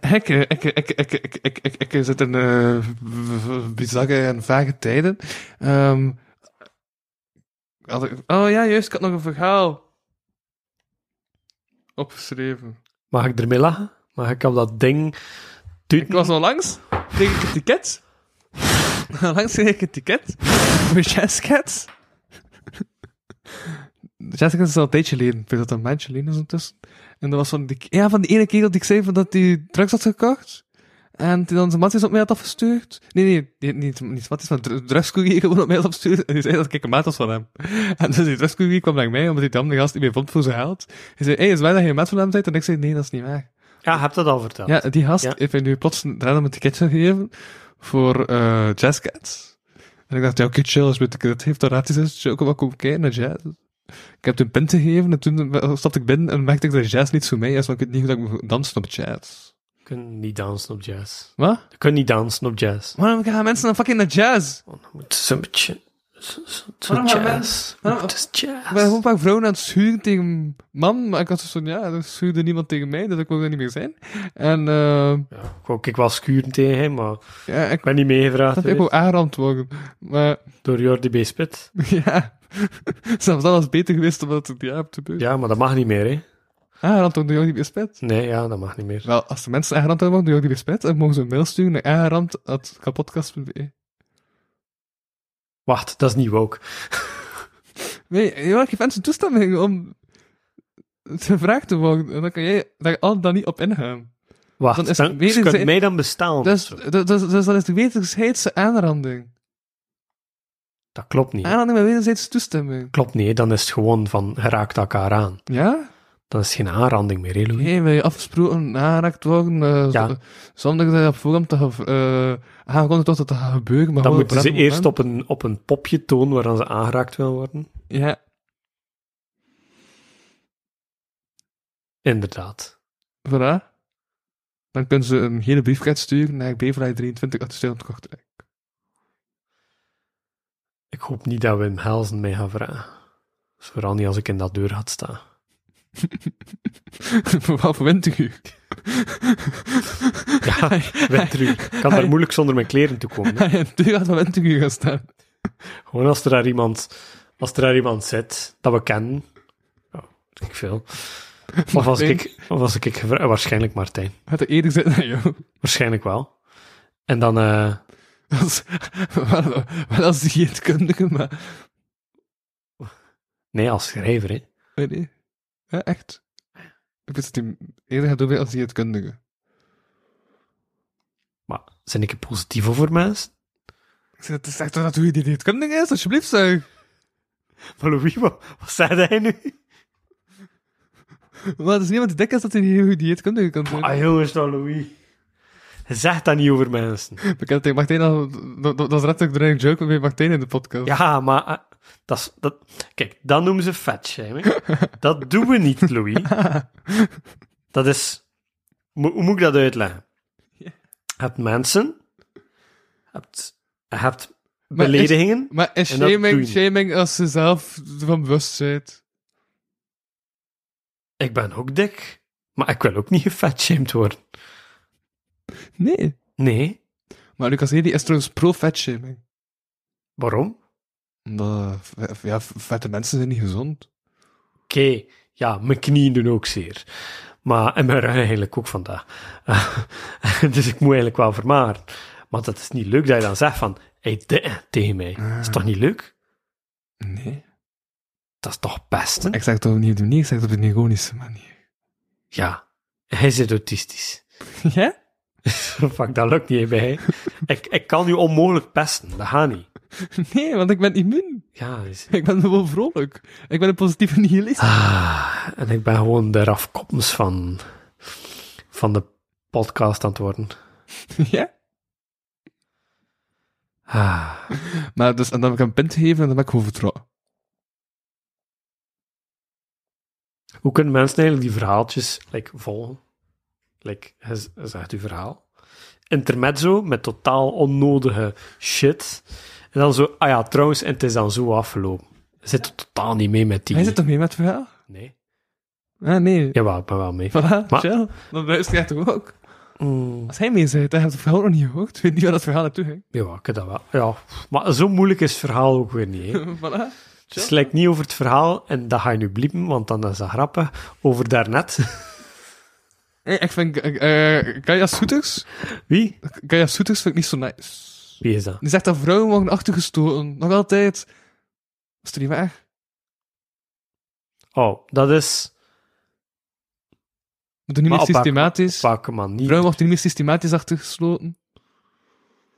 D: Ik, eh, ik, ik, ik, ik, ik, ik, ik zit in eh, v- v- bizarre en vage tijden. Ehm, had ik- oh ja, juist, ik had nog een verhaal opgeschreven.
C: Mag ik ermee lachen? Mag ik op dat ding... Dude,
D: Ik was onlangs, kreeg ik een ticket. Onlangs kreeg ik een ticket voor Jazzcats. Jazzcats is al een tijdje geleden. Ik weet dat dat een maandje geleden is ondertussen. En dat was van die, ja, van die ene kerel die ik zei van dat hij drugs had gekocht. En die dan zijn matjes op mij had afgestuurd. Nee, nee, nee niet, niet matjes, maar dru- drugscourier gewoon op mij had afgestuurd. En die zei dat ik een maat was van hem. En dus die drugscourier kwam naar mij, omdat hij de andere gast die mij vond voor zijn geld. Hij zei, hey, is het waar dat je een maat van hem bent? En ik zei, nee, dat is niet waar.
C: Ja, heb dat al verteld.
D: Ja, die gast
C: Ja.
D: heeft mij nu plots een random een ticketje gegeven voor eh Jazzcats. En ik dacht, ja, oké, chill, als met dat heeft gratis is, chill, kom maar komen kijken naar jazz. Ik heb het een pin gegeven en toen stapte ik binnen en merkte ik dat jazz niet zo mij is, want ik weet niet hoe dat ik moet dansen op jazz.
C: Je kunt niet dansen op jazz.
D: Wat?
C: Je kunt niet dansen op jazz.
D: Waarom gaan mensen dan fucking naar jazz?
C: Het is een beetje... Het is- het is
D: Waarom gaan
C: jazz.
D: waarom-
C: Het is
D: Ik ben gewoon een
C: jazz.
D: paar vrouwen aan het schuren tegen man, maar ik had dus van, ja, er schuurde niemand tegen mij, dus ik wou er niet meer zijn. En eh
C: Ja, ik wou- Ik was schuren tegen hem, maar
D: ja, ik
C: ik ben niet meegepraat
D: dat ik wou aangerand worden. Maar
C: door Jordi B. Spit.
D: Ja, zelfs dat was beter geweest omdat het ja op te beuren.
C: Ja, maar dat mag niet meer, hè.
D: Ah, Aangerand door de Jordi Bespet.
C: Nee, ja, dat mag niet meer.
D: Wel, als de mensen aangerand worden door Jordi Bespet, dan mogen ze een mail sturen naar aangerand.kapotkast.be.
C: Wacht, dat is niet woke.
D: Nee, ja, ik geef mensen toestemming om te vraag te mogen. En dan kan jij daar al dan niet op ingaan.
C: Wacht,
D: Dan
C: dan
D: is het
C: ze
D: medische-
C: kunnen mij dan bestaan.
D: Dus, dus, dus, dus dat is de wederzijdse aanranding.
C: dat klopt niet.
D: Aanranding met wederzijdse toestemming.
C: Klopt niet, hè. dan is het gewoon van, je raakt elkaar aan.
D: Ja?
C: Dan is het geen aanranding meer, hè, Louis?
D: Nee, wil je afgesproken aangeraakt worden? eh,
C: Ja.
D: z- Zonder dat je op voorhand te ge- eh, aangekondigd wordt dat dat gaat gebeuren.
C: Dan
D: Maar gewoon
C: moeten
D: op
C: ze
D: dat moment.
C: eerst op een, op een popje tonen waar dan ze aangeraakt willen worden.
D: Ja,
C: Inderdaad.
D: voilà. Dan kunnen ze een hele briefkaart sturen naar Beverly 23 uit de Stijl Kortrijk.
C: Ik hoop niet dat Wim Helsen mij gaat vragen. Dus vooral niet als ik in dat deur had staan.
D: Wat verwint u?
C: Ja, winteruur. Ik kan daar moeilijk zonder mijn kleren toe komen. hè.
D: Hij in de deur gaat van Winteruur gaan staan.
C: Gewoon als er daar iemand, als er daar iemand zit dat we kennen. Oh, weet ik veel. Of als ik, of als ik gevra- eh, waarschijnlijk Martijn.
D: Gaat er eerder "Nou, zitten naar jou.
C: Waarschijnlijk wel. En dan, eh,
D: Als, wel, wel als dieetkundige, maar...
C: nee, als schrijver, hè.
D: Nee, nee. Ja, echt. Ik wist dat hij eerder gaat doen als dieetkundige.
C: Maar zijn ik positief over mensen?
D: Ik zei, het is echt dat hoe die dieetkundige is, alsjeblieft zeg.
C: Maar Louis, wat, wat zei hij nu?
D: Maar het is niemand die dik is dat hij niet hoe dieetkundige kan zijn.
C: Ah, jongens, dan Louis. Hij zegt dat niet over mensen.
D: Ik heb tegen Martijn al... Dat, dat is letterlijk de running joke met Martijn in de podcast.
C: Ja, maar eh, dat is... Dat, kijk, dat noemen ze fatshaming. dat doen we niet, Louis. Dat is... mo- hoe moet ik dat uitleggen? Je hebt mensen, je hebt, je hebt
D: Maar is-
C: beledigingen.
D: Maar is
C: En dat doe
D: shaming,
C: je
D: shaming als ze zelf van bewust bent?
C: Ik ben ook dik, maar ik wil ook niet gefatshamed worden.
D: Nee.
C: Nee,
D: Maar Lucas Hedy is trouwens pro-fatshaming.
C: waarom?
D: Omdat, eh, ja, v- vette mensen zijn niet gezond.
C: Oké, ja, mijn knieën doen ook zeer. Maar, en mijn rug eigenlijk ook vandaag. dus ik moet eigenlijk wel vermageren. Maar dat is niet leuk dat je dan zegt van... hey, dit eh, tegen mij. is toch niet leuk?
D: Nee.
C: Dat is toch pesten?
D: Ik zeg het op een nieuwe manier, ik zeg het op een ironische manier.
C: Ja, hij zit autistisch.
D: Ja?
C: Fuck, dat lukt niet hè, bij hij. ik, ik kan u onmogelijk pesten, dat gaat niet.
D: Nee, want ik ben immuun.
C: Ja, dus- hij is-
D: Ik ben gewoon vrolijk. Ik ben een positieve nihilist.
C: Ah, en ik ben gewoon de rafkoppens van, van de podcast aan het worden.
D: Ja?
C: Ah.
D: Maar dus, en dan heb ik een punt gegeven en dan ben ik gewoon vertrouwen.
C: Hoe kunnen mensen eigenlijk die verhaaltjes like, volgen? Like, hij z- hij zegt uw verhaal. Intermezzo met totaal onnodige shit. En dan zo, ah ja, trouwens, en het is dan zo afgelopen. Hij zit er totaal niet mee met die.
D: Hij zit toch mee met het verhaal?
C: Nee.
D: Ah, nee.
C: Jawel, ik ben wel mee.
D: Voilà,
C: Maar-
D: chill. Dan luister jij toch ook?
C: Mm,
D: Als hij mee zit, dan heb je het verhaal nog niet gehoord. Ik weet niet waar dat verhaal naartoe ging.
C: jawel, ik heb dat wel. Ja. Maar zo moeilijk is het verhaal ook weer niet. Hè.
D: voilà.
C: Het is like niet over het verhaal, en dat ga je nu bliepen, want dan is dat grappig. Over daarnet.
D: Hey, ik vind eh Gaia Soeters...
C: Wie?
D: Gaia Soeters vind ik niet zo nice.
C: Wie is dat?
D: Die zegt dat vrouwen worden achtergestoten. Nog altijd. Is het niet waar?
C: Oh, dat is
D: We doen niet
C: Maar
D: meer
C: op welke-
D: systematisch.
C: op welke manier?
D: Vrouwen worden niet meer systematisch achtergesloten.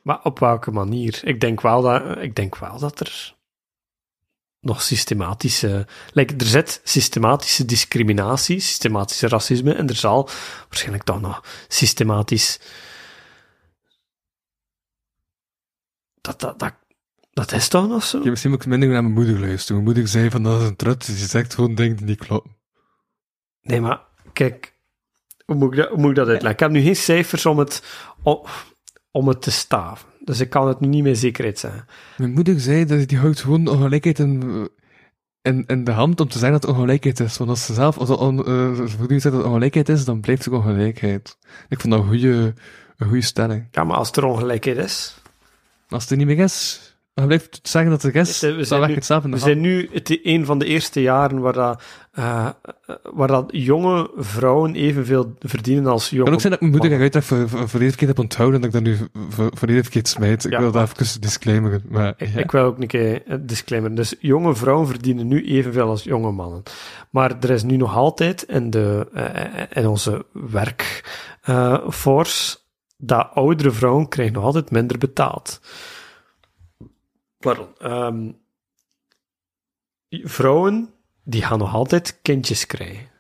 C: Maar op welke manier? Ik denk wel dat, ik denk wel dat er nog systematische. Like, er zit systematische discriminatie, systematische racisme. En er zal waarschijnlijk toch nog systematisch. Dat, dat, dat, dat is toch nog zo?
D: Ja, misschien moet ik minder naar mijn moeder luisteren. Mijn moeder zei van dat is een trut. Dus die zegt gewoon dingen die niet kloppen.
C: Nee, maar kijk, hoe moet ik dat, hoe moet ik dat uitleggen? Ik heb nu geen cijfers om het, om, om het te staven. Dus ik kan het nu niet met zekerheid zeggen.
D: Mijn moeder zei dat die houdt gewoon de ongelijkheid in, in, in de hand om te zeggen dat het ongelijkheid is. Want als ze zelf als ze on, eh, ze voortdurend zegt dat het ongelijkheid is, dan blijft het ongelijkheid. Ik vond dat een goede, een goede stelling.
C: Ja, maar als er ongelijkheid is,
D: Als het er niet meer is, Maar je blijft zeggen dat de rest
C: Eh, we
D: dat
C: zijn
D: werkt
C: nu-
D: hetzelfde in
C: We
D: de
C: zijn nu het, een van de eerste jaren waar, dat, eh, eh, waar dat jonge vrouwen evenveel verdienen als jonge
D: Het kan ook zijn dat mijn moeder eruit dat voor, voor, voor verkeerd heb onthouden en dat ik dat nu voor, voor verkeerd smijt. Ik
C: Ja,
D: wil daar even disclaimeren. Maar,
C: Ik,
D: ja.
C: ik wil ook een keer een disclaimer. Dus jonge vrouwen verdienen nu evenveel als jonge mannen. Maar er is nu nog altijd in, de, eh, in onze werkforce dat oudere vrouwen krijgen nog altijd minder betaald. Pardon. Ehm, vrouwen die gaan nog altijd kindjes krijgen.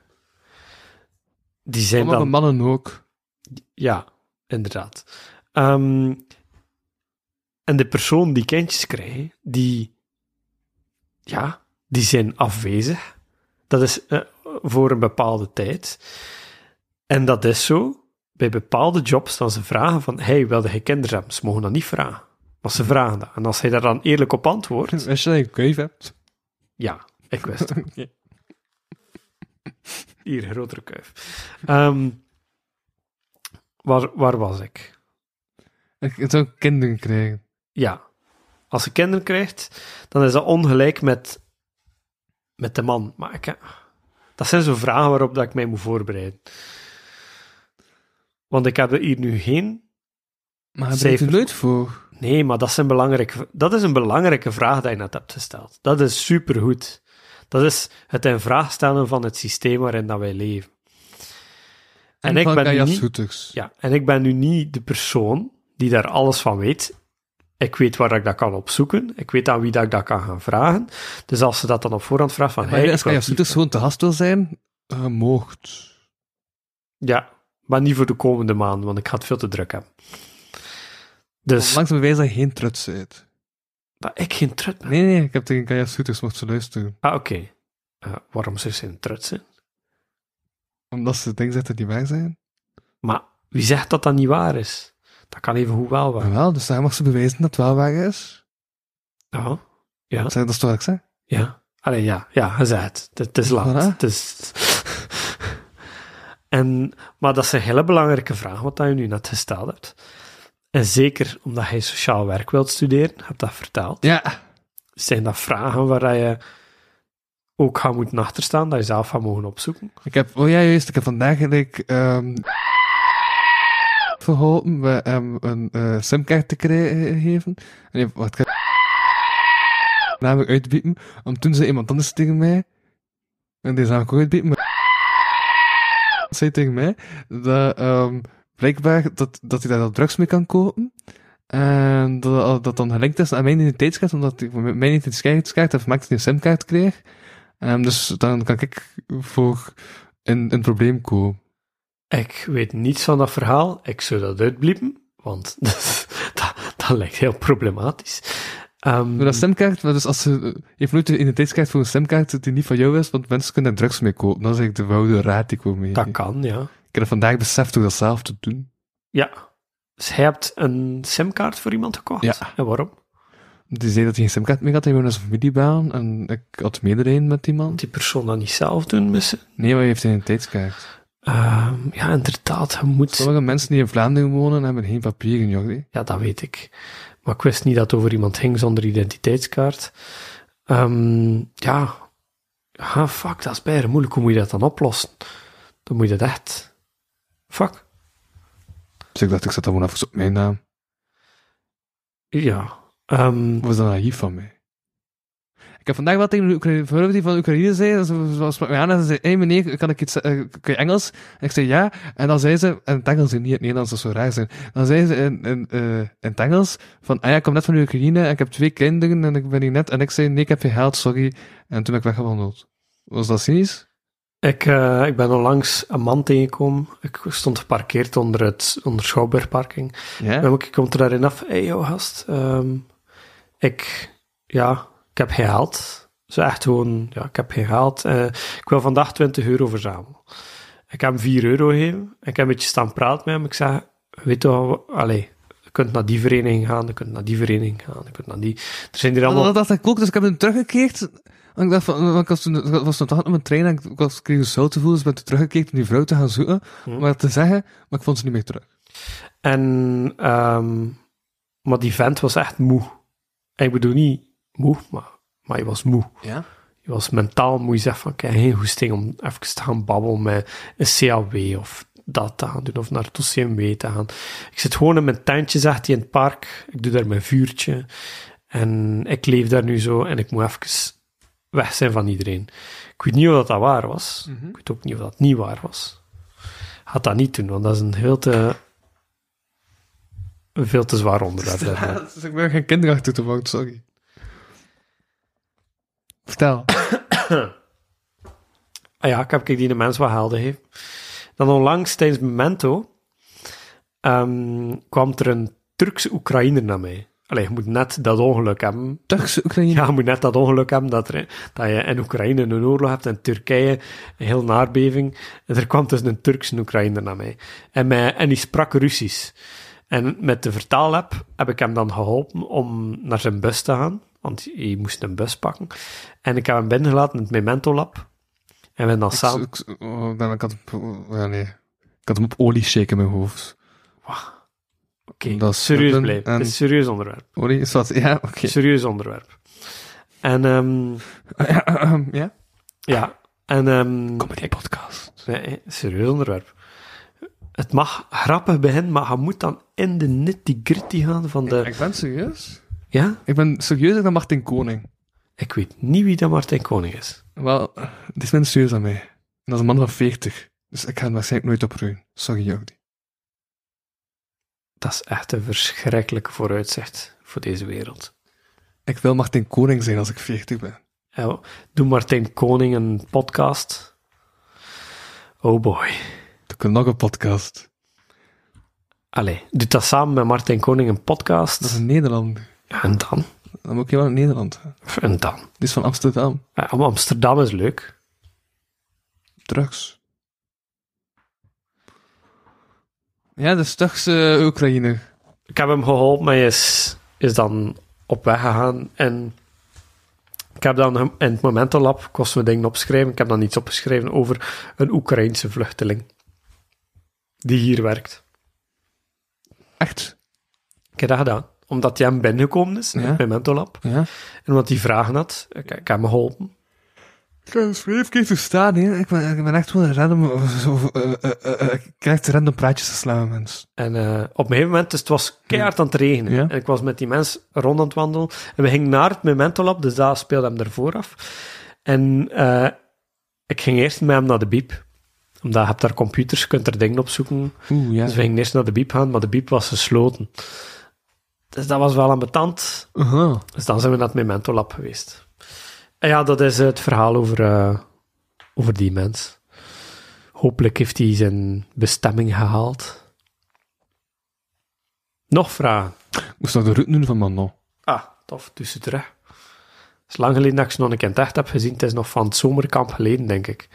C: Die zijn
D: Sommige
C: dan
D: mannen ook.
C: ja, inderdaad. Ehm, en de persoon die kindjes krijgen, die, ja, die zijn afwezig. Dat is eh, voor een bepaalde tijd. En dat is zo. Bij bepaalde jobs dan ze vragen van, hey, wilde je kinderen hebben? Ze mogen dat niet vragen. Maar ze vragen dat. En als hij daar dan eerlijk op antwoordt,
D: Als je dat in je kuif hebt.
C: ja, ik wist het. Hier, grotere kuif. Ehm, waar, waar was ik?
D: Ik ik zou kinderen krijgen.
C: Ja. Als ze kinderen krijgt, dan is dat ongelijk met, met de man. Maar ik, dat zijn zo vragen waarop dat ik mij moet voorbereiden. Want ik heb er hier nu geen.
D: Maar daar ben ik
C: Zeven.
D: er nooit voor.
C: Nee, maar dat, zijn belangrijke, dat is een belangrijke vraag dat je net hebt gesteld. Dat is supergoed. Dat is het in vraag stellen van het systeem waarin dat wij leven. En, ik ben nu niet-
D: jashoeters.
C: ja, en ik ben nu niet de persoon die daar alles van weet. Ik weet waar ik dat kan opzoeken. Ik weet aan wie dat ik dat kan gaan vragen. Dus als ze dat dan op voorhand vraagt van...
D: Maar
C: hey,
D: als
C: ik
D: je
C: wil-
D: jashoeters gewoon te gast wil zijn, eh, moogt.
C: Ja, maar niet voor de komende maanden, want ik ga het veel te druk hebben. Dus
D: Langs bewijs dat je geen truts bent.
C: dat ik geen trut ben.
D: Nee, nee, ik heb tegen Kaya Soeters mocht ze luisteren.
C: Ah, oké. Eh, waarom zou ze een trut zijn?
D: Omdat ze dingen zegt dat die waar zijn.
C: Maar wie zegt dat dat niet waar is? Dat kan even hoe wel
D: Maar
C: waar.
D: wel, dus daar mag ze bewijzen dat het wel waar is.
C: Ja,
D: Zeg, dat is toch wat ik zeg?
C: ja. Allee, ja, ja, hij zei het. Het, het is laat.
D: Voilà.
C: Het is... en, maar dat is een hele belangrijke vraag, wat dat je nu net gesteld hebt. En zeker omdat je sociaal werk wilt studeren, heb dat verteld,
D: Ja.
C: zijn dat vragen waar dat je ook gaat moeten achterstaan, dat je zelf gaat mogen opzoeken.
D: Ik heb, oh ja, juist, ik heb vandaag gelijk ehm verholpen bij hem een eh, simkaart te krijgen. eh, En die heeft wat ge- namelijk uitbieden. Om toen zei iemand anders tegen mij, en die zou ik ook uitbieden, maar zei tegen mij, dat ehm, blijkbaar dat, dat hij daar al drugs mee kan kopen. En dat dat dan gelinkt is aan mijn identiteitskaart, omdat ik met mijn identiteitskaart heb gemaakt dat hij een simkaart kreeg. Ehm, dus dan kan ik voor een, een probleem komen.
C: Ik weet niets van dat verhaal, ik zou dat uitbliepen, want dat, dat lijkt heel problematisch. Ehm,
D: Maar dat stemkaart, maar dus als ze, eh, je hebt nooit een identiteitskaart voor een stemkaart die niet van jou is, want mensen kunnen daar drugs mee kopen. Dat is eigenlijk de woude raad die ik wil mee.
C: dat kan, ja.
D: Ik heb dat vandaag beseft door dat zelf te doen.
C: Ja. Dus jij hebt een simkaart voor iemand gekocht?
D: Ja.
C: En waarom?
D: Die zei dat hij geen stemkaart meer had, hij wou naar zijn familiebaan en ik had medelijden met
C: Moet
D: iemand.
C: die persoon dat niet zelf doen missen? Ehm,
D: Nee, maar hij heeft een identiteitskaart.
C: ja, inderdaad, je moet...
D: Sommige mensen die in Vlaanderen wonen hebben geen papieren, Jordi.
C: Ja, dat weet ik. Maar ik wist niet dat het over iemand ging zonder identiteitskaart. Ehm, ja. Ah, fuck, dat is bijna moeilijk. Hoe moet je dat dan oplossen? Dan moet je dat echt... Fuck.
D: Dus ik dacht, ik zet dat gewoon even op mijn naam.
C: Ja. Ehm,
D: Of is dat naïef van mij? Ik heb vandaag wel tegen een Oekraïne, vrouw die van Oekraïne zei, ze was met mij aan en ze zei, hé hey meneer, kan ik iets, eh, kun je Engels? En ik zei ja, en dan zei ze, en het Engels en niet het Nederlands, dat zou raar zijn. Dan zei ze in, in, eh, in het Engels, van, ah ja, ik kom net van Oekraïne en ik heb twee kinderen en ik ben hier net, en ik zei, nee, ik heb geen geld, sorry. En toen ben ik weggewandeld. Was dat cynisch?
C: Ik, eh, ik ben onlangs een man tegengekomen. Ik stond geparkeerd onder, het, onder Schouwburgparking.
D: Ja.
C: En ook, ik kom er daarin af. hey, yo, gast. ehm, ik, ja, ik heb gehaald. Zo echt gewoon, ja, ik heb gehaald. Eh, ik wil vandaag 20 euro verzamelen. Ik heb hem 4 euro gegeven. Ik heb een beetje staan praten met hem. Ik zeg, weet je wat, we- allee, je kunt naar die vereniging gaan, je kunt naar die vereniging gaan, je kunt naar die... Er zijn hier allemaal...
D: Dat dacht ik ook, dus ik heb hem teruggekeerd. En ik dacht van, eh, want ik was toen, ik was toen toch op mijn trein en ik was, kreeg een zout te voelen, dus ik ben toen teruggekeerd om die vrouw te gaan zoeken, om haar te zeggen, maar ik vond ze niet meer terug.
C: En, ehm, maar die vent was echt moe. En ik bedoel niet moe, maar, maar je was moe.
D: Ja?
C: Je was mentaal moe. Je zegt van, kijk, geen goesting om even te gaan babbelen met een CAW of dat te gaan doen, of naar het OCMW te gaan. Ik zit gewoon in mijn tuintje, zegt hij, in het park. Ik doe daar mijn vuurtje. En ik leef daar nu zo en ik moet even weg zijn van iedereen. Ik weet niet of dat, dat waar was. Ik weet ook niet of dat niet waar was. Had dat niet doen, want dat is een heel te... Een veel te zwaar onderwerp. lijkt mij.
D: Dat is, Dus ik ben geen kinderachtig te worden, sorry. Vertel.
C: Ah ja, ik heb ik die de mens wat helden heeft. Dan onlangs tijdens Memento ehm, kwam er een Turkse Oekraïner naar mij. Allee, je moet net dat ongeluk hebben.
D: Turkse Oekraïne.
C: Ja, je moet net dat ongeluk hebben dat, er, dat je in Oekraïne een oorlog hebt en Turkije een heel naarbeving. En er kwam dus een Turkse Oekraïner naar mij. En, mij, en die sprak Russisch. En met de vertaalapp heb ik hem dan geholpen om naar zijn bus te gaan. Want hij moest een bus pakken. En ik heb hem binnengelaten in het Memento Lab. En we hebben dan samen...
D: Ik, ik- oh, dan kan ik had- ja, nee. Ik had hem op olie shaken in mijn hoofd.
C: Oké,
D: Dat is
C: serieus
D: een-
C: blijven.
D: een-
C: Het is een serieus onderwerp.
D: Olie is wat? Ja, oké.
C: Serieus onderwerp. En ehm
D: Ja, ehm, ja?
C: ja, en ehm
D: Comedy podcast.
C: nee, eh, serieus onderwerp. Het mag grappig beginnen, maar je moet dan in de nitty-gritty gaan van de...
D: Ik ben serieus.
C: Ja?
D: Ik ben serieuzer dan Martin Koning.
C: Ik weet niet wie dat Martijn Koning is.
D: Wel, dit is minder serieus aan mij. En dat is een man van 40. Dus ik ga hem waarschijnlijk nooit opruimen. Sorry, Jordi.
C: Dat is echt een verschrikkelijke vooruitzicht voor deze wereld.
D: Ik wil Martin Koning zijn als ik 40 ben.
C: Ja, Doe Martijn Koning een podcast. Oh boy.
D: Doe ik nog een podcast.
C: Allee, doe dat samen met Martijn Koning een
D: Dat is
C: podcast.
D: in Nederland.
C: En dan?
D: Dan moet ik wel in Nederland.
C: En dan?
D: Dit is van Amsterdam.
C: Ja, maar Ah, oh, Amsterdam is leuk.
D: Drugs. Ja, de Turkse eh, Oekraïne.
C: Ik heb hem geholpen, maar hij is, is dan op weg gegaan. En ik heb dan hem- in het Momentenlab, ik was mijn dingen opschrijven, ik heb dan iets opgeschreven over een Oekraïnse vluchteling. Die hier werkt.
D: Echt?
C: Ik heb dat gedaan. Omdat hij hem binnengekomen is, in
D: Ja.
C: het Momentenlab.
D: Ja.
C: En omdat hij vragen had, ik, ik heb hem geholpen.
D: Ik heb een schreefkeer te staan, hè. Ik ben, ik ben echt wel een random... Zo, eh, eh, eh, eh, ik krijg random praatjes te slaan met mensen.
C: En eh, op een gegeven moment, dus het was keihard aan het regenen.
D: Ja.
C: En ik was met die mens rond aan het wandelen. En we gingen naar het Memento Lab, dus daar speelde hem ervoor af. En eh, ik ging eerst met hem naar de biep. Omdat je hebt daar computers, je kunt er dingen op zoeken.
D: Oeh, ja.
C: Dus we gingen eerst naar de biep gaan, maar de biep was gesloten. Dus dat was wel ambetant.
D: Aha.
C: Dus dan zijn we naar het Memento Lab geweest. En ja, dat is eh, het verhaal over, eh, over die mens. Hopelijk heeft hij zijn bestemming gehaald. Nog vragen?
D: Ik moest nog de route doen van Manon.
C: Ah, tof, dus het terug. Het is lang geleden dat ik ze nog een keer in het echt heb gezien. Het is nog van het zomerkamp geleden, denk ik.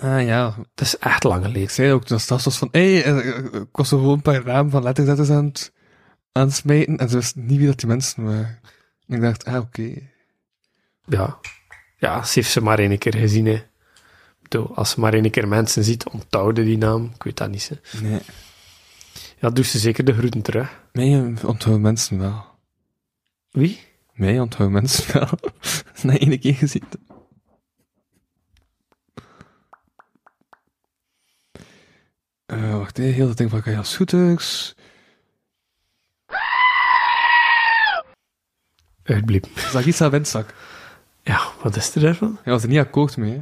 D: Ah, ja.
C: Het is echt lang
D: Ik
C: geleden.
D: zei ook, dat was van... eh, Hé, ik was zo gewoon een paar namen van letterzetters aan het aan het smijten. En ze wisten niet wie dat die mensen waren. En ik dacht, ah, oké.
C: Ja, ja ze heeft ze maar één keer gezien, hè. Ik bedoel, Als ze maar één keer mensen ziet, onthouden die naam. Ik weet dat niet, hè.
D: Nee.
C: Ja, doe ze zeker de groeten terug.
D: Mij onthouden mensen wel.
C: Wie?
D: Mij onthouden mensen wel. Na één keer gezien. Eh wacht, hé, heel dat ding van Kajas Goeders.
C: Uitbliep.
D: Zagisa Wentzak.
C: Ja, wat is er daarvan?
D: Hij was er niet akkoord mee, hè.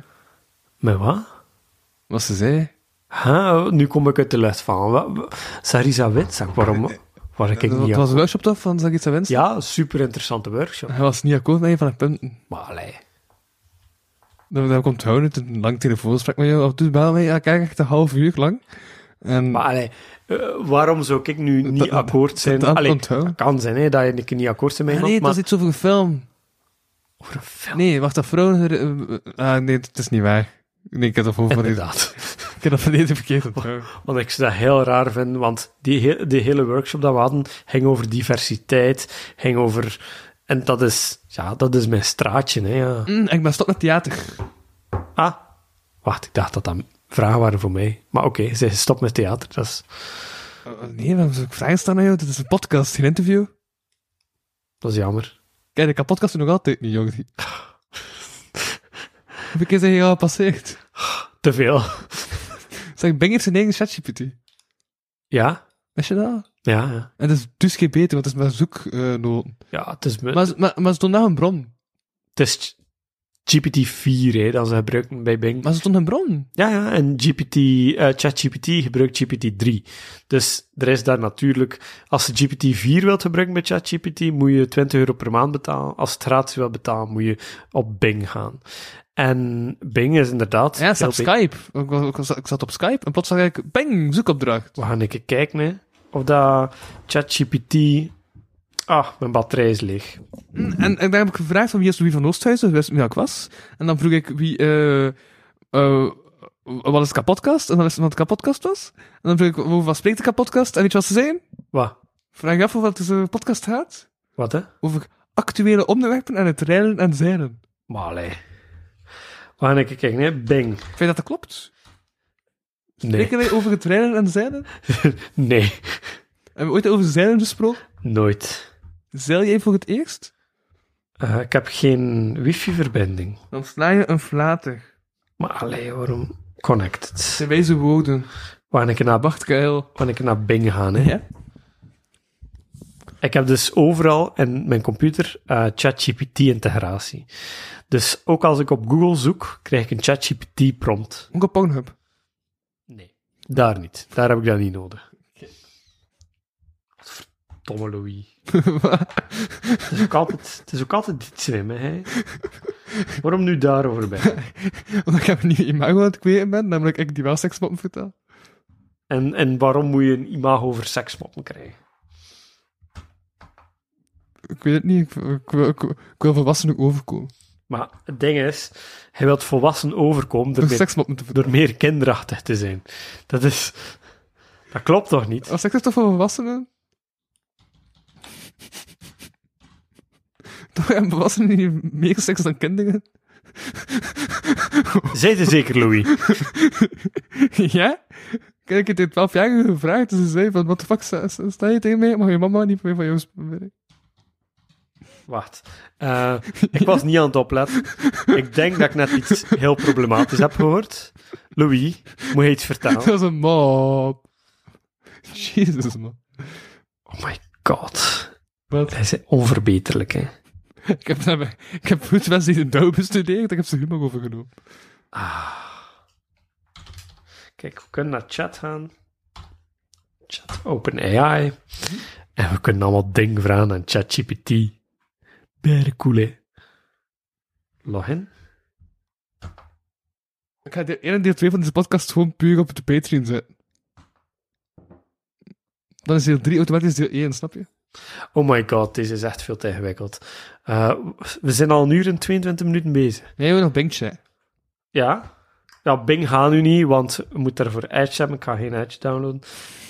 C: Met wat?
D: Wat ze zei.
C: Ha, nu kom ik uit de lucht van. Wa- wa- Sarisa Witzak, waarom waar ik
D: Het
C: niet
D: was
C: aan?
D: een workshop toch van Zagisa Wentzak?
C: Ja, super interessante workshop.
D: Hij was niet akkoord met een van de punten.
C: Maar allee.
D: Dan, dan komt Houden, een lang telefoonsprek met jou. Of doet bel mee, ja, kijk, echt een half uur lang. En
C: Maar allee, eh, waarom zou ik nu niet
D: dat-
C: akkoord zijn?
D: dat
C: allee,
D: onthouden.
C: dat kan zijn hè, dat je een keer niet akkoord bent met
D: Ah,
C: iemand,
D: nee,
C: maar
D: dat is iets over een film.
C: over een film.
D: Nee, wacht, dat vrouwen... eh, eh, ah, nee, het is niet waar. Nee, ik heb dat voor verleden.
C: Inderdaad.
D: Ik heb dat verleden verkeerd onthouden.
C: Want ik zou dat heel raar vinden, want die, he- die hele workshop dat we hadden ging over diversiteit, ging over... En dat is, ja, dat is mijn straatje, hè, ja.
D: Mm, ik ben stop met theater.
C: Ah, wacht, ik dacht dat dat vragen waren voor mij. Maar oké, ze stop met theater. Dat is...
D: Oh, Eh, nee, waarom zou ik vragen staan aan jou? Dit is een podcast, geen interview.
C: Dat is jammer.
D: Kijk, ik kan podcasten nog altijd niet, jongen. Hoeveel keer zijn je al gepasseerd?
C: Te veel.
D: Zeg, Bing heeft zijn eigen ChatGPT.
C: Ja?
D: Wist je dat?
C: Ja, ja.
D: En dat is dus geen beter, want het is maar zoeknoten.
C: Ja, het is, me-
D: maar, ze- maar, maar ze doen nou een bron.
C: het is GPT-4 hè, dat ze gebruiken bij Bing.
D: Maar ze doen een bron.
C: Ja, ja, en GPT, eh, ChatGPT gebruikt GPT-3. Dus er is daar natuurlijk... Als je GPT-4 wilt gebruiken bij ChatGPT, moet je 20 euro per maand betalen. Als je het gratis wilt betalen, moet je op Bing gaan. En Bing is inderdaad...
D: Ja, ze
C: veel
D: op
C: beter.
D: Skype. Ik, was- ik was- ik zat op Skype en plots zag ik, bang, zoekopdracht.
C: We gaan even kijken hè, of dat ChatGPT... Ah, mijn batterij is leeg.
D: En, en daar heb ik gevraagd van wie is Louis van Oosthuizen, wist wie ik was. En dan vroeg ik wie, eh eh, wat is de kapotkast? En dan is het wat de kapotkast was. En dan vroeg ik, over wat spreekt de kapotkast? En weet je wat ze zijn?
C: Wat?
D: Vraag je af of het een podcast gaat?
C: Wat, hè?
D: Over actuele onderwerpen en het rijden en zeilen.
C: Maar allee. We gaan even kijken hè. Bing.
D: Vind je dat dat klopt?
C: Nee.
D: Spreken wij over het rijden en zeilen?
C: Nee.
D: Hebben we ooit over zeilen gesproken?
C: Nooit.
D: Zeil jij voor het eerst?
C: Eh, ik heb geen wifi-verbinding.
D: Dan sla je een flater.
C: Maar allee, waarom? Connected.
D: Zijn wijze woorden.
C: Wanneer ik naar,
D: Wacht, Keil.
C: wanneer ik naar Bing gaan, hè.
D: Ja?
C: Ik heb dus overal in mijn computer eh, ChatGPT-integratie. Dus ook als ik op Google zoek, krijg ik een ChatGPT-prompt.
D: Ook op Pornhub.
C: Nee. Daar niet. Daar heb ik dat niet nodig. Verdomme Louis. Het is ook altijd, het is ook altijd dit slim, hè. Waarom nu daarover bij?
D: Want ik heb een nieuw imago aan het kweken ben, namelijk ik die wel seksmoppen vertel.
C: En, en waarom moet je een imago over seksmoppen krijgen?
D: Ik weet het niet, ik, ik, wil- ik, ik wil volwassen ook overkomen.
C: Maar het ding is, hij wil volwassen overkomen door
D: Door
C: meer,
D: seksmoppen te vertellen.
C: door meer kinderachtig te zijn. Dat is... Dat klopt toch niet?
D: Als Oh, seks is toch voor volwassenen? Toch hebben volwassenen niet meer seks dan kinderen?
C: Zij er zeker, Louis.
D: ja? Kijk, ik heb dit 12 jaar gevraagd, dus ze zei van, wat de fuck, sta, sta- sta je tegen mij? Mag je mama niet meer van jou spreken?
C: Wacht. Eh, ik was niet aan het opletten. Ik denk dat ik net iets heel problematisch heb gehoord. Louis, moet je iets
D: Dat
C: vertellen?
D: was een mop. Jezus, man.
C: Oh my god.
D: Wat?
C: Hij is onverbeterlijk, hè.
D: Ik heb, daarbij- ik heb goed wel die de douw bestudeerd, ik heb ze humor overgenomen.
C: Ah. Kijk, we kunnen naar chat gaan. Chat OpenAI. En we kunnen allemaal dingen vragen aan ChatGPT. Berre cool, hè. Login?
D: Ik ga deel 1 en deel 2 van deze podcast gewoon puur op de Patreon zetten. Dan is deel 3 automatisch deel 1, snap je?
C: Oh my god, deze is echt veel te ingewikkeld. Eh, we zijn al een uur en 22 minuten bezig.
D: Nee, we nog Bingtje.
C: Ja? Ja, Bing gaat nu niet, want we moeten daarvoor Edge hebben. Ik kan geen Edge downloaden.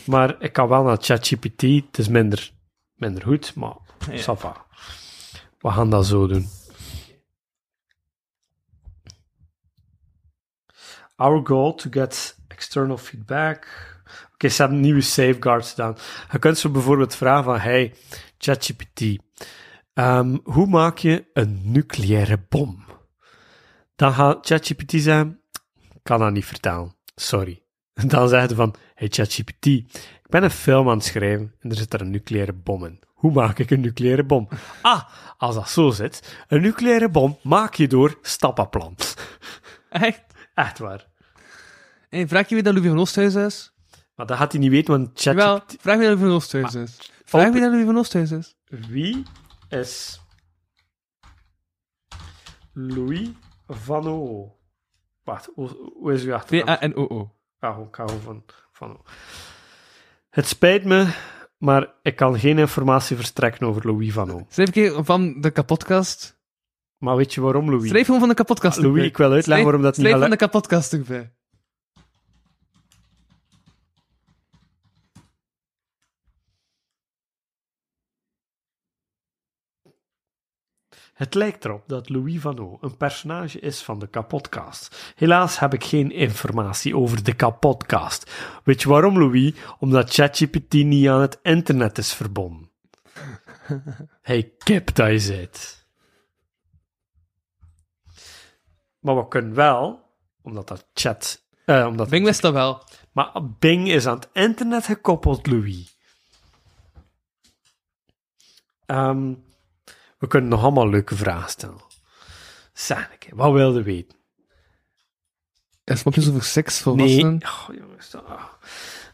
C: Maar ik kan wel naar ChatGPT. Het is minder, minder goed, maar ça va. We gaan dat zo doen. Our goal to get external feedback. Oké, ze hebben nieuwe safeguards gedaan. Je kunt ze bijvoorbeeld vragen van... Hey, ChatGPT. ehm, hoe maak je een nucleaire bom? Dan gaat ChatGPT zeggen... "Ik Kan dat niet vertalen. Sorry. Dan zegt hij van... Hey, ChatGPT. Ik ben een film aan het schrijven en er zit daar een nucleaire bom in. Hoe maak ik een nucleaire bom? Ah, als dat zo zit. Een nucleaire bom maak je door stappenplan.
D: Echt?
C: Echt waar.
D: Hey, vraag je wie dat Louis van Oosthuizen is?
C: Maar dat gaat hij niet weten, want
D: Wel,
C: ChatGPT...
D: vraag wie dat Louis van Oosthuizen is. Vraag wie dat Louis van Oosthuizen is.
C: Wie is Louis van O? Wacht, hoe hoe is uw achternaam?
D: V-A-N-O-O.
C: Ah, ik hou van, van O. Het spijt me, maar ik kan geen informatie verstrekken over Louis van O.
D: Schrijf een keer van de kapotkast.
C: Maar weet je waarom, Louis?
D: Schrijf gewoon van de kapotkast
C: Ah, Louis,
D: erbij.
C: ik wil uitleggen
D: Schrijf-
C: waarom dat niet
D: Schrijf
C: alle-
D: van de kapotkast erbij.
C: Het lijkt erop dat Louis van O een personage is van de kapotcast. Helaas heb ik geen informatie over de kapotcast. Weet je waarom, Louis? Omdat ChatGPT niet aan het internet is verbonden. Hey, kip dat je zit. Maar we kunnen wel, omdat dat chat... eh, omdat
D: Bing wist dat wel.
C: Maar Bing is aan het internet gekoppeld, Louis. Ehm, we kunnen nog allemaal leuke vragen stellen. Sanneke, wat wilde weten?
D: Er mopjes over seks, volwassenen.
C: Oh, jongens, dat- ah.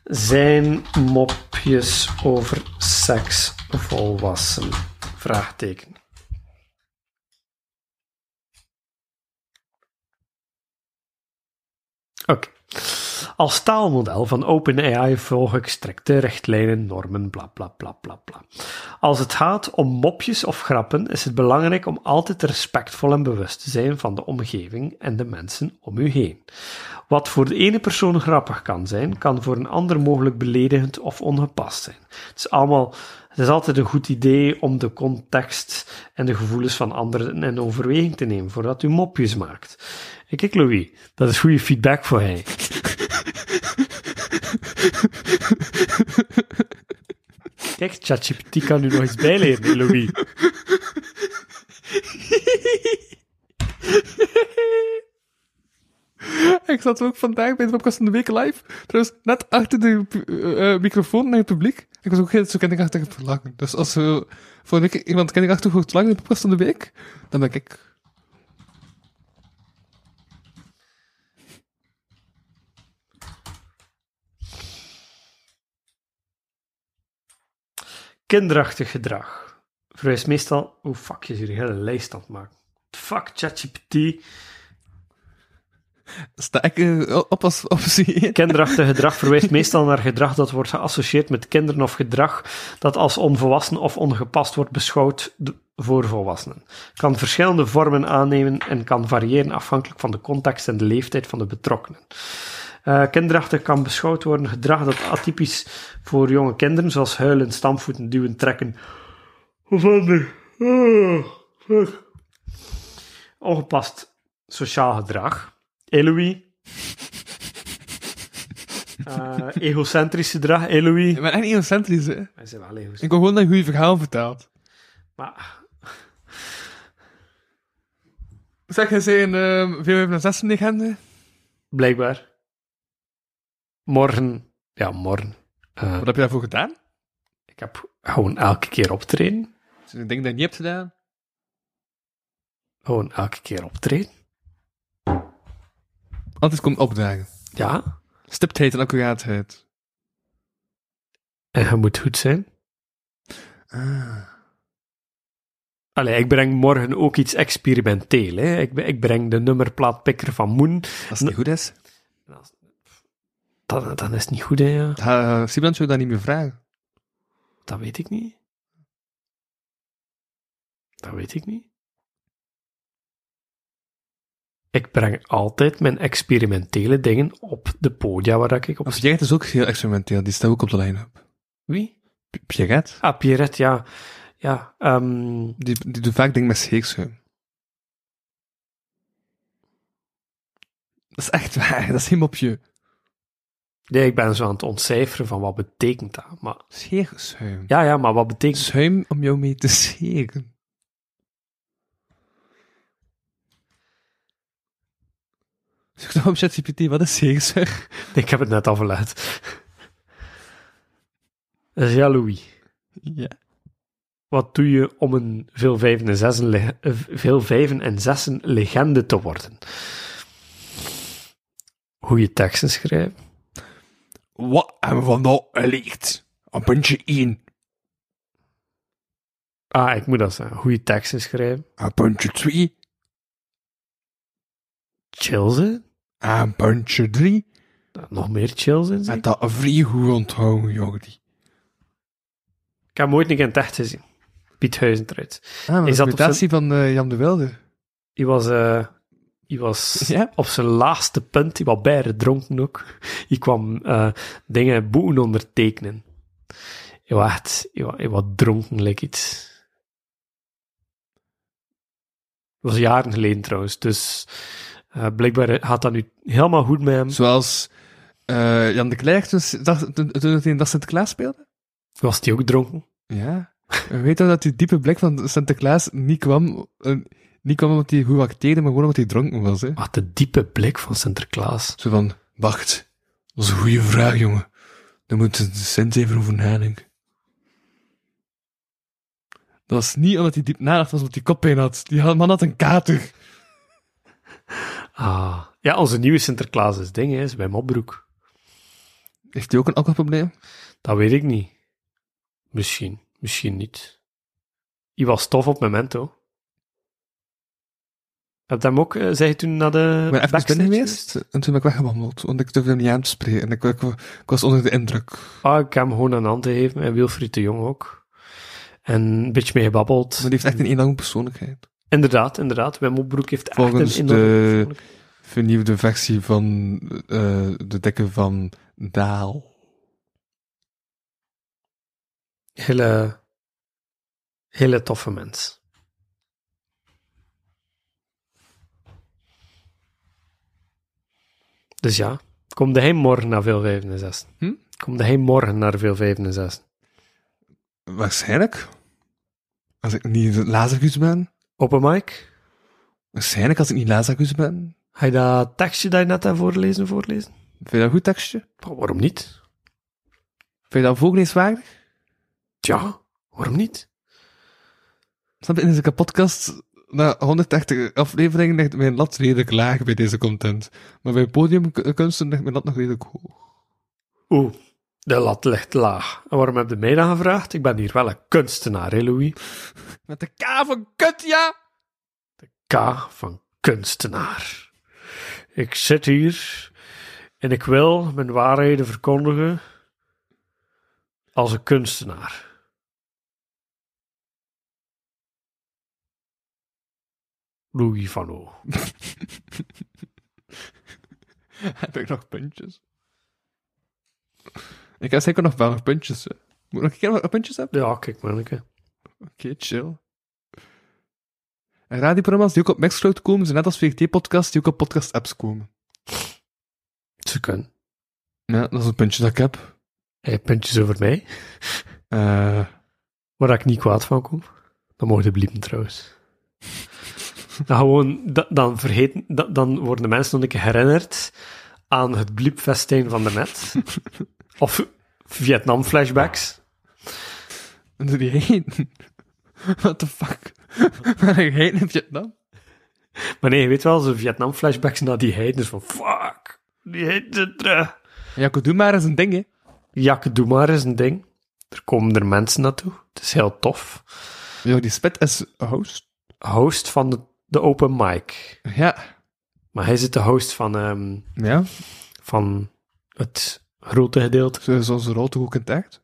C: Zijn mopjes over seks volwassen? Vraagteken. Oké. Als taalmodel van OpenAI volg ik strikte richtlijnen, normen, bla bla bla bla bla. Als het gaat om mopjes of grappen, is het belangrijk om altijd respectvol en bewust te zijn van de omgeving en de mensen om u heen. Wat voor de ene persoon grappig kan zijn, kan voor een ander mogelijk beledigend of ongepast zijn. Het is allemaal. Het is altijd een goed idee om de context en de gevoelens van anderen in overweging te nemen voordat u mopjes maakt. En Kijk, Louis, dat is goede feedback voor hij. Kijk, ChatGPT kan u nog iets bijleren, Louis.
D: Ik zat ook vandaag bij de podcast van de week live. Trouwens, net achter de eh, eh, microfoon naar het publiek. Ik was ook heel zo kinderachtig aan het verlangen. Dus als we voor een week iemand kinderachtig hoort lang in de podcast van de week, dan ben ik.
C: Kinderachtig gedrag. Verwijst meestal... Hoe fuck je hier een hele lijst aan het maken. Fuck ChatGPT.
D: Sta ik eh, op als optie 1?
C: Kinderachtig gedrag verwijst meestal naar gedrag dat wordt geassocieerd met kinderen of gedrag dat als onvolwassen of ongepast wordt beschouwd d- voor volwassenen. Kan verschillende vormen aannemen en kan variëren afhankelijk van de context en de leeftijd van de betrokkenen. Eh, kinderachtig kan beschouwd worden gedrag dat atypisch voor jonge kinderen, zoals huilen, stampvoeten, duwen, trekken. Verstandig. Ah, fuck. Ongepast sociaal gedrag. Eloï. Eh, egocentrisch gedrag, Eloï.
D: Ik ben echt niet egocentrisch, hè.
C: Wij zijn wel egocentrisch.
D: Ik wil gewoon dat je goede verhaal vertelt.
C: Maar
D: Zeg, jij zei in uh, 496 legende?
C: blijkbaar. Morgen. Ja, morgen. Eh,
D: Wat heb je daarvoor gedaan?
C: ik heb gewoon elke keer optreden.
D: Dus ik denk dat je niet hebt gedaan.
C: Gewoon elke keer optreden.
D: Anders komt opdagen.
C: Ja.
D: Stiptheid en accuraatheid.
C: En je moet goed zijn.
D: Ah.
C: Allee, ik breng morgen ook iets experimenteel. Hè. Ik, be- ik breng de nummerplaatpikker van Moen.
D: Als het niet goed is,
C: Dat, dat is niet goed, hè. ja.
D: gaat uh, Sibrancho dat niet meer vragen.
C: Dat weet ik niet. Dat weet ik niet. Ik breng altijd mijn experimentele dingen op de podia waar dat ik op...
D: Maar Pierrette is ook heel experimenteel, die staat ook op de line-up.
C: Wie?
D: P- Pierrette?
C: Ah, Pierrette, ja. Ja, ehm,
D: Die, die doet vaak dingen met scheekschuim. Dat is echt waar, dat is helemaal op je
C: nee, ik ben zo aan het ontcijferen van wat betekent dat. Maar,
D: scheerschuim.
C: ja, ja, maar wat betekent...
D: Schuim om jou mee te scheren. Zoek dan op ChatGPT, wat is scheerschuim?
C: Ik heb het net al verlaat. Dat is ja, Louis.
D: Ja.
C: Wat doe je om een veel vijven en zessen, le- eh, veel vijven en zessen legende te worden? Goeie teksten schrijven.
D: Wat hebben we vandaag geleerd? Een puntje 1,
C: Ah, ik moet dat zeggen. Goeie teksten schrijven.
D: een puntje 2,
C: Chill zijn.
D: een puntje 3.
C: Nog meer chill zijn. zeg.
D: En dat vrij goed onthouden, Jordi.
C: Ik heb hem ooit een keer in het echt gezien. Piet Huizentruid.
D: Ah, maar
C: Is
D: is
C: dat
D: dat
C: op
D: de presentatie van eh, Jan de Wilde?
C: Die was, eh, die was
D: Ja?
C: op zijn laatste punt. Die was bijna dronken ook. Die kwam eh, dingen, boeken ondertekenen. Je was echt, je was, je was dronken, like iets. Dat was jaren geleden trouwens. Dus eh, blijkbaar gaat dat nu helemaal goed met hem.
D: Zoals eh, Jan de Klerk toen, dacht- toen, toen hij in dat Sinterklaas speelde?
C: Was hij ook dronken?
D: Ja. En Weet je dat die diepe blik van Sinterklaas niet kwam, eh, niet kwam omdat hij goed acteerde, maar gewoon omdat hij dronken was, hè?
C: Wat de diepe blik van Sinterklaas.
D: Zo van, wacht, dat is een goede vraag, jongen. Daar moet de Sint even over nadenken. Dat was niet omdat hij diep nadacht was, omdat hij koppijn had. Die had- man had een kater.
C: Ah. Ja, onze nieuwe Sinterklaas is ding, hè, is bij Mobbroek.
D: Heeft hij ook een alcoholprobleem?
C: Dat weet ik niet. Misschien, misschien niet. Die was tof op Memento. Heb je hem ook, eh, zei je toen, naar de
D: Ik ben even
C: backstage
D: binnen geweest en toen ben ik weggewandeld, want ik durfde hem niet aan te spreken. En ik, ik, ik was onder de indruk.
C: Ah, ik heb hem gewoon een hand gegeven en Wilfried de Jong ook. En een beetje mee gebabbeld.
D: Maar die heeft echt een enorme persoonlijkheid.
C: Inderdaad, inderdaad. Wim Opbroek heeft echt
D: Volgens
C: een enorme
D: de-
C: persoonlijkheid.
D: Vernieuwde versie van eh, de dikke van Daal.
C: Hele, hele toffe mens. Dus ja, kom hij morgen naar veel vijven en zessen.
D: Hm?
C: Kom hij morgen naar veel vijven en zessen.
D: Waarschijnlijk. Als ik niet Lazarus ben.
C: Open mic.
D: Waarschijnlijk als ik niet Lazarus ben.
C: Ga je dat tekstje dat je net hebt voorlezen, voorlezen?
D: Vind je dat een goed tekstje?
C: Maar waarom niet?
D: Vind je dat voorleeswaardig?
C: Tja, waarom niet?
D: Snap je, in deze podcast, na 180 afleveringen, ligt mijn lat redelijk laag bij deze content. Maar bij podiumkunsten ligt mijn lat nog redelijk hoog.
C: Oeh, de lat ligt laag. En waarom heb je mij dan gevraagd? Ik ben hier wel een kunstenaar, hè, Louis?
D: Met de K van kut, ja!
C: K van kunstenaar. Ik zit hier en ik wil mijn waarheden verkondigen als een kunstenaar. Louis van O.
D: Heb ik nog puntjes? Ik heb zeker nog wel nog puntjes. hè. Moet ik nog een keer wat puntjes hebben?
C: Ja, kijk manneke.
D: Oké, chill. En radioprogramma's die ook op Mixcloud komen, zijn net als VGT-podcasts die ook op podcast-apps komen.
C: Ze kunnen.
D: Ja, dat is een puntje dat ik heb.
C: Hij heeft puntjes over mij,
D: Eh...
C: waar ik niet kwaad van kom. Dan mogen de bliepen trouwens. Dan, gewoon, da- dan, vergeten, da- dan worden de mensen nog een keer herinnerd aan het bliepfestijn van de net. Of Vietnam-flashbacks.
D: En toen die heen. What the fuck? Maar ik heen in Vietnam.
C: Maar nee, je weet wel, zo'n Vietnam-flashbacks naar die heiden. Dus van, fuck, die heiden zit terug.
D: Ja, doe maar eens een ding, hè.
C: Jakke, doe maar is een ding. Er komen er mensen naartoe. Het is heel tof.
D: Ja, die spit is host.
C: Host van de, de open mic.
D: Ja.
C: Maar hij zit de host van, ehm,
D: Ja,
C: van het grote gedeelte.
D: zo is onze rol toch ook intact?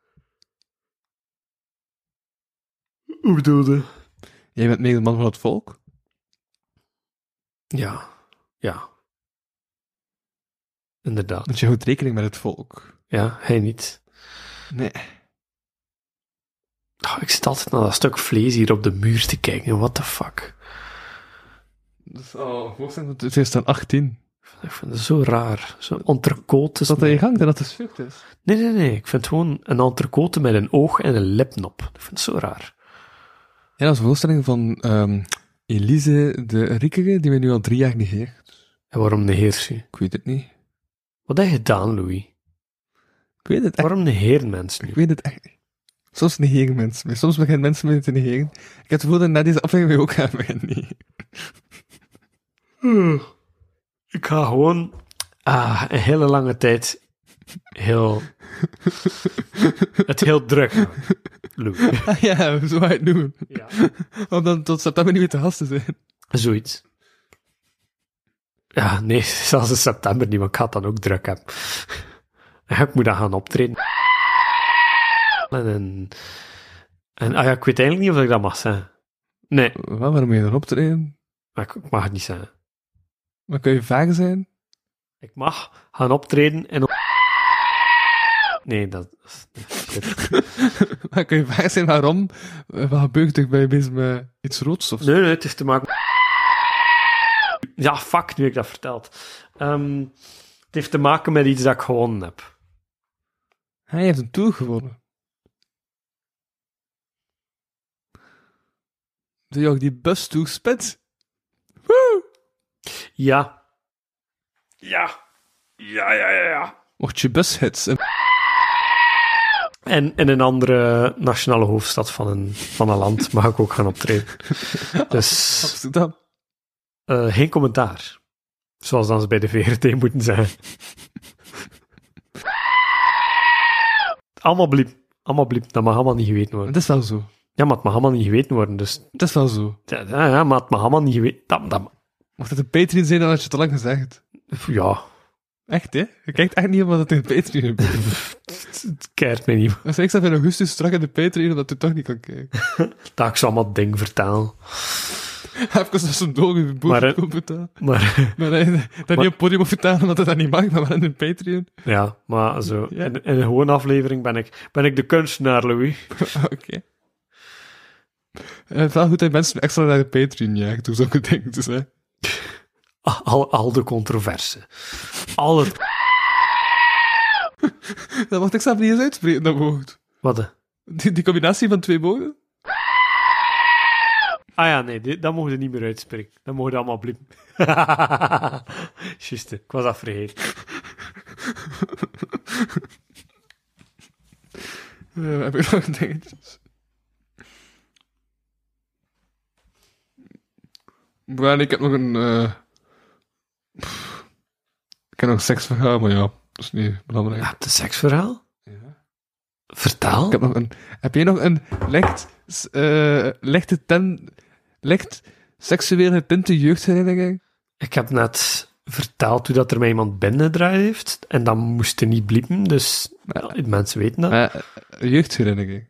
C: Hoe bedoelde?
D: Jij bent mede de man van het volk.
C: Ja, ja. Inderdaad.
D: Want je houdt rekening met het volk.
C: Ja, hij niet.
D: Nee.
C: Oh, ik zit altijd naar dat stuk vlees hier op de muur te kijken. What the fuck?
D: Dat is al hoog zijn tot 2018.
C: Ik vind het zo raar. Zo'n entrecote.
D: Is dat in je gang en dat het fucked is?
C: Nee, nee, nee. Ik vind gewoon een entrecote met een oog en een lipnop. Ik vind het zo raar.
D: Ja, dat is een voorstelling van ehm, Elise de Riekere, die we nu al drie jaar negeert.
C: En waarom negeert je?
D: Ik weet het niet.
C: Wat heb je gedaan, Louis?
D: Ik weet het echt
C: Waarom negeert mensen nu?
D: Ik weet het echt niet. Soms negeren mensen me. Soms beginnen mensen me te negeren. Ik heb het gevoel dat na deze aflevering weer ook gaan beginnen negeren.
C: Hmm. Ik ga gewoon ah, een hele lange tijd heel... het heel druk maken, Louis.
D: Ah ja, zo wou je het doen.
C: Ja.
D: Om dan tot september niet meer te gast te zijn.
C: Zoiets. Ja, nee, zelfs in september niet, want ik ga het dan ook druk hebben. En ik moet dan gaan optreden. En, en, en ah ja, ik weet eigenlijk niet of ik dat mag zeggen. Nee,
D: Waar, waarom moet je dan optreden?
C: maar ik, ik mag het niet zeggen.
D: Maar kun je vaag zijn?
C: Ik mag gaan optreden en... op- Nee, dat is...
D: Maar kun je vaag zijn waarom? Eh, Wat gebeurt er? Ben je bezig met iets roods of zo?
C: Nee, nee, het heeft te maken... Ja, fuck, nu heb ik dat verteld. Ehm, het heeft te maken met iets dat ik gewonnen heb.
D: Hij heeft een tour gewonnen. Ze jagen die bus toe, spits.
C: Ja.
D: Mocht je bus hitsen.
C: En in een andere nationale hoofdstad van een, van een land mag ik ook gaan optreden. Dus
D: Amsterdam.
C: eh, geen commentaar. Zoals dan ze bij de VRT moeten zijn. Allemaal bliep. Allemaal bliep. Dat mag allemaal niet geweten worden.
D: Het is wel zo.
C: Ja, maar het mag allemaal niet geweten worden. Dus
D: Het is wel zo.
C: ja, ja, ja, maar het mag allemaal niet geweten... Dat, dat,
D: Mocht het een Patreon zijn, dan had je het al lang gezegd.
C: ja,
D: Echt, hè? Je kijkt echt niet op wat het in de Patreon gebeurt.
C: het, het keert mij niet.
D: Dus ik zat in augustus strak in de Patreon, omdat je toch niet kan kijken.
C: Dat ik ze allemaal ding vertaal.
D: Even als een dog in de
C: Maar,
D: boer
C: eh,
D: komt betalen.
C: Maar
D: Maar dat je dat niet op podium moet vertalen, omdat het dat niet mag, maar wel in de Patreon.
C: ja, maar zo.
D: Ja.
C: In, in een gewone aflevering ben ik, ben ik de kunstenaar, Louis.
D: Oké. Eh, Het is wel goed dat je mensen extra naar de Patreon jaagt, of zulke dingen. Dus, hè.
C: Ah, Al, al de controverse. Al het...
D: Dat mocht ik zelf niet eens uitspreken, dat woord.
C: Wat? de-
D: Die, die combinatie van twee woorden?
C: Ah ja, nee, dit, dat mogen we niet meer uitspreken. Dat mogen we allemaal bliepen. Juste, ik was dat vergeten.
D: Eh, we hebben nog dingetjes. Maar ik heb nog een... eh, pff, Ik heb nog een seksverhaal, maar ja, dat is niet belangrijk.
C: Ja, het is een seksverhaal? Vertaal?
D: Ik heb nog een... Heb jij nog een licht... eh lichte ten... Licht seksueel getinte jeugdherinnering?
C: Ik heb net verteld hoe dat er mij iemand binnengedraaid heeft. En dat moest er niet bliepen, dus ja, mensen weten dat.
D: Eh, jeugdherinnering.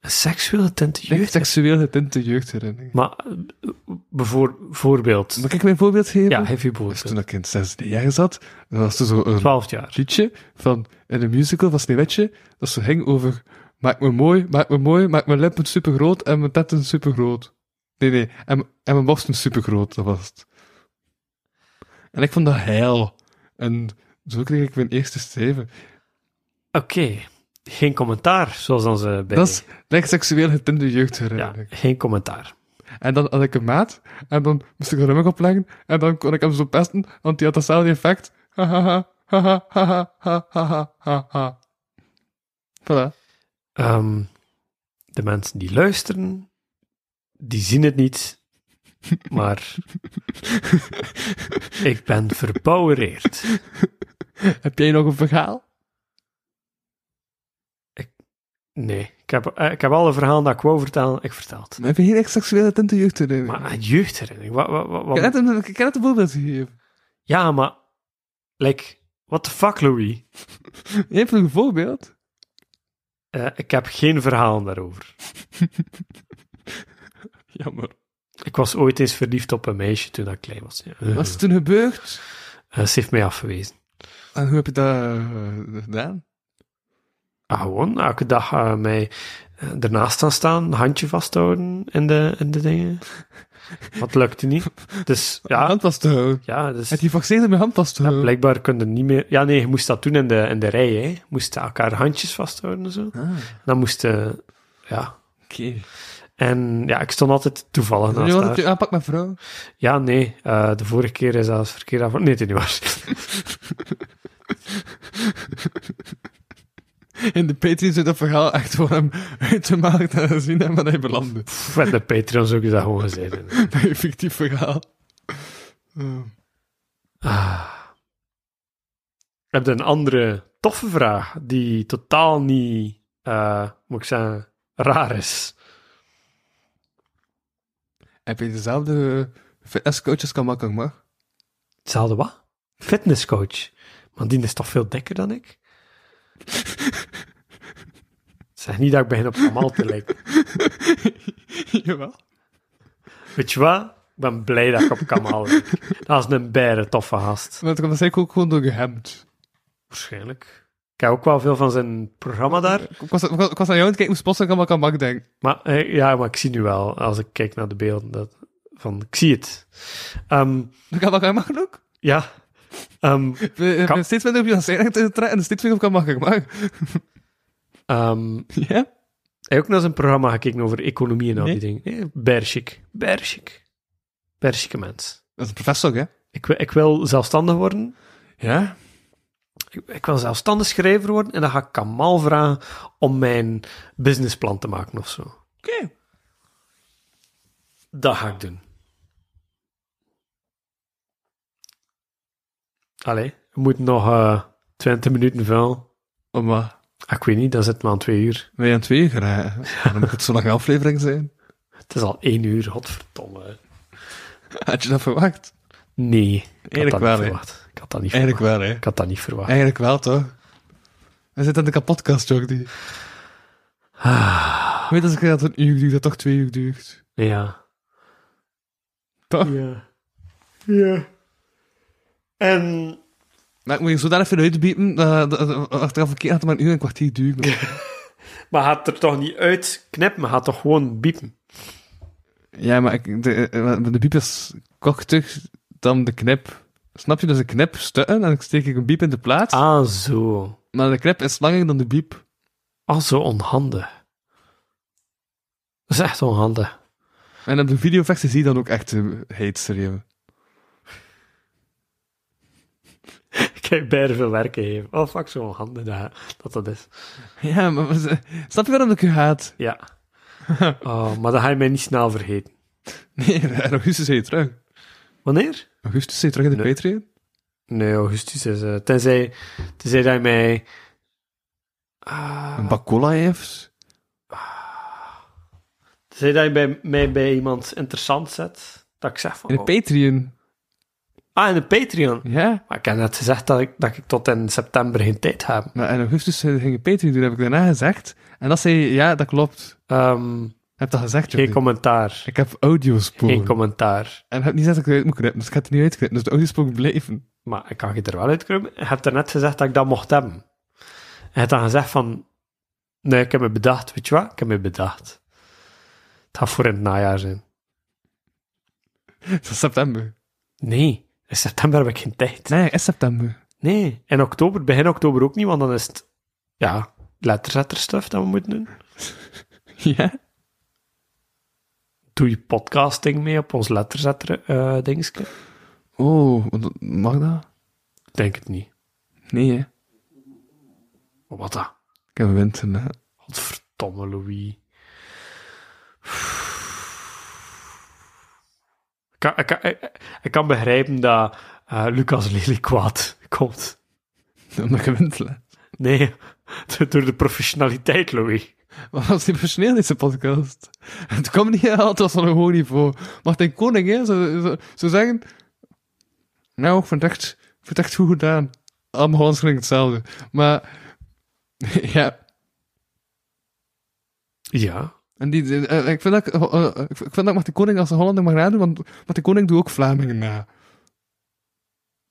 C: Een seksuele tinte
D: Licht
C: jeugd.
D: seksueel getinte jeugdherinnering.
C: Maar eh, bijvoor, voorbeeld.
D: Mag ik mijn voorbeeld geven?
C: Ja, geef je
D: Dus toen
C: voorbeeld.
D: ik in het zesde jaar zat, dan was er zo een
C: 12 jaar.
D: liedje van in een musical van Sneeuwwitje, dat zo ging over maak me mooi, maak me mooi, maak mijn lippen super groot en mijn tetten super groot. Nee, nee, en, en mijn borsten super groot, dat was het. En ik vond dat heil. En zo kreeg ik mijn eerste steven.
C: Oké. Geen commentaar, zoals dan ze bij...
D: Dat is lijkt seksueel getinte
C: ja,
D: jeugdherinnering.
C: geen commentaar.
D: En dan had ik een maat, en dan moest ik er rummig op leggen, en dan kon ik hem zo pesten, want die had hetzelfde effect. Ha ha ha, ha ha ha ha ha ha ha ha. Voilà.
C: Ehm, de mensen die luisteren, die zien het niet, maar ik ben verbouwereerd.
D: Heb jij nog een verhaal?
C: Nee, ik heb, eh, ik heb alle verhalen dat ik wou vertellen, ik vertel het.
D: Heb je geen seksuele tinte jeugdherinnering?
C: Maar een jeugdherinnering, wat, wat, wat,
D: Ik
C: wat-
D: heb net een, ik heb net een voorbeeld gegeven.
C: Ja, maar, like, what the fuck, Louis?
D: Jij hebt nog een voorbeeld?
C: Eh, ik heb geen verhalen daarover.
D: Jammer.
C: Ik was ooit eens verliefd op een meisje toen ik klein was. Ja.
D: Wat is er toen gebeurd?
C: Eh, ze heeft mij afgewezen.
D: En hoe heb je dat eh, gedaan?
C: Ah, gewoon elke dag eh, mij eh, ernaast gaan staan, een handje vasthouden in de, in de dingen. Wat lukte niet. Dus
D: Mijn
C: ja,
D: hand vast te houden.
C: ja dus,
D: Heb je geforceerd om mijn hand vast te houden?
C: blijkbaar kon je niet meer... Ja, nee, je moest dat doen in de, in de rij, hè. Je moest elkaar handjes vasthouden en zo.
D: Ah,
C: Dan moest je... Ja.
D: oké.
C: En ja, ik stond altijd toevallig
D: Nu
C: naast
D: had
C: haar.
D: je aanpak met vrouw.
C: Ja, nee. eh, de vorige keer is dat verkeerd af. Nee, het is niet waar.
D: In de Patreon zit dat verhaal echt voor hem uit te maken dat hij zien en waar hij belandde.
C: Pff, Met de Patreon zou ik dat gewoon gezegd hebben.
D: Dat is een fictief verhaal. Eh,
C: Ah. Heb je een andere toffe vraag die totaal niet, eh, moet ik zeggen, raar is?
D: heb je dezelfde eh, fitnesscoach als Kamal Kangmar?
C: Hetzelfde wat? Fitnesscoach. Maar die is toch veel dikker dan ik? Zeg niet dat ik begin op Kamal te lijken.
D: Jawel.
C: Weet je wat? Ik ben blij dat ik op Kamal lijk. Dat is een bijre toffe gast.
D: Want dat was eigenlijk ook gewoon door gehemd.
C: Waarschijnlijk. Ik heb ook wel veel van zijn programma daar.
D: Ik was, ik, was, ik was aan jou aan het kijken hoe spot ik aan Kamal denk.
C: Maar eh, ja, maar ik zie nu wel, als ik kijk naar de beelden, dat, van, ik zie het. Ehm,
D: Kamal Kangmar ook?
C: ja, Ehm,
D: Ik ben- Ik
C: Kam-
D: ben steeds minder op Jan Seinig te trekken en steeds minder op Kamal Kangmar.
C: ehm,
D: Ja?
C: Hij ook naar zijn programma gekeken over economie en al
D: Nee.
C: die dingen. Eh, Nee, Berschik. Berschik. Berschike mens.
D: Dat is een professor, hè?
C: Ik, wil- ik wil zelfstandig worden.
D: Ja.
C: Ik, ik wil zelfstandig schrijver worden. En dan ga ik Kamal vragen om mijn businessplan te maken of zo.
D: Oké.
C: Dat ga ik doen. Allee, we moeten nog eh 20 minuten vullen.
D: Oh, maar
C: Ah, Ik weet niet, dan zit maar aan twee uur.
D: wij aan twee geraken. Dan moet het zo'n lange aflevering zijn.
C: Het is al één uur, godverdomme.
D: Had je dat verwacht?
C: Nee, ik had
D: Eigenlijk
C: dat
D: wel,
C: niet
D: hè.
C: verwacht. Ik had dat niet
D: Eigenlijk
C: verwacht.
D: wel, hè?
C: Ik had dat niet verwacht.
D: Eigenlijk wel, toch? Hij zit aan de kapotkast, ook die. Weet als ik dat een uur duurt, dat toch twee uur duurt.
C: Ja.
D: Toch?
C: Ja. Ja. En...
D: Maar ik moet je zodanig veel uitbiepen, dat, dat, dat- achteraf een keer gaat het maar een uur en een kwartier duren.
C: Maar gaat er toch niet uit knippen, maar gaat toch gewoon biepen?
D: Ja, maar ik, de, eh, de biep is korter dan de knip. Snap je? Dus de knip stutten en dan steek ik een biep in de plaats.
C: Ah, zo.
D: Maar de knip is langer dan de biep.
C: Ah, zo onhandig. Dat is echt onhandig.
D: En op de videoversie zie je dan ook echt de heetstreven.
C: Ik heb bijna veel werk gegeven. Oh, fuck, zo onhandig dat dat, dat is.
D: Ja, maar maar ze- snap je waarom ik u haat?
C: Ja. Oh, maar dat ga je mij niet snel vergeten.
D: Nee, in augustus zit je terug.
C: Wanneer?
D: Augustus zit je terug in de
C: Nee.
D: Patreon?
C: Nee, augustus is... eh, tenzij, tenzij dat je mij... Ah.
D: Een bak cola heeft?
C: Zij dat je bij, mij bij iemand interessant zet, dat ik zeg van...
D: In de
C: oh.
D: Patreon?
C: ah, in de Patreon.
D: Ja.
C: Maar ik heb net gezegd dat ik, dat ik tot in september geen tijd heb.
D: Maar in augustus ging je Patreon doen, heb ik daarna gezegd. En dat zei je, ja, dat klopt.
C: Ehm,
D: Heb dat gezegd,
C: geen
D: Jordi.
C: commentaar.
D: Ik heb audiospoelen.
C: Geen commentaar.
D: En heb niet gezegd dat ik eruit moet knippen, dus ik ga het er niet uitknippen. Dus de audiospoelen bleven.
C: Maar ik kan je er wel uitkruimen. Je hebt er net gezegd dat ik dat mocht hebben. En je hebt dan gezegd van... Nee, ik heb me bedacht. Weet je wat? Ik heb me bedacht. Het gaat voor in het najaar zijn.
D: Het is september.
C: Nee, in september heb ik geen tijd.
D: Nee, het is september.
C: Nee, in oktober, begin oktober ook niet, want dan is het... Ja, letterzetterstuff dat we moeten doen.
D: Ja?
C: doe je podcasting mee op ons letterzetter eh dingetje?
D: Oh, wat- mag dat?
C: Ik denk het niet.
D: Nee, hè.
C: Maar wat dan?
D: Ik heb een winter, hè.
C: Godverdomme, Louis. Ik kan, ik, kan- ik- ik kan begrijpen dat eh, Lucas Lely kwaad komt.
D: Omdat ik winter heb.
C: Nee, door- door de professionaliteit, Louis.
D: Wat was die personeel deze podcast? Het kwam niet uit, het was van een hoog niveau. Martin Koning, hè, zou zo, zo zeggen... Nou, ik vind het echt, ik vind het echt goed gedaan. Allemaal Hollands klinkt hetzelfde. Maar... Ja,
C: Ja.
D: En die, die- eh, ik, vind dat, ik- eh, eh, ik vind dat ik Martin Koning als een Hollander mag nadoen, want Martin Koning doet ook Vlamingen na.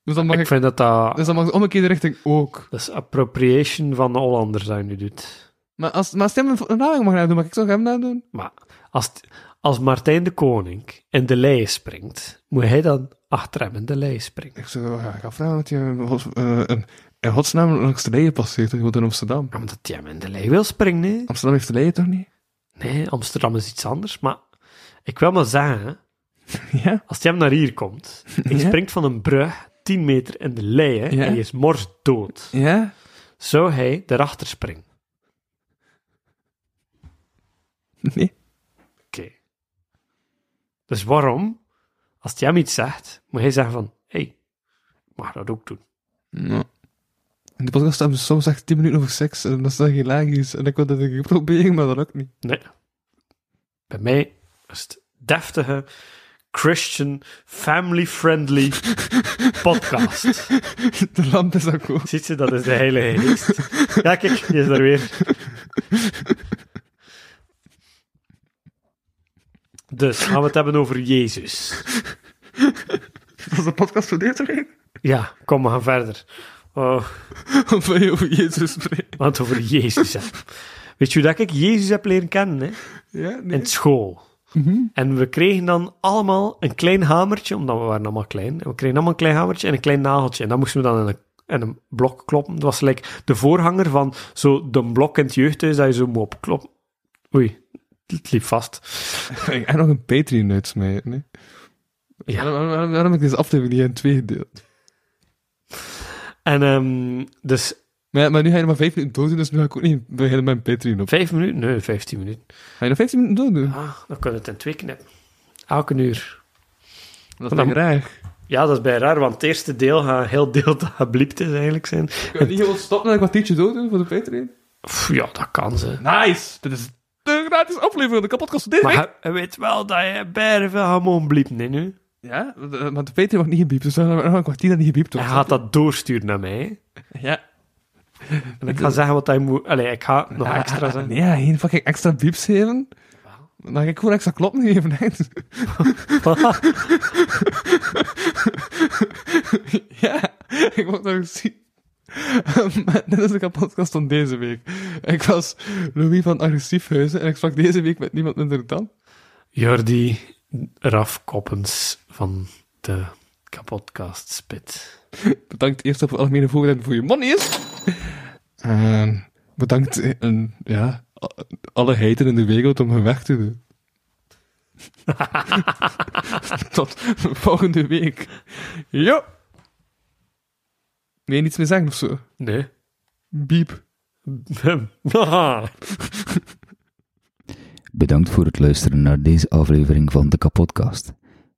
D: Dus dan mag
C: ik,
D: ik,
C: vind dat dat...
D: dus dan mag ik de omgekeerde richting ook.
C: Dat is appropriation van de Hollanders dat je nu doet.
D: Maar als, maar als hij hem een Vlaming mag nadoen, mag ik zo hem nadoen?
C: Maar als, het- als Martijn de Koning in de lei springt, moet hij dan achter hem in de lei springen.
D: Ik zeg, "Oh, ja, ik ga vragen wat je in gods- eh, in- in godsnaam langs de leien passeert. Je woont in Amsterdam.
C: Ja, Omdat hij hem in de lei wil springen, nee.
D: Amsterdam heeft de leien toch niet?
C: Nee, Amsterdam is iets anders. Maar ik wil maar zeggen, hè,
D: Ja.
C: als hij hem naar hier komt, hij
D: Ja.
C: springt van een brug 10 meter in de lei hè,
D: Ja.
C: en hij is mors dood.
D: Ja?
C: Zou hij erachter springen?
D: Nee.
C: Oké. Dus waarom, als hij hem iets zegt, moet hij zeggen van, hé, hey, ik mag dat ook doen.
D: No. In de podcast hebben ze soms echt 10 minuten over seks en dat is dan hilarisch. En ik wil dat ik probeer, maar dat lukt niet.
C: Nee. Bij mij is het deftige, Christian, family-friendly podcast.
D: De lamp is akkoord.
C: Ziet ze, dat is de heilige geest. Ja, kijk, die is er weer. Dus, gaan we het hebben over Jezus.
D: Dat is de podcast voor deze week.
C: Ja, kom, we gaan verder. Oh,
D: Of wil je over Jezus spreken?
C: want over Jezus. hè. Weet je hoe dat ik Jezus heb leren kennen? Hè?
D: Ja,
C: In
D: nee.
C: school. En we kregen dan allemaal een klein hamertje, omdat we waren allemaal klein. En we kregen allemaal een klein hamertje en een klein nageltje. En dat moesten we dan in een, in een blok kloppen. Dat was like de voorhanger van zo de blok in het jeugdhuis dat je zo moet opkloppen. Oei, het liep vast.
D: Ik heb nog een Patreon uitsmijten. Nee?
C: Ja.
D: Waarom, waarom, waarom heb ik deze aflevering niet in twee gedeeld?
C: En ehm, dus
D: Maar, maar nu ga je er maar vijf minuten dood doen, dus nu ga ik ook niet beginnen met een Patreon op.
C: vijf minuten? Nee, vijftien minuten.
D: Ga je nog 15 minuten dood doen?
C: Ah, dan kunnen we het in twee knippen. Elke uur.
D: dat
C: is dan-
D: graag.
C: Ja, dat is bij raar, want het eerste deel gaat heel deel dat gebliept is eigenlijk zijn.
D: Kun je niet gewoon stoppen en een kwartiertje dood doen voor de Patreon?
C: Pff, ja, dat kan ze.
D: Nice! Dit is de gratis aflevering van de kapotkast van deze
C: Maar
D: week.
C: hij- hij weet wel dat je bijna veel hamon bliept, nee nu?
D: Ja, maar de Patreon wordt niet gebiept, dus dan hebben we nog een kwartier dat niet gebiept
C: Hij
D: wordt.
C: gaat dat doorsturen naar mij.
D: Ja.
C: En ik ga zeggen wat hij moet... Allee, ik ga nog extra
D: Ah,
C: zeggen.
D: Nee, ja, geen fucking extra bieps geven. Dan ga ik gewoon extra kloppen geven. hè. ja, ik word nog eens zien. Maar Dit is de podcast van deze week. Ik was Louis van Agressiefhuizen en ik sprak deze week met niemand minder dan.
C: Jordi Raf Koppens van de kapotkast Spit.
D: Bedankt eerst op het algemene voorbereiding voor je monies. En Ehm, bedankt eh, en, ja, a- alle heiten in de wereld om hun weg te doen. Tot volgende week. Jo! Wil je niets meer zeggen of zo?
C: Nee.
D: Biep.
G: Bedankt voor het luisteren naar deze aflevering van de Kapodcast.